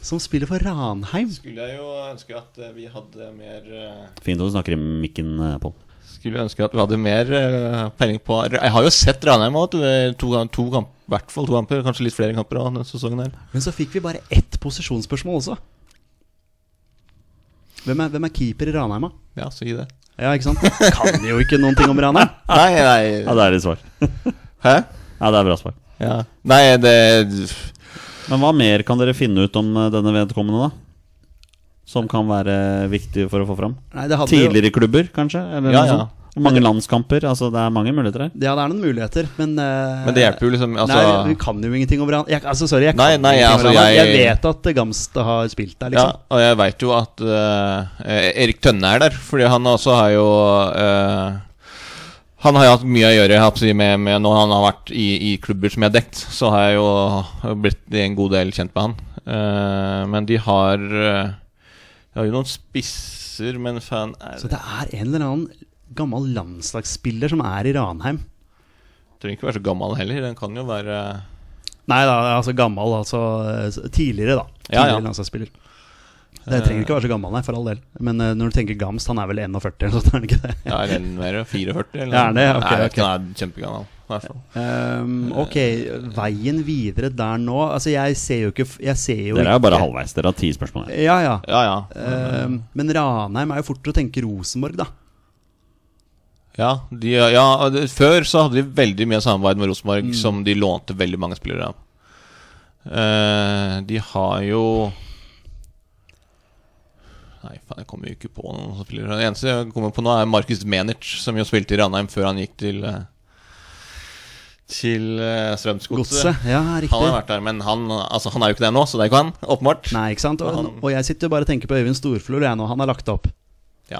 Speaker 2: Som spiller for Ranheim.
Speaker 3: Skulle jeg jo ønske at eh, vi hadde mer eh,
Speaker 1: Fint at du snakker i mikken, eh, Pål.
Speaker 3: Skulle ønske at vi hadde mer eh, peiling på Jeg har jo sett Ranheim òg, to, gam- to kamp, i hvert fall to kamper. Kanskje litt flere kamper også, denne sesongen. her
Speaker 2: Men så fikk vi bare ett posisjonsspørsmål også. Hvem er, hvem er keeper i Ranheim, da?
Speaker 3: Ja, så gi det.
Speaker 2: Ja, ikke sant? Kan jo ikke noen ting om Ranheim.
Speaker 3: Nei, nei
Speaker 1: Ja, det er et svar.
Speaker 3: Hæ?
Speaker 1: Ja, det er bra svar.
Speaker 3: Ja. Nei, det
Speaker 1: Men hva mer kan dere finne ut om eh, denne vedkommende, da? som kan være viktig for å få fram?
Speaker 2: Nei, det hadde jo-
Speaker 1: Tidligere klubber, kanskje? Eller
Speaker 3: Ja,
Speaker 1: noe
Speaker 3: ja.
Speaker 1: sånt? Mange landskamper? Altså, det er mange muligheter her.
Speaker 2: Ja, det er noen muligheter, men eh,
Speaker 3: Men det hjelper jo liksom altså,
Speaker 2: Nei, vi kan jo ingenting om hverandre. Jeg- Altså, sorry, jeg
Speaker 3: Nei,
Speaker 2: kan
Speaker 3: nei,
Speaker 2: ingenting om
Speaker 3: altså,
Speaker 2: hverandre.
Speaker 3: jeg-
Speaker 2: jeg vet at eh, Gamst har spilt der, liksom.
Speaker 3: Ja, og jeg veit jo at eh, Erik Tønne er der, fordi han også har jo eh, Han har jo hatt mye å gjøre jeg holdt på å si, med, med når han har vært i, i klubber som jeg har dekt, så har jeg jo blitt en god del kjent med han. Eh, men de har eh, De har jo noen spisser, men faen er
Speaker 2: Så det er en eller annen gammel landslagsspiller som er i Ranheim.
Speaker 3: Trenger ikke være så gammel heller. Den kan jo være
Speaker 2: Nei da, altså gammel, altså eh, tidligere, da.
Speaker 3: Ja,
Speaker 2: Tidligere
Speaker 3: ja.
Speaker 2: landslagsspiller. Det trenger ikke være så gammel, nei, for all del. Men eh, når du tenker Gamst, han er vel 41 eller noe sånt, er han ikke
Speaker 3: (laughs)
Speaker 2: det?
Speaker 3: ja, er den mer 44, eller?
Speaker 2: Ja, er det? Ok,
Speaker 3: Nei, jeg vet
Speaker 2: ok.
Speaker 3: ikke, den er kjempegammel. i hvert fall.
Speaker 2: Ehm, ok, veien videre der nå Altså, jeg ser jo ikke f- Jeg ser jo
Speaker 1: Dere er jo bare
Speaker 2: ikke-
Speaker 1: halvveis. Dere har ti spørsmål her.
Speaker 2: Ja, ja.
Speaker 3: Ja, ja.
Speaker 2: Ehm, men Ranheim er jo fort å tenke Rosenborg, da.
Speaker 3: Ja, de, ja og det- Før så hadde de veldig mye samarbeid med Rosenborg,
Speaker 2: Mm.
Speaker 3: som de lånte veldig mange spillere av. Eh, de har jo Nei, faen, jeg kommer jo ikke på noen som spiller Det eneste jeg kommer på nå, er Markus Menic, som jo spilte i Ranheim før han gikk til eh, Til eh, Strømsgodset.
Speaker 2: Godset. Ja, riktig.
Speaker 3: Han har vært der, men han, altså, han er jo ikke der nå, så det er ikke han. Åpenbart.
Speaker 2: Nei, ikke sant? Og,
Speaker 3: Han-
Speaker 2: og jeg sitter jo bare og tenker på Øyvind Storflor, jeg nå. Han har lagt opp.
Speaker 3: Ja.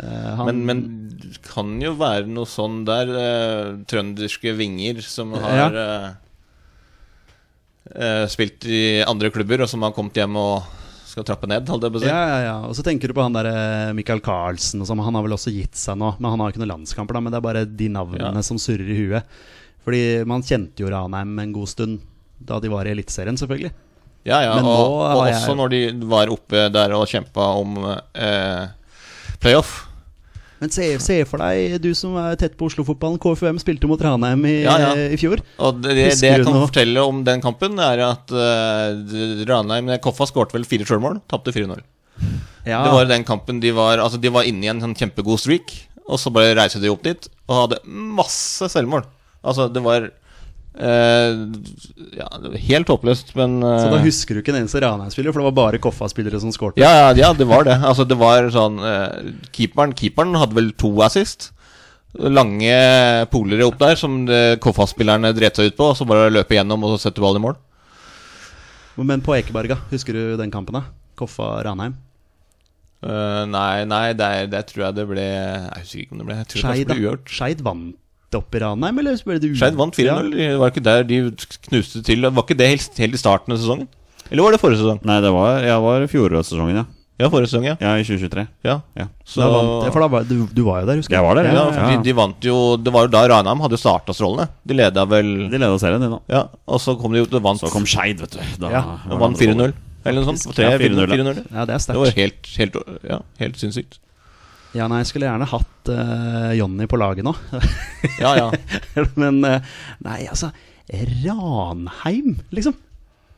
Speaker 2: Eh, han,
Speaker 3: Men, men det kan jo være noe sånn der eh, Trønderske vinger som har eh, eh, spilt i andre klubber, og som har kommet hjem og skal trappe ned, holdt jeg på å si.
Speaker 2: ja, ja, ja. Og så tenker du på han der eh, Michael Carlsen og sånn. Han har vel også gitt seg nå. Men han har ikke noen landskamper, da. Men det er bare de navnene
Speaker 3: Ja.
Speaker 2: som surrer i huet. Fordi man kjente jo Ranheim en god stund da de var i Eliteserien, selvfølgelig.
Speaker 3: Ja, ja,
Speaker 2: Men
Speaker 3: og,
Speaker 2: nå
Speaker 3: og
Speaker 2: har jeg-
Speaker 3: også når de var oppe der og kjempa om eh, playoff.
Speaker 2: Men se, se for deg, du som er tett på Oslo-fotballen. KFUM spilte mot Ranheim i, eh,
Speaker 3: Ja, ja.
Speaker 2: i fjor.
Speaker 3: Og det, det,
Speaker 2: Husker
Speaker 3: det jeg
Speaker 2: du
Speaker 3: kan
Speaker 2: noe?
Speaker 3: fortelle om den kampen, er at eh, Ranheim Koffa skårte vel fire sjølmål, tapte 4-0.
Speaker 2: Ja.
Speaker 3: Det var den kampen de var Altså de var inne i en sånn kjempegod streak, og så bare reiste de opp dit og hadde masse selvmål. Altså, det var eh, Ja, det var helt håpløst, men eh,
Speaker 2: Så da husker du ikke en eneste Ranheim-spiller, for det var bare Koffa-spillere som skårte.
Speaker 3: ja, ja, ja, det var det. Altså, det var sånn eh, Keeperen keeperen hadde vel to assist. Lange polere opp der som eh, Koffa-spillerne dret seg ut på, og så bare løpe gjennom og sette ball i mål.
Speaker 2: Men på Ekeberga, husker du den kampen, da? Koffa-Ranheim.
Speaker 3: Eh, nei, nei, der, der tror jeg det ble Jeg husker ikke om det ble jeg tror kanskje
Speaker 2: Skeid
Speaker 3: det ble
Speaker 2: da.
Speaker 3: uavgjort.
Speaker 2: Skeid vant opp i Ranheim, eller ble det u-
Speaker 3: Skeid vant 4-0. De var ikke der de knuste til. Var ikke det helt, helt i starten av sesongen? Eller var det forrige sesong?
Speaker 1: Nei, det var, jeg var fjorårssesongen, ja.
Speaker 3: Ja, forrige sesong, ja.
Speaker 1: Ja, i 2023.
Speaker 3: ja.
Speaker 1: Ja.
Speaker 3: Så
Speaker 2: Da vant, ja, for da var, du, du var jo der, husker
Speaker 1: Jeg var der,
Speaker 3: ja,
Speaker 1: ja.
Speaker 3: for De, de vant jo Det var jo da Ranheim hadde starta strålende. De leda vel
Speaker 1: De leda serien, de nå.
Speaker 3: Ja, og så kom de jo til vant.
Speaker 1: Så kom Skeid, vet du. Da
Speaker 2: Ja,
Speaker 1: var det
Speaker 3: og vant
Speaker 1: andre
Speaker 3: 4-0. Eller noe sånt.
Speaker 1: Ja,
Speaker 3: 3-4-0,
Speaker 1: 4-0,
Speaker 3: 4-0.
Speaker 2: Ja, det er
Speaker 3: Det var
Speaker 2: sterkt.
Speaker 3: helt, helt, ja, helt sinnssykt.
Speaker 2: Ja, nei, jeg skulle gjerne hatt eh, Jonny på laget nå. (laughs)
Speaker 3: Ja, ja.
Speaker 2: Men eh, nei, altså Ranheim, liksom.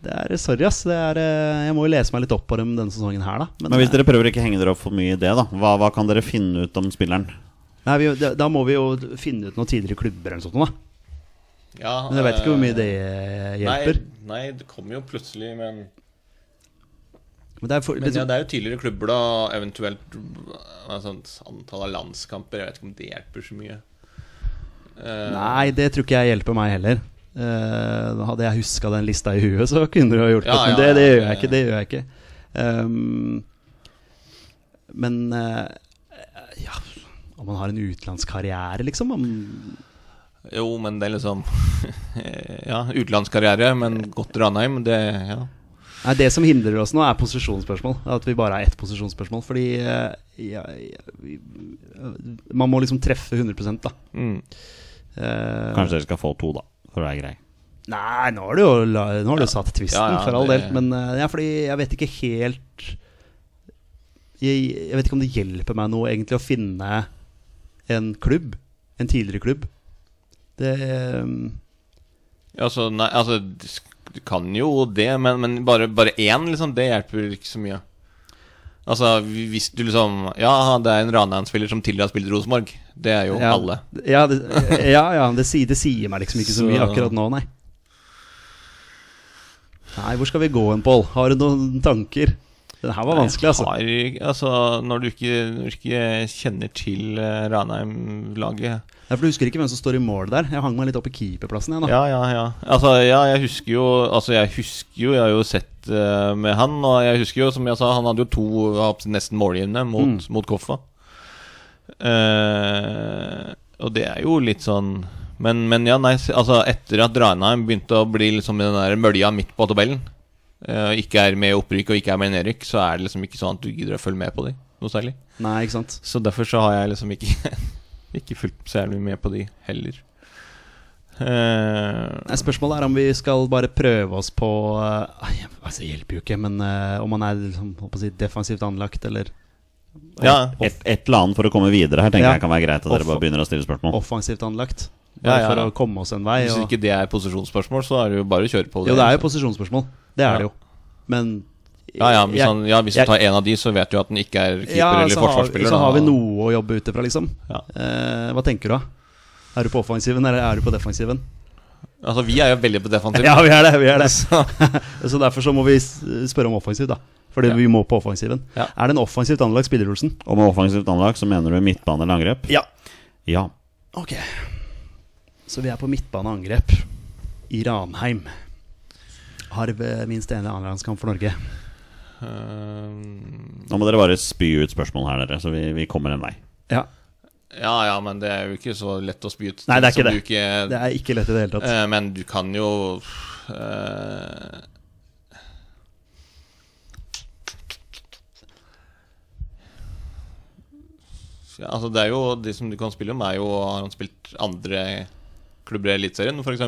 Speaker 2: Det er Sorry, ass. Det er, eh, jeg må jo lese meg litt opp på dem denne sesongen her, da.
Speaker 1: Men hvis dere prøver å ikke henge dere opp for mye i det, da, hva, hva kan dere finne ut om spilleren?
Speaker 2: eh, nei, vi, da, da må vi jo finne ut noen tidligere klubber eller noe sånt, da.
Speaker 3: ja
Speaker 2: (laughs) Men jeg veit ikke hvor mye det hjelper.
Speaker 3: Nei, nei det kommer jo plutselig, men
Speaker 2: Men det er for,
Speaker 3: Men ja, det er jo tidligere klubber, da. Eventuelt hva er sånt, antall av landskamper. Jeg vet ikke om det hjelper så mye. Eh,
Speaker 2: Nei, det tror ikke jeg hjelper meg heller. Eh, hadde jeg huska den lista i huet, så kunne du ha gjort det.
Speaker 3: Ja,
Speaker 2: Men
Speaker 3: ja,
Speaker 2: det, det
Speaker 3: ja,
Speaker 2: gjør jeg
Speaker 3: ja,
Speaker 2: ikke. Det gjør jeg ikke. Ehm, men eh, ja Om man har en utenlandskarriere, liksom? Om,
Speaker 3: Jo, men det er liksom (laughs) Ja, utenlandskarriere, men godt Ranheim, det ja.
Speaker 2: nei, det som hindrer oss nå, er posisjonsspørsmål. At vi bare er ett posisjonsspørsmål. Fordi eh, ja, ja, vi, eh, man må liksom treffe 100 da.
Speaker 3: Mm.
Speaker 2: Eh,
Speaker 1: Kanskje dere skal få to, da, for å være grei.
Speaker 2: Nei, nå har du jo la- nå har du satt tvisten,
Speaker 3: Ja, ja,
Speaker 2: for all del.
Speaker 3: det-
Speaker 2: Men eh, ja, fordi jeg vet ikke helt jeg, jeg vet ikke om det hjelper meg noe egentlig å finne en klubb. En tidligere klubb. Det eh,
Speaker 3: Altså, nei, altså Du kan jo det, men, men bare, bare én, liksom, det hjelper ikke så mye. Altså, hvis du liksom Ja, det er en Ranheim-spiller som tidligere har spilt i Rosenborg. Det er jo
Speaker 2: ja,
Speaker 3: alle.
Speaker 2: Ja, det, ja, ja det, sier, det sier meg liksom ikke så mye
Speaker 3: Så-
Speaker 2: akkurat nå, nei. Nei, hvor skal vi gå hen, Pål? Har du noen tanker? Den her var vanskelig, altså.
Speaker 3: Har, altså når, du ikke, når du ikke kjenner til eh, Ranheim-laget
Speaker 2: Jeg for du husker ikke hvem som står i mål der. Jeg hang meg litt opp i keeperplassen. Jeg, da.
Speaker 3: Ja, ja, ja. Altså, ja, jeg husker jo Altså, jeg husker jo Jeg har jo sett eh, med han, og jeg husker jo, som jeg sa, han hadde jo to av nesten målgivende mot,
Speaker 2: Mm.
Speaker 3: mot Koffa. Eh, og det er jo litt sånn men, men ja, nei, s- altså etter at Ranheim begynte å bli liksom i den der mølja midt på tabellen, eh, og ikke er med i opprykk og ikke er med i nedrykk, så er det liksom ikke sånn at du gidder å følge med på de noe særlig.
Speaker 2: Nei, ikke sant.
Speaker 3: Så derfor så har jeg liksom ikke (laughs) Ikke fulgt så jævlig med på de heller. Eh,
Speaker 2: Nei, spørsmålet er om vi skal bare prøve oss på eh, ai, altså, Det hjelper jo ikke, men eh, om man er liksom, håper å si, defensivt anlagt eller
Speaker 3: ja,
Speaker 1: Et, et eller annet for å komme videre her tenker
Speaker 2: Ja.
Speaker 1: jeg kan være greit at dere
Speaker 2: Off-
Speaker 1: bare begynner å stille spørsmål.
Speaker 2: offensivt anlagt.
Speaker 3: Ja,
Speaker 2: Bare
Speaker 3: ja,
Speaker 2: for
Speaker 3: ja.
Speaker 2: å komme oss en vei.
Speaker 3: hvis
Speaker 2: Og,
Speaker 3: ikke det er posisjonsspørsmål, så er det jo bare å kjøre på.
Speaker 2: jo, det er jo posisjonsspørsmål. Det er det jo. Men
Speaker 3: ja, ja, hvis,
Speaker 2: jeg-
Speaker 3: han, ja, hvis
Speaker 2: jeg-
Speaker 3: du tar en av de, så vet du at den ikke er keeper eller
Speaker 2: så har-
Speaker 3: forsvarsspiller.
Speaker 2: Så
Speaker 3: da.
Speaker 2: har vi noe å jobbe ut ifra, liksom.
Speaker 3: Ja.
Speaker 2: Eh, hva tenker du, da? Er du på offensiven, eller er du på defensiven?
Speaker 3: Altså, vi er jo veldig på defensiv.
Speaker 2: (laughs) Ja, vi er det. vi er det
Speaker 3: Så-
Speaker 2: (laughs) Så derfor så må vi s- spørre om offensiv, da. Fordi
Speaker 3: Ja.
Speaker 2: vi må på offensiven.
Speaker 3: Ja.
Speaker 2: Er det en offensivt anlagt spiller, Olsen?
Speaker 1: Og med offensivt anlag så mener du midtbane eller angrep?
Speaker 2: Ja.
Speaker 1: Ja.
Speaker 2: Ok. Så vi er på midtbaneangrep i Ranheim. Har eh, minst ene annenlandskamp for Norge.
Speaker 3: Eh,
Speaker 1: Nå må dere bare spy ut spørsmål her, dere, så vi, vi kommer en vei.
Speaker 2: Ja,
Speaker 3: ja, ja, men det er jo ikke så lett å spy ut.
Speaker 2: Nei, det er
Speaker 3: ting
Speaker 2: ikke
Speaker 3: som du ikke-
Speaker 2: Det er ikke lett i det hele tatt.
Speaker 3: Eh, men du kan jo eh, ja, Altså det er jo De som du kan spille om, er jo Har han spilt andre klubber i Eliteserien, f.eks.?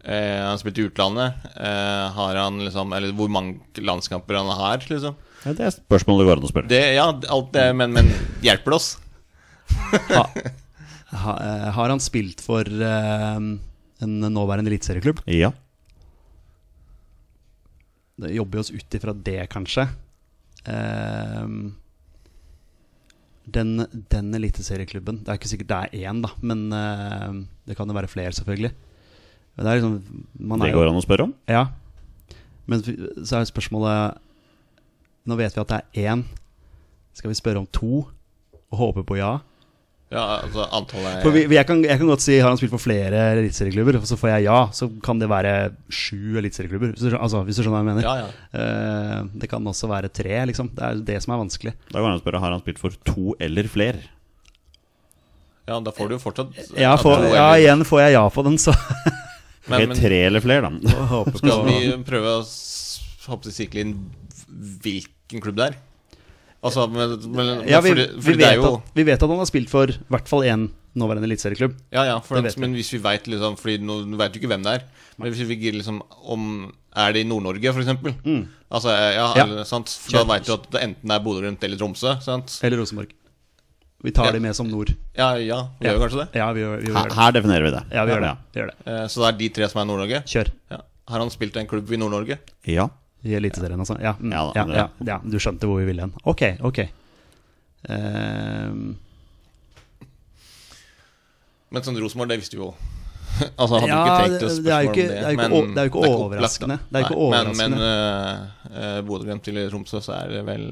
Speaker 3: Eh, har han spilt i utlandet? Eh, har han liksom Eller hvor mange landskamper han har, liksom?
Speaker 1: Ja, det er spørsmål det går an å spørre.
Speaker 3: Det, ja, alt det, men, men hjelper det oss?
Speaker 2: Ha, ha, eh, har han spilt for eh, en nåværende eliteserieklubb?
Speaker 1: Ja.
Speaker 2: Det jobber vi oss ut ifra det, kanskje. Ehm, den, den eliteserieklubben Det er ikke sikkert det er én, da, men eh, det kan jo være flere, selvfølgelig. Men det er liksom man
Speaker 1: Det
Speaker 2: er jo-
Speaker 1: går an å spørre om.
Speaker 2: Ja. Men f- så er jo spørsmålet Nå vet vi at det er én. Skal vi spørre om to? Og håpe på ja?
Speaker 3: Ja, altså antallet
Speaker 2: For vi, vi- jeg, kan, jeg kan godt si har han spilt for flere eliteserieklubber, og så får jeg ja. Så kan det være sju eliteserieklubber, hvis, du skjø- altså, hvis du skjønner hva jeg mener.
Speaker 3: Ja, ja.
Speaker 2: Eh, det kan også være tre, liksom. Det er det som er vanskelig.
Speaker 1: Da går det an å spørre har han spilt for to eller flere.
Speaker 3: Ja, da får du jo fortsatt
Speaker 2: Ja, får-
Speaker 3: to,
Speaker 2: ja,
Speaker 3: eller-
Speaker 2: igjen får jeg ja på den,
Speaker 3: (laughs)
Speaker 2: så
Speaker 3: Men-
Speaker 1: Ok,
Speaker 3: men-
Speaker 1: tre eller flere, da.
Speaker 2: håper på
Speaker 3: Skal vi prøve å s- håpe til sikle inn hvilken klubb det er? Altså, men, men, men
Speaker 2: ja, vi,
Speaker 3: fordi,
Speaker 2: vi,
Speaker 3: fordi det
Speaker 2: vet
Speaker 3: er jo
Speaker 2: at, vi vet at han har spilt for i hvert fall én nåværende eliteserieklubb.
Speaker 3: Ja, ja, for
Speaker 2: det
Speaker 3: at,
Speaker 2: vet vi.
Speaker 3: men hvis vi veit liksom Fordi nå nå vet du ikke hvem det er. Men hvis vi gir liksom om Er det i Nord-Norge, for eksempel? Altså, ja,
Speaker 2: Mm. Ja.
Speaker 3: Eller, sant? For da veit du at det enten er Bodø Glimt eller Tromsø. Sant?
Speaker 2: Eller Rosenborg. Vi tar
Speaker 3: Ja.
Speaker 2: de med som nord.
Speaker 3: Ja, ja, vi gjør jo kanskje det.
Speaker 2: Ja, vi gjør, vi gjør
Speaker 1: Her,
Speaker 2: det.
Speaker 1: her definerer vi det.
Speaker 2: Ja, vi gjør det.
Speaker 1: Ja.
Speaker 2: Vi gjør det.
Speaker 3: Eh, Så det er de tre som er Nord-Norge.
Speaker 2: Kjør.
Speaker 3: Ja. Har han spilt i en klubb i Nord-Norge?
Speaker 1: Ja.
Speaker 2: I Eliteserien, altså. Ja, mm,
Speaker 1: Ja
Speaker 2: ja,
Speaker 1: da,
Speaker 2: ja,
Speaker 1: det-
Speaker 2: ja, du skjønte hvor vi ville hen. Ok, ok. Ehm,
Speaker 3: Men sånn Rosenborg, det visste vi jo. (laughs) altså, hadde
Speaker 2: Ja,
Speaker 3: ikke trengt å
Speaker 2: det- det
Speaker 3: spørre
Speaker 2: er jo
Speaker 3: om
Speaker 2: ikke-
Speaker 3: det.
Speaker 2: det er jo ikke
Speaker 3: men
Speaker 2: o- det er jo ikke
Speaker 3: opplagt, da.
Speaker 2: overraskende. Det er jo ikke
Speaker 3: Nei,
Speaker 2: overraskende.
Speaker 3: Men, men eh, eh, Bodø-Glimt til Tromsø, så er det vel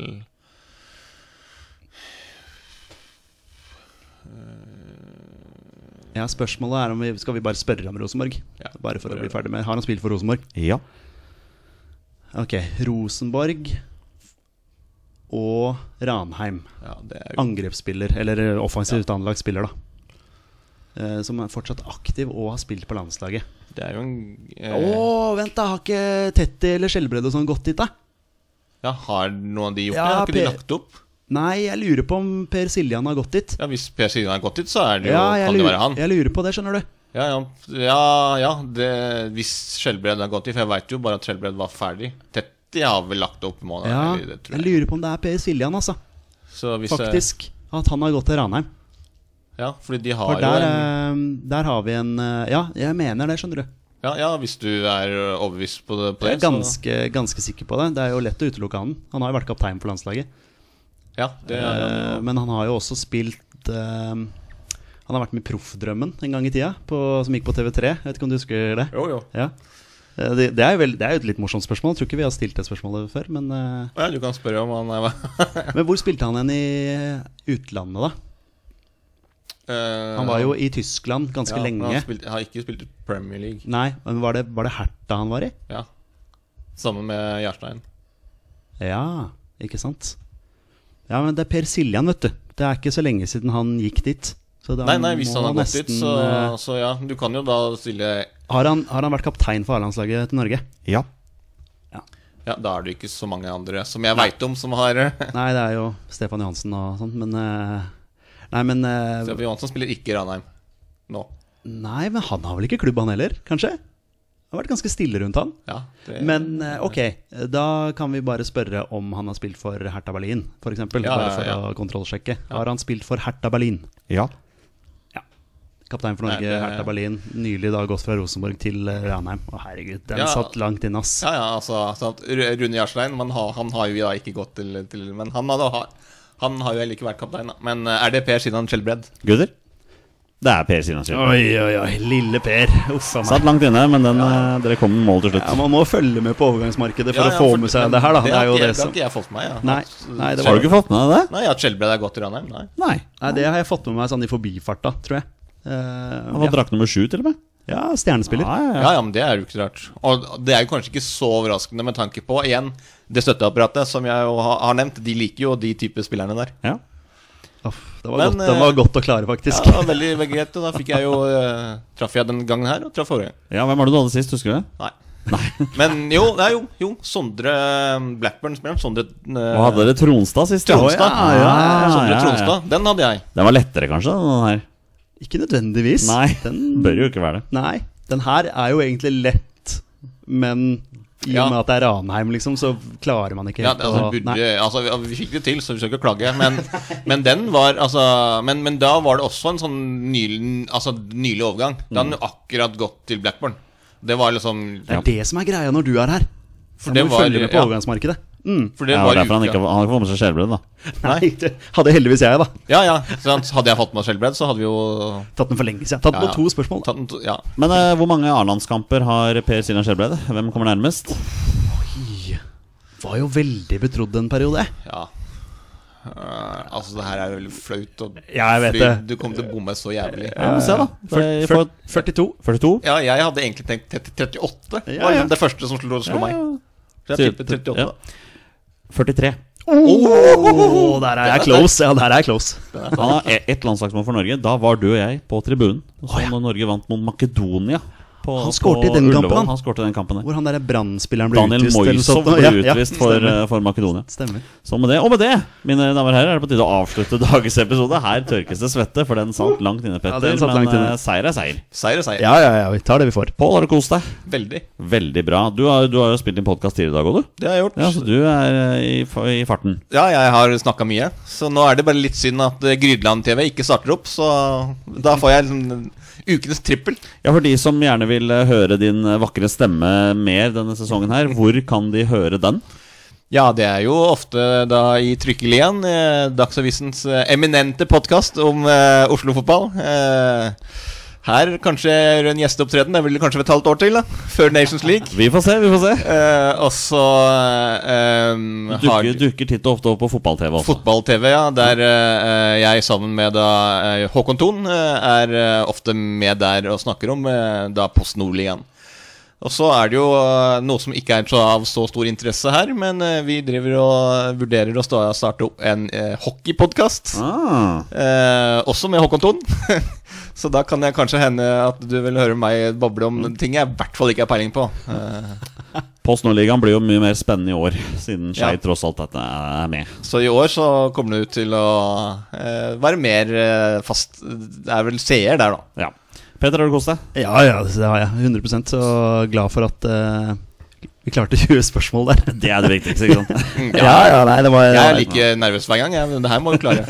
Speaker 2: ja, spørsmålet er om vi skal vi bare spørre om Rosenborg.
Speaker 3: Ja,
Speaker 2: bare for å
Speaker 3: bare
Speaker 2: bli
Speaker 3: gjør
Speaker 2: ferdig med Har han spilt for Rosenborg?
Speaker 1: ja.
Speaker 2: Ok, Rosenborg og Ranheim.
Speaker 3: ja, det er jo,
Speaker 2: Angrepsspiller, eller offensivt anlagt spiller, da. Eh, som er fortsatt aktiv og har spilt på landslaget.
Speaker 3: det er jo en eh,
Speaker 2: Å, vent, da! Har ikke Tetty eller Skjelbred og sånn gått dit, da?
Speaker 3: Ja, Har noen av de gjort det?
Speaker 2: Ja,
Speaker 3: Har ikke de
Speaker 2: Per-
Speaker 3: lagt opp?
Speaker 2: Nei, jeg lurer på om Per Siljan har gått dit.
Speaker 3: Ja, Hvis Per Siden har gått dit, så er det jo,
Speaker 2: Ja, jeg,
Speaker 3: kan det være
Speaker 2: lurer,
Speaker 3: han.
Speaker 2: jeg lurer på det, skjønner du.
Speaker 3: Ja, ja, ja, ja det, Hvis Skjelbred har gått dit, for jeg veit jo bare at Skjelbred var ferdig. Tetti har vel lagt opp mål?
Speaker 2: Ja,
Speaker 3: eller det tror
Speaker 2: jeg lurer på om det er Per Siljan, altså.
Speaker 3: Så hvis eh, jeg-
Speaker 2: Faktisk. At han har gått til Ranheim.
Speaker 3: Ja, fordi de har
Speaker 2: For
Speaker 3: jo
Speaker 2: der,
Speaker 3: en
Speaker 2: eh, der har vi en eh, Ja, jeg mener det, skjønner du.
Speaker 3: Ja, ja, hvis du er overbevist på det, på
Speaker 2: Jeg
Speaker 3: det
Speaker 2: er ganske, ganske sikker på det. Det er jo lett å utelukke han. Han har jo vært kaptein for landslaget.
Speaker 3: så Ja, det er
Speaker 2: Eh, Men han har jo også spilt eh, Han har vært med i Proffdrømmen en gang i tida, på, som gikk på TV3. Jeg vet ikke om du husker det?
Speaker 3: Jo, jo.
Speaker 2: Ja. Eh, Det, det, er jo veld- det er jo et litt morsomt spørsmål. Jeg tror ikke vi har stilt det spørsmålet før. Men, eh,
Speaker 3: Ja, du kan spørre om han er (laughs)
Speaker 2: men hvor spilte han hen i utlandet, da? Han var jo i Tyskland ganske lenge.
Speaker 3: Eh, Han spilte, har ikke spilt Premier League.
Speaker 2: Nei, men var det, var det Herta han var i?
Speaker 3: Ja. Sammen med Jarstein.
Speaker 2: Ja, ikke sant? Ja, men det er Per Siljan, vet du. Det er ikke så lenge siden han gikk dit. Så da
Speaker 3: Nei, nei, hvis
Speaker 2: må
Speaker 3: han har gått
Speaker 2: nesten,
Speaker 3: dit, så,
Speaker 2: eh,
Speaker 3: så ja. Du kan jo da stille
Speaker 2: har, han, har han vært kaptein for A-landslaget til Norge?
Speaker 1: Ja.
Speaker 3: Ja, da er det ikke så mange andre som jeg veit om, som har (laughs)
Speaker 2: Nei, det er jo Stefan Johansen og sånt, men eh, Nei, men eh,
Speaker 3: Stefan Johansen spiller ikke i Ranheim nå.
Speaker 2: Nei, men han har vel ikke klubb, han heller, kanskje? Det har vært ganske stille rundt han.
Speaker 3: Ja, det,
Speaker 2: Men eh, ok, da kan vi bare spørre om han har spilt for Hertha Berlin, f.eks. eksempel
Speaker 3: Ja,
Speaker 2: bare
Speaker 3: ja,
Speaker 2: for
Speaker 3: ja.
Speaker 2: å kontrollsjekke. Har han spilt for Hertha Berlin?
Speaker 1: Ja.
Speaker 2: Kaptein for Norge,
Speaker 3: Nei, det-
Speaker 2: Hertha Berlin. Nylig da gått fra Rosenborg til eh, Ranheim. Å, herregud, den
Speaker 3: Ja.
Speaker 2: satt langt inne, ass.
Speaker 3: ja, ja, altså sant, Ru- Rune Jarstein men han, han har jo da ikke gått til, til Men han, hadde, ha- han har jo heller ikke vært kaptein, da. Men eh, er det Per siden han skjellbredd?
Speaker 1: Gutter? Det er Per Sinas skyld.
Speaker 2: Oi, oi, oi. Lille Per. Uff a meg.
Speaker 1: Satt langt inne, men den, eh, dere kom i mål til
Speaker 2: Ja,
Speaker 1: slutt.
Speaker 2: man må følge med på overgangsmarkedet for
Speaker 3: Ja, ja,
Speaker 2: å få
Speaker 3: for-
Speaker 2: med seg
Speaker 3: men
Speaker 2: det her, da. Det er
Speaker 3: har
Speaker 2: jo
Speaker 3: ikke-
Speaker 2: det som
Speaker 3: har ikke jeg fått med meg. Ja.
Speaker 2: Nei, nei, det var-
Speaker 1: Har du ikke fått med deg det?
Speaker 3: Nei, at Skjellbred er godt i Ranheim? Nei.
Speaker 1: Nei.
Speaker 2: Nei, det har jeg fått med meg sånn i forbifarta, tror jeg. Eh,
Speaker 1: Han var
Speaker 2: ja.
Speaker 1: drakt nummer sju, til og med.
Speaker 2: ja, stjernespiller.
Speaker 1: Ja, ja, ja.
Speaker 3: Ja, ja, men det er jo ikke rart. Og det er jo kanskje ikke så overraskende med tanke på, igjen, det støtteapparatet som jeg jo har har nevnt. De liker jo de type spillerne der.
Speaker 1: ja.
Speaker 2: Uff, det, var
Speaker 3: Men,
Speaker 2: godt, det var
Speaker 3: eh,
Speaker 2: godt å klare,
Speaker 3: Ja,
Speaker 2: faktisk.
Speaker 3: det var veldig, veldig greit, og da fikk jeg jo eh, Traff jeg den gangen her, og traff forrige gang.
Speaker 1: ja hvem var det du hadde sist, husker du det?
Speaker 3: Nei. Men jo, nei, jo, jo. Sondre Blackburn spiller Sondre eh,
Speaker 1: Og hadde dere Tronstad sist?
Speaker 3: Tronstad.
Speaker 1: Å, ja, ja, ja,
Speaker 3: Sondre
Speaker 1: ja, ja.
Speaker 3: Tronstad. Den hadde jeg.
Speaker 1: Den var lettere, kanskje? Den her.
Speaker 2: Ikke nødvendigvis.
Speaker 1: Nei, den
Speaker 2: Den,
Speaker 1: bør jo ikke være det.
Speaker 2: nei, den her er jo egentlig lett, men i og
Speaker 3: Ja.
Speaker 2: med at det er Ranheim, liksom, så klarer man ikke
Speaker 3: Ja,
Speaker 2: helt
Speaker 3: det- altså,
Speaker 2: å-
Speaker 3: burde,
Speaker 2: nei.
Speaker 3: altså, vi, vi fikk det til, så vi skal ikke klage.
Speaker 2: (laughs)
Speaker 3: Men, men den var altså, men, men da var det også en sånn nylig, altså, nylig overgang. Da hadde den akkurat gått til Blackburn. Det var liksom
Speaker 2: Det er det som er greia når du er her.
Speaker 3: For
Speaker 2: Da
Speaker 3: det
Speaker 2: må du
Speaker 3: var
Speaker 2: følge med på
Speaker 3: ja,
Speaker 2: overgangsmarkedet. Mm.
Speaker 3: for det
Speaker 1: Ja,
Speaker 3: var
Speaker 1: derfor han
Speaker 3: uka.
Speaker 1: ikke han har ikke fått med seg skjellbrød, da.
Speaker 2: (laughs) Nei, det hadde heldigvis jeg, da.
Speaker 3: Ja, ja. Sant? Hadde jeg fått med skjellbredd, så hadde vi jo
Speaker 2: Tatt den for lenge siden. Tatt den
Speaker 3: Ja, ja.
Speaker 2: på to spørsmål. Da.
Speaker 3: tatt en to- Ja.
Speaker 1: Men eh, hvor mange A-landskamper har Per Siljan Skjellbred? Hvem kommer nærmest?
Speaker 2: Var jo veldig betrodd en periode.
Speaker 3: ja. Eh, altså, det her er veldig flaut. Og
Speaker 2: Ja, jeg vet
Speaker 3: fordi
Speaker 2: det.
Speaker 3: Du kommer til å bomme så jævlig.
Speaker 1: Ja, vi får se, da. Det- vi får-
Speaker 2: 42.
Speaker 1: 42?
Speaker 3: Ja, jeg hadde egentlig tenkt 30 38.
Speaker 2: Ja,
Speaker 3: var
Speaker 2: ja.
Speaker 3: Det første som slo, slo meg. Så jeg tippet 38.
Speaker 1: Ja. 43.
Speaker 2: Å, der er jeg close. Ja, der er jeg close.
Speaker 1: Han har e- ett landslagsmål for Norge. Da var du og jeg på tribunen. Og så når Norge vant mot Makedonia på,
Speaker 2: Han skårte
Speaker 1: på
Speaker 2: i den kampen,
Speaker 1: Ullevål.
Speaker 2: han.
Speaker 1: Han skårte i den kampen der.
Speaker 2: Hvor han derre Brann-spilleren ble
Speaker 1: Daniel
Speaker 2: utvist. eller noe
Speaker 1: Moisov
Speaker 2: sånt.
Speaker 1: ble
Speaker 2: Ja, ja,
Speaker 1: utvist for,
Speaker 2: stemmer.
Speaker 1: eh, for Makedonia.
Speaker 2: Stemmer.
Speaker 1: Så med det, Og med det, mine damer og herrer, er det på tide å avslutte dagens episode. Her tørkes det svette, for den satt langt inne, Petter.
Speaker 2: den satt
Speaker 1: men
Speaker 2: langt inne.
Speaker 1: eh, seier er seier.
Speaker 3: Seier er seier.
Speaker 2: Ja, ja, ja. Vi tar det vi får.
Speaker 1: Pål, har du kost deg?
Speaker 3: Veldig.
Speaker 1: Veldig bra. Du har, du har jo spilt inn podkast tidligere i dag òg, du.
Speaker 3: Det har jeg gjort.
Speaker 1: Ja, Så du er eh, i, fa- i farten.
Speaker 3: Ja, jeg har snakka mye. Så nå er det bare litt synd at eh, Grydland TV ikke starter opp. Så da får jeg liksom ukenes trippel.
Speaker 1: Ja, For de som gjerne vil eh, høre din eh, vakre stemme mer denne sesongen her, hvor kan de høre den?
Speaker 3: Ja, det er jo ofte da i Trykkelien, eh, Dagsavisens eh, eminente podkast om eh, Oslo-fotball. Eh, her kanskje en gjesteopptreden. Det er vel kanskje et halvt år til, da. Før Nations League.
Speaker 1: Vi får se, vi får se.
Speaker 3: Eh, og så eh, em, har
Speaker 1: Dukker, dukker titt og ofte opp på fotball-TV også.
Speaker 3: Fotball-TV, ja. Der eh, jeg sammen med da, eh, Håkon Thon eh, er eh, ofte med der og snakker om eh, da Post Nordligaen. Og så er det jo eh, noe som ikke er så, av så stor interesse her, men eh, vi driver og vurderer å sta- starte opp en eh, hockeypodkast.
Speaker 1: Ah,
Speaker 3: Eh, også med Håkon Thon. (laughs) så da kan jeg kanskje hende at du vil høre meg bable om ting jeg i hvert fall ikke har peiling på. Eh,
Speaker 1: Post Nordligaen blir jo mye mer spennende i år, siden Skei
Speaker 3: Ja.
Speaker 1: tross alt at jeg er med.
Speaker 3: Så i år så kommer du til å eh, være mer eh, fast Det er vel seer der, da.
Speaker 1: Ja. Peter, har du kost deg?
Speaker 2: Ja, ja, det har jeg. 100 Så glad for at eh, vi klarte (laughs) 20 spørsmål der.
Speaker 1: Det er det viktigste. ikke sant?
Speaker 2: (laughs) Ja, ja, nei, det var
Speaker 3: Jeg er like nervøs hver gang. Jeg, men det her må du klare.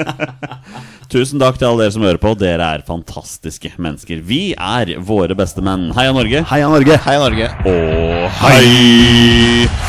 Speaker 1: (laughs) Tusen takk til alle dere som hører på. Dere er fantastiske mennesker. Vi er våre beste menn. Heia Norge.
Speaker 2: Heia Norge!
Speaker 3: Heia Norge.
Speaker 1: Og hei!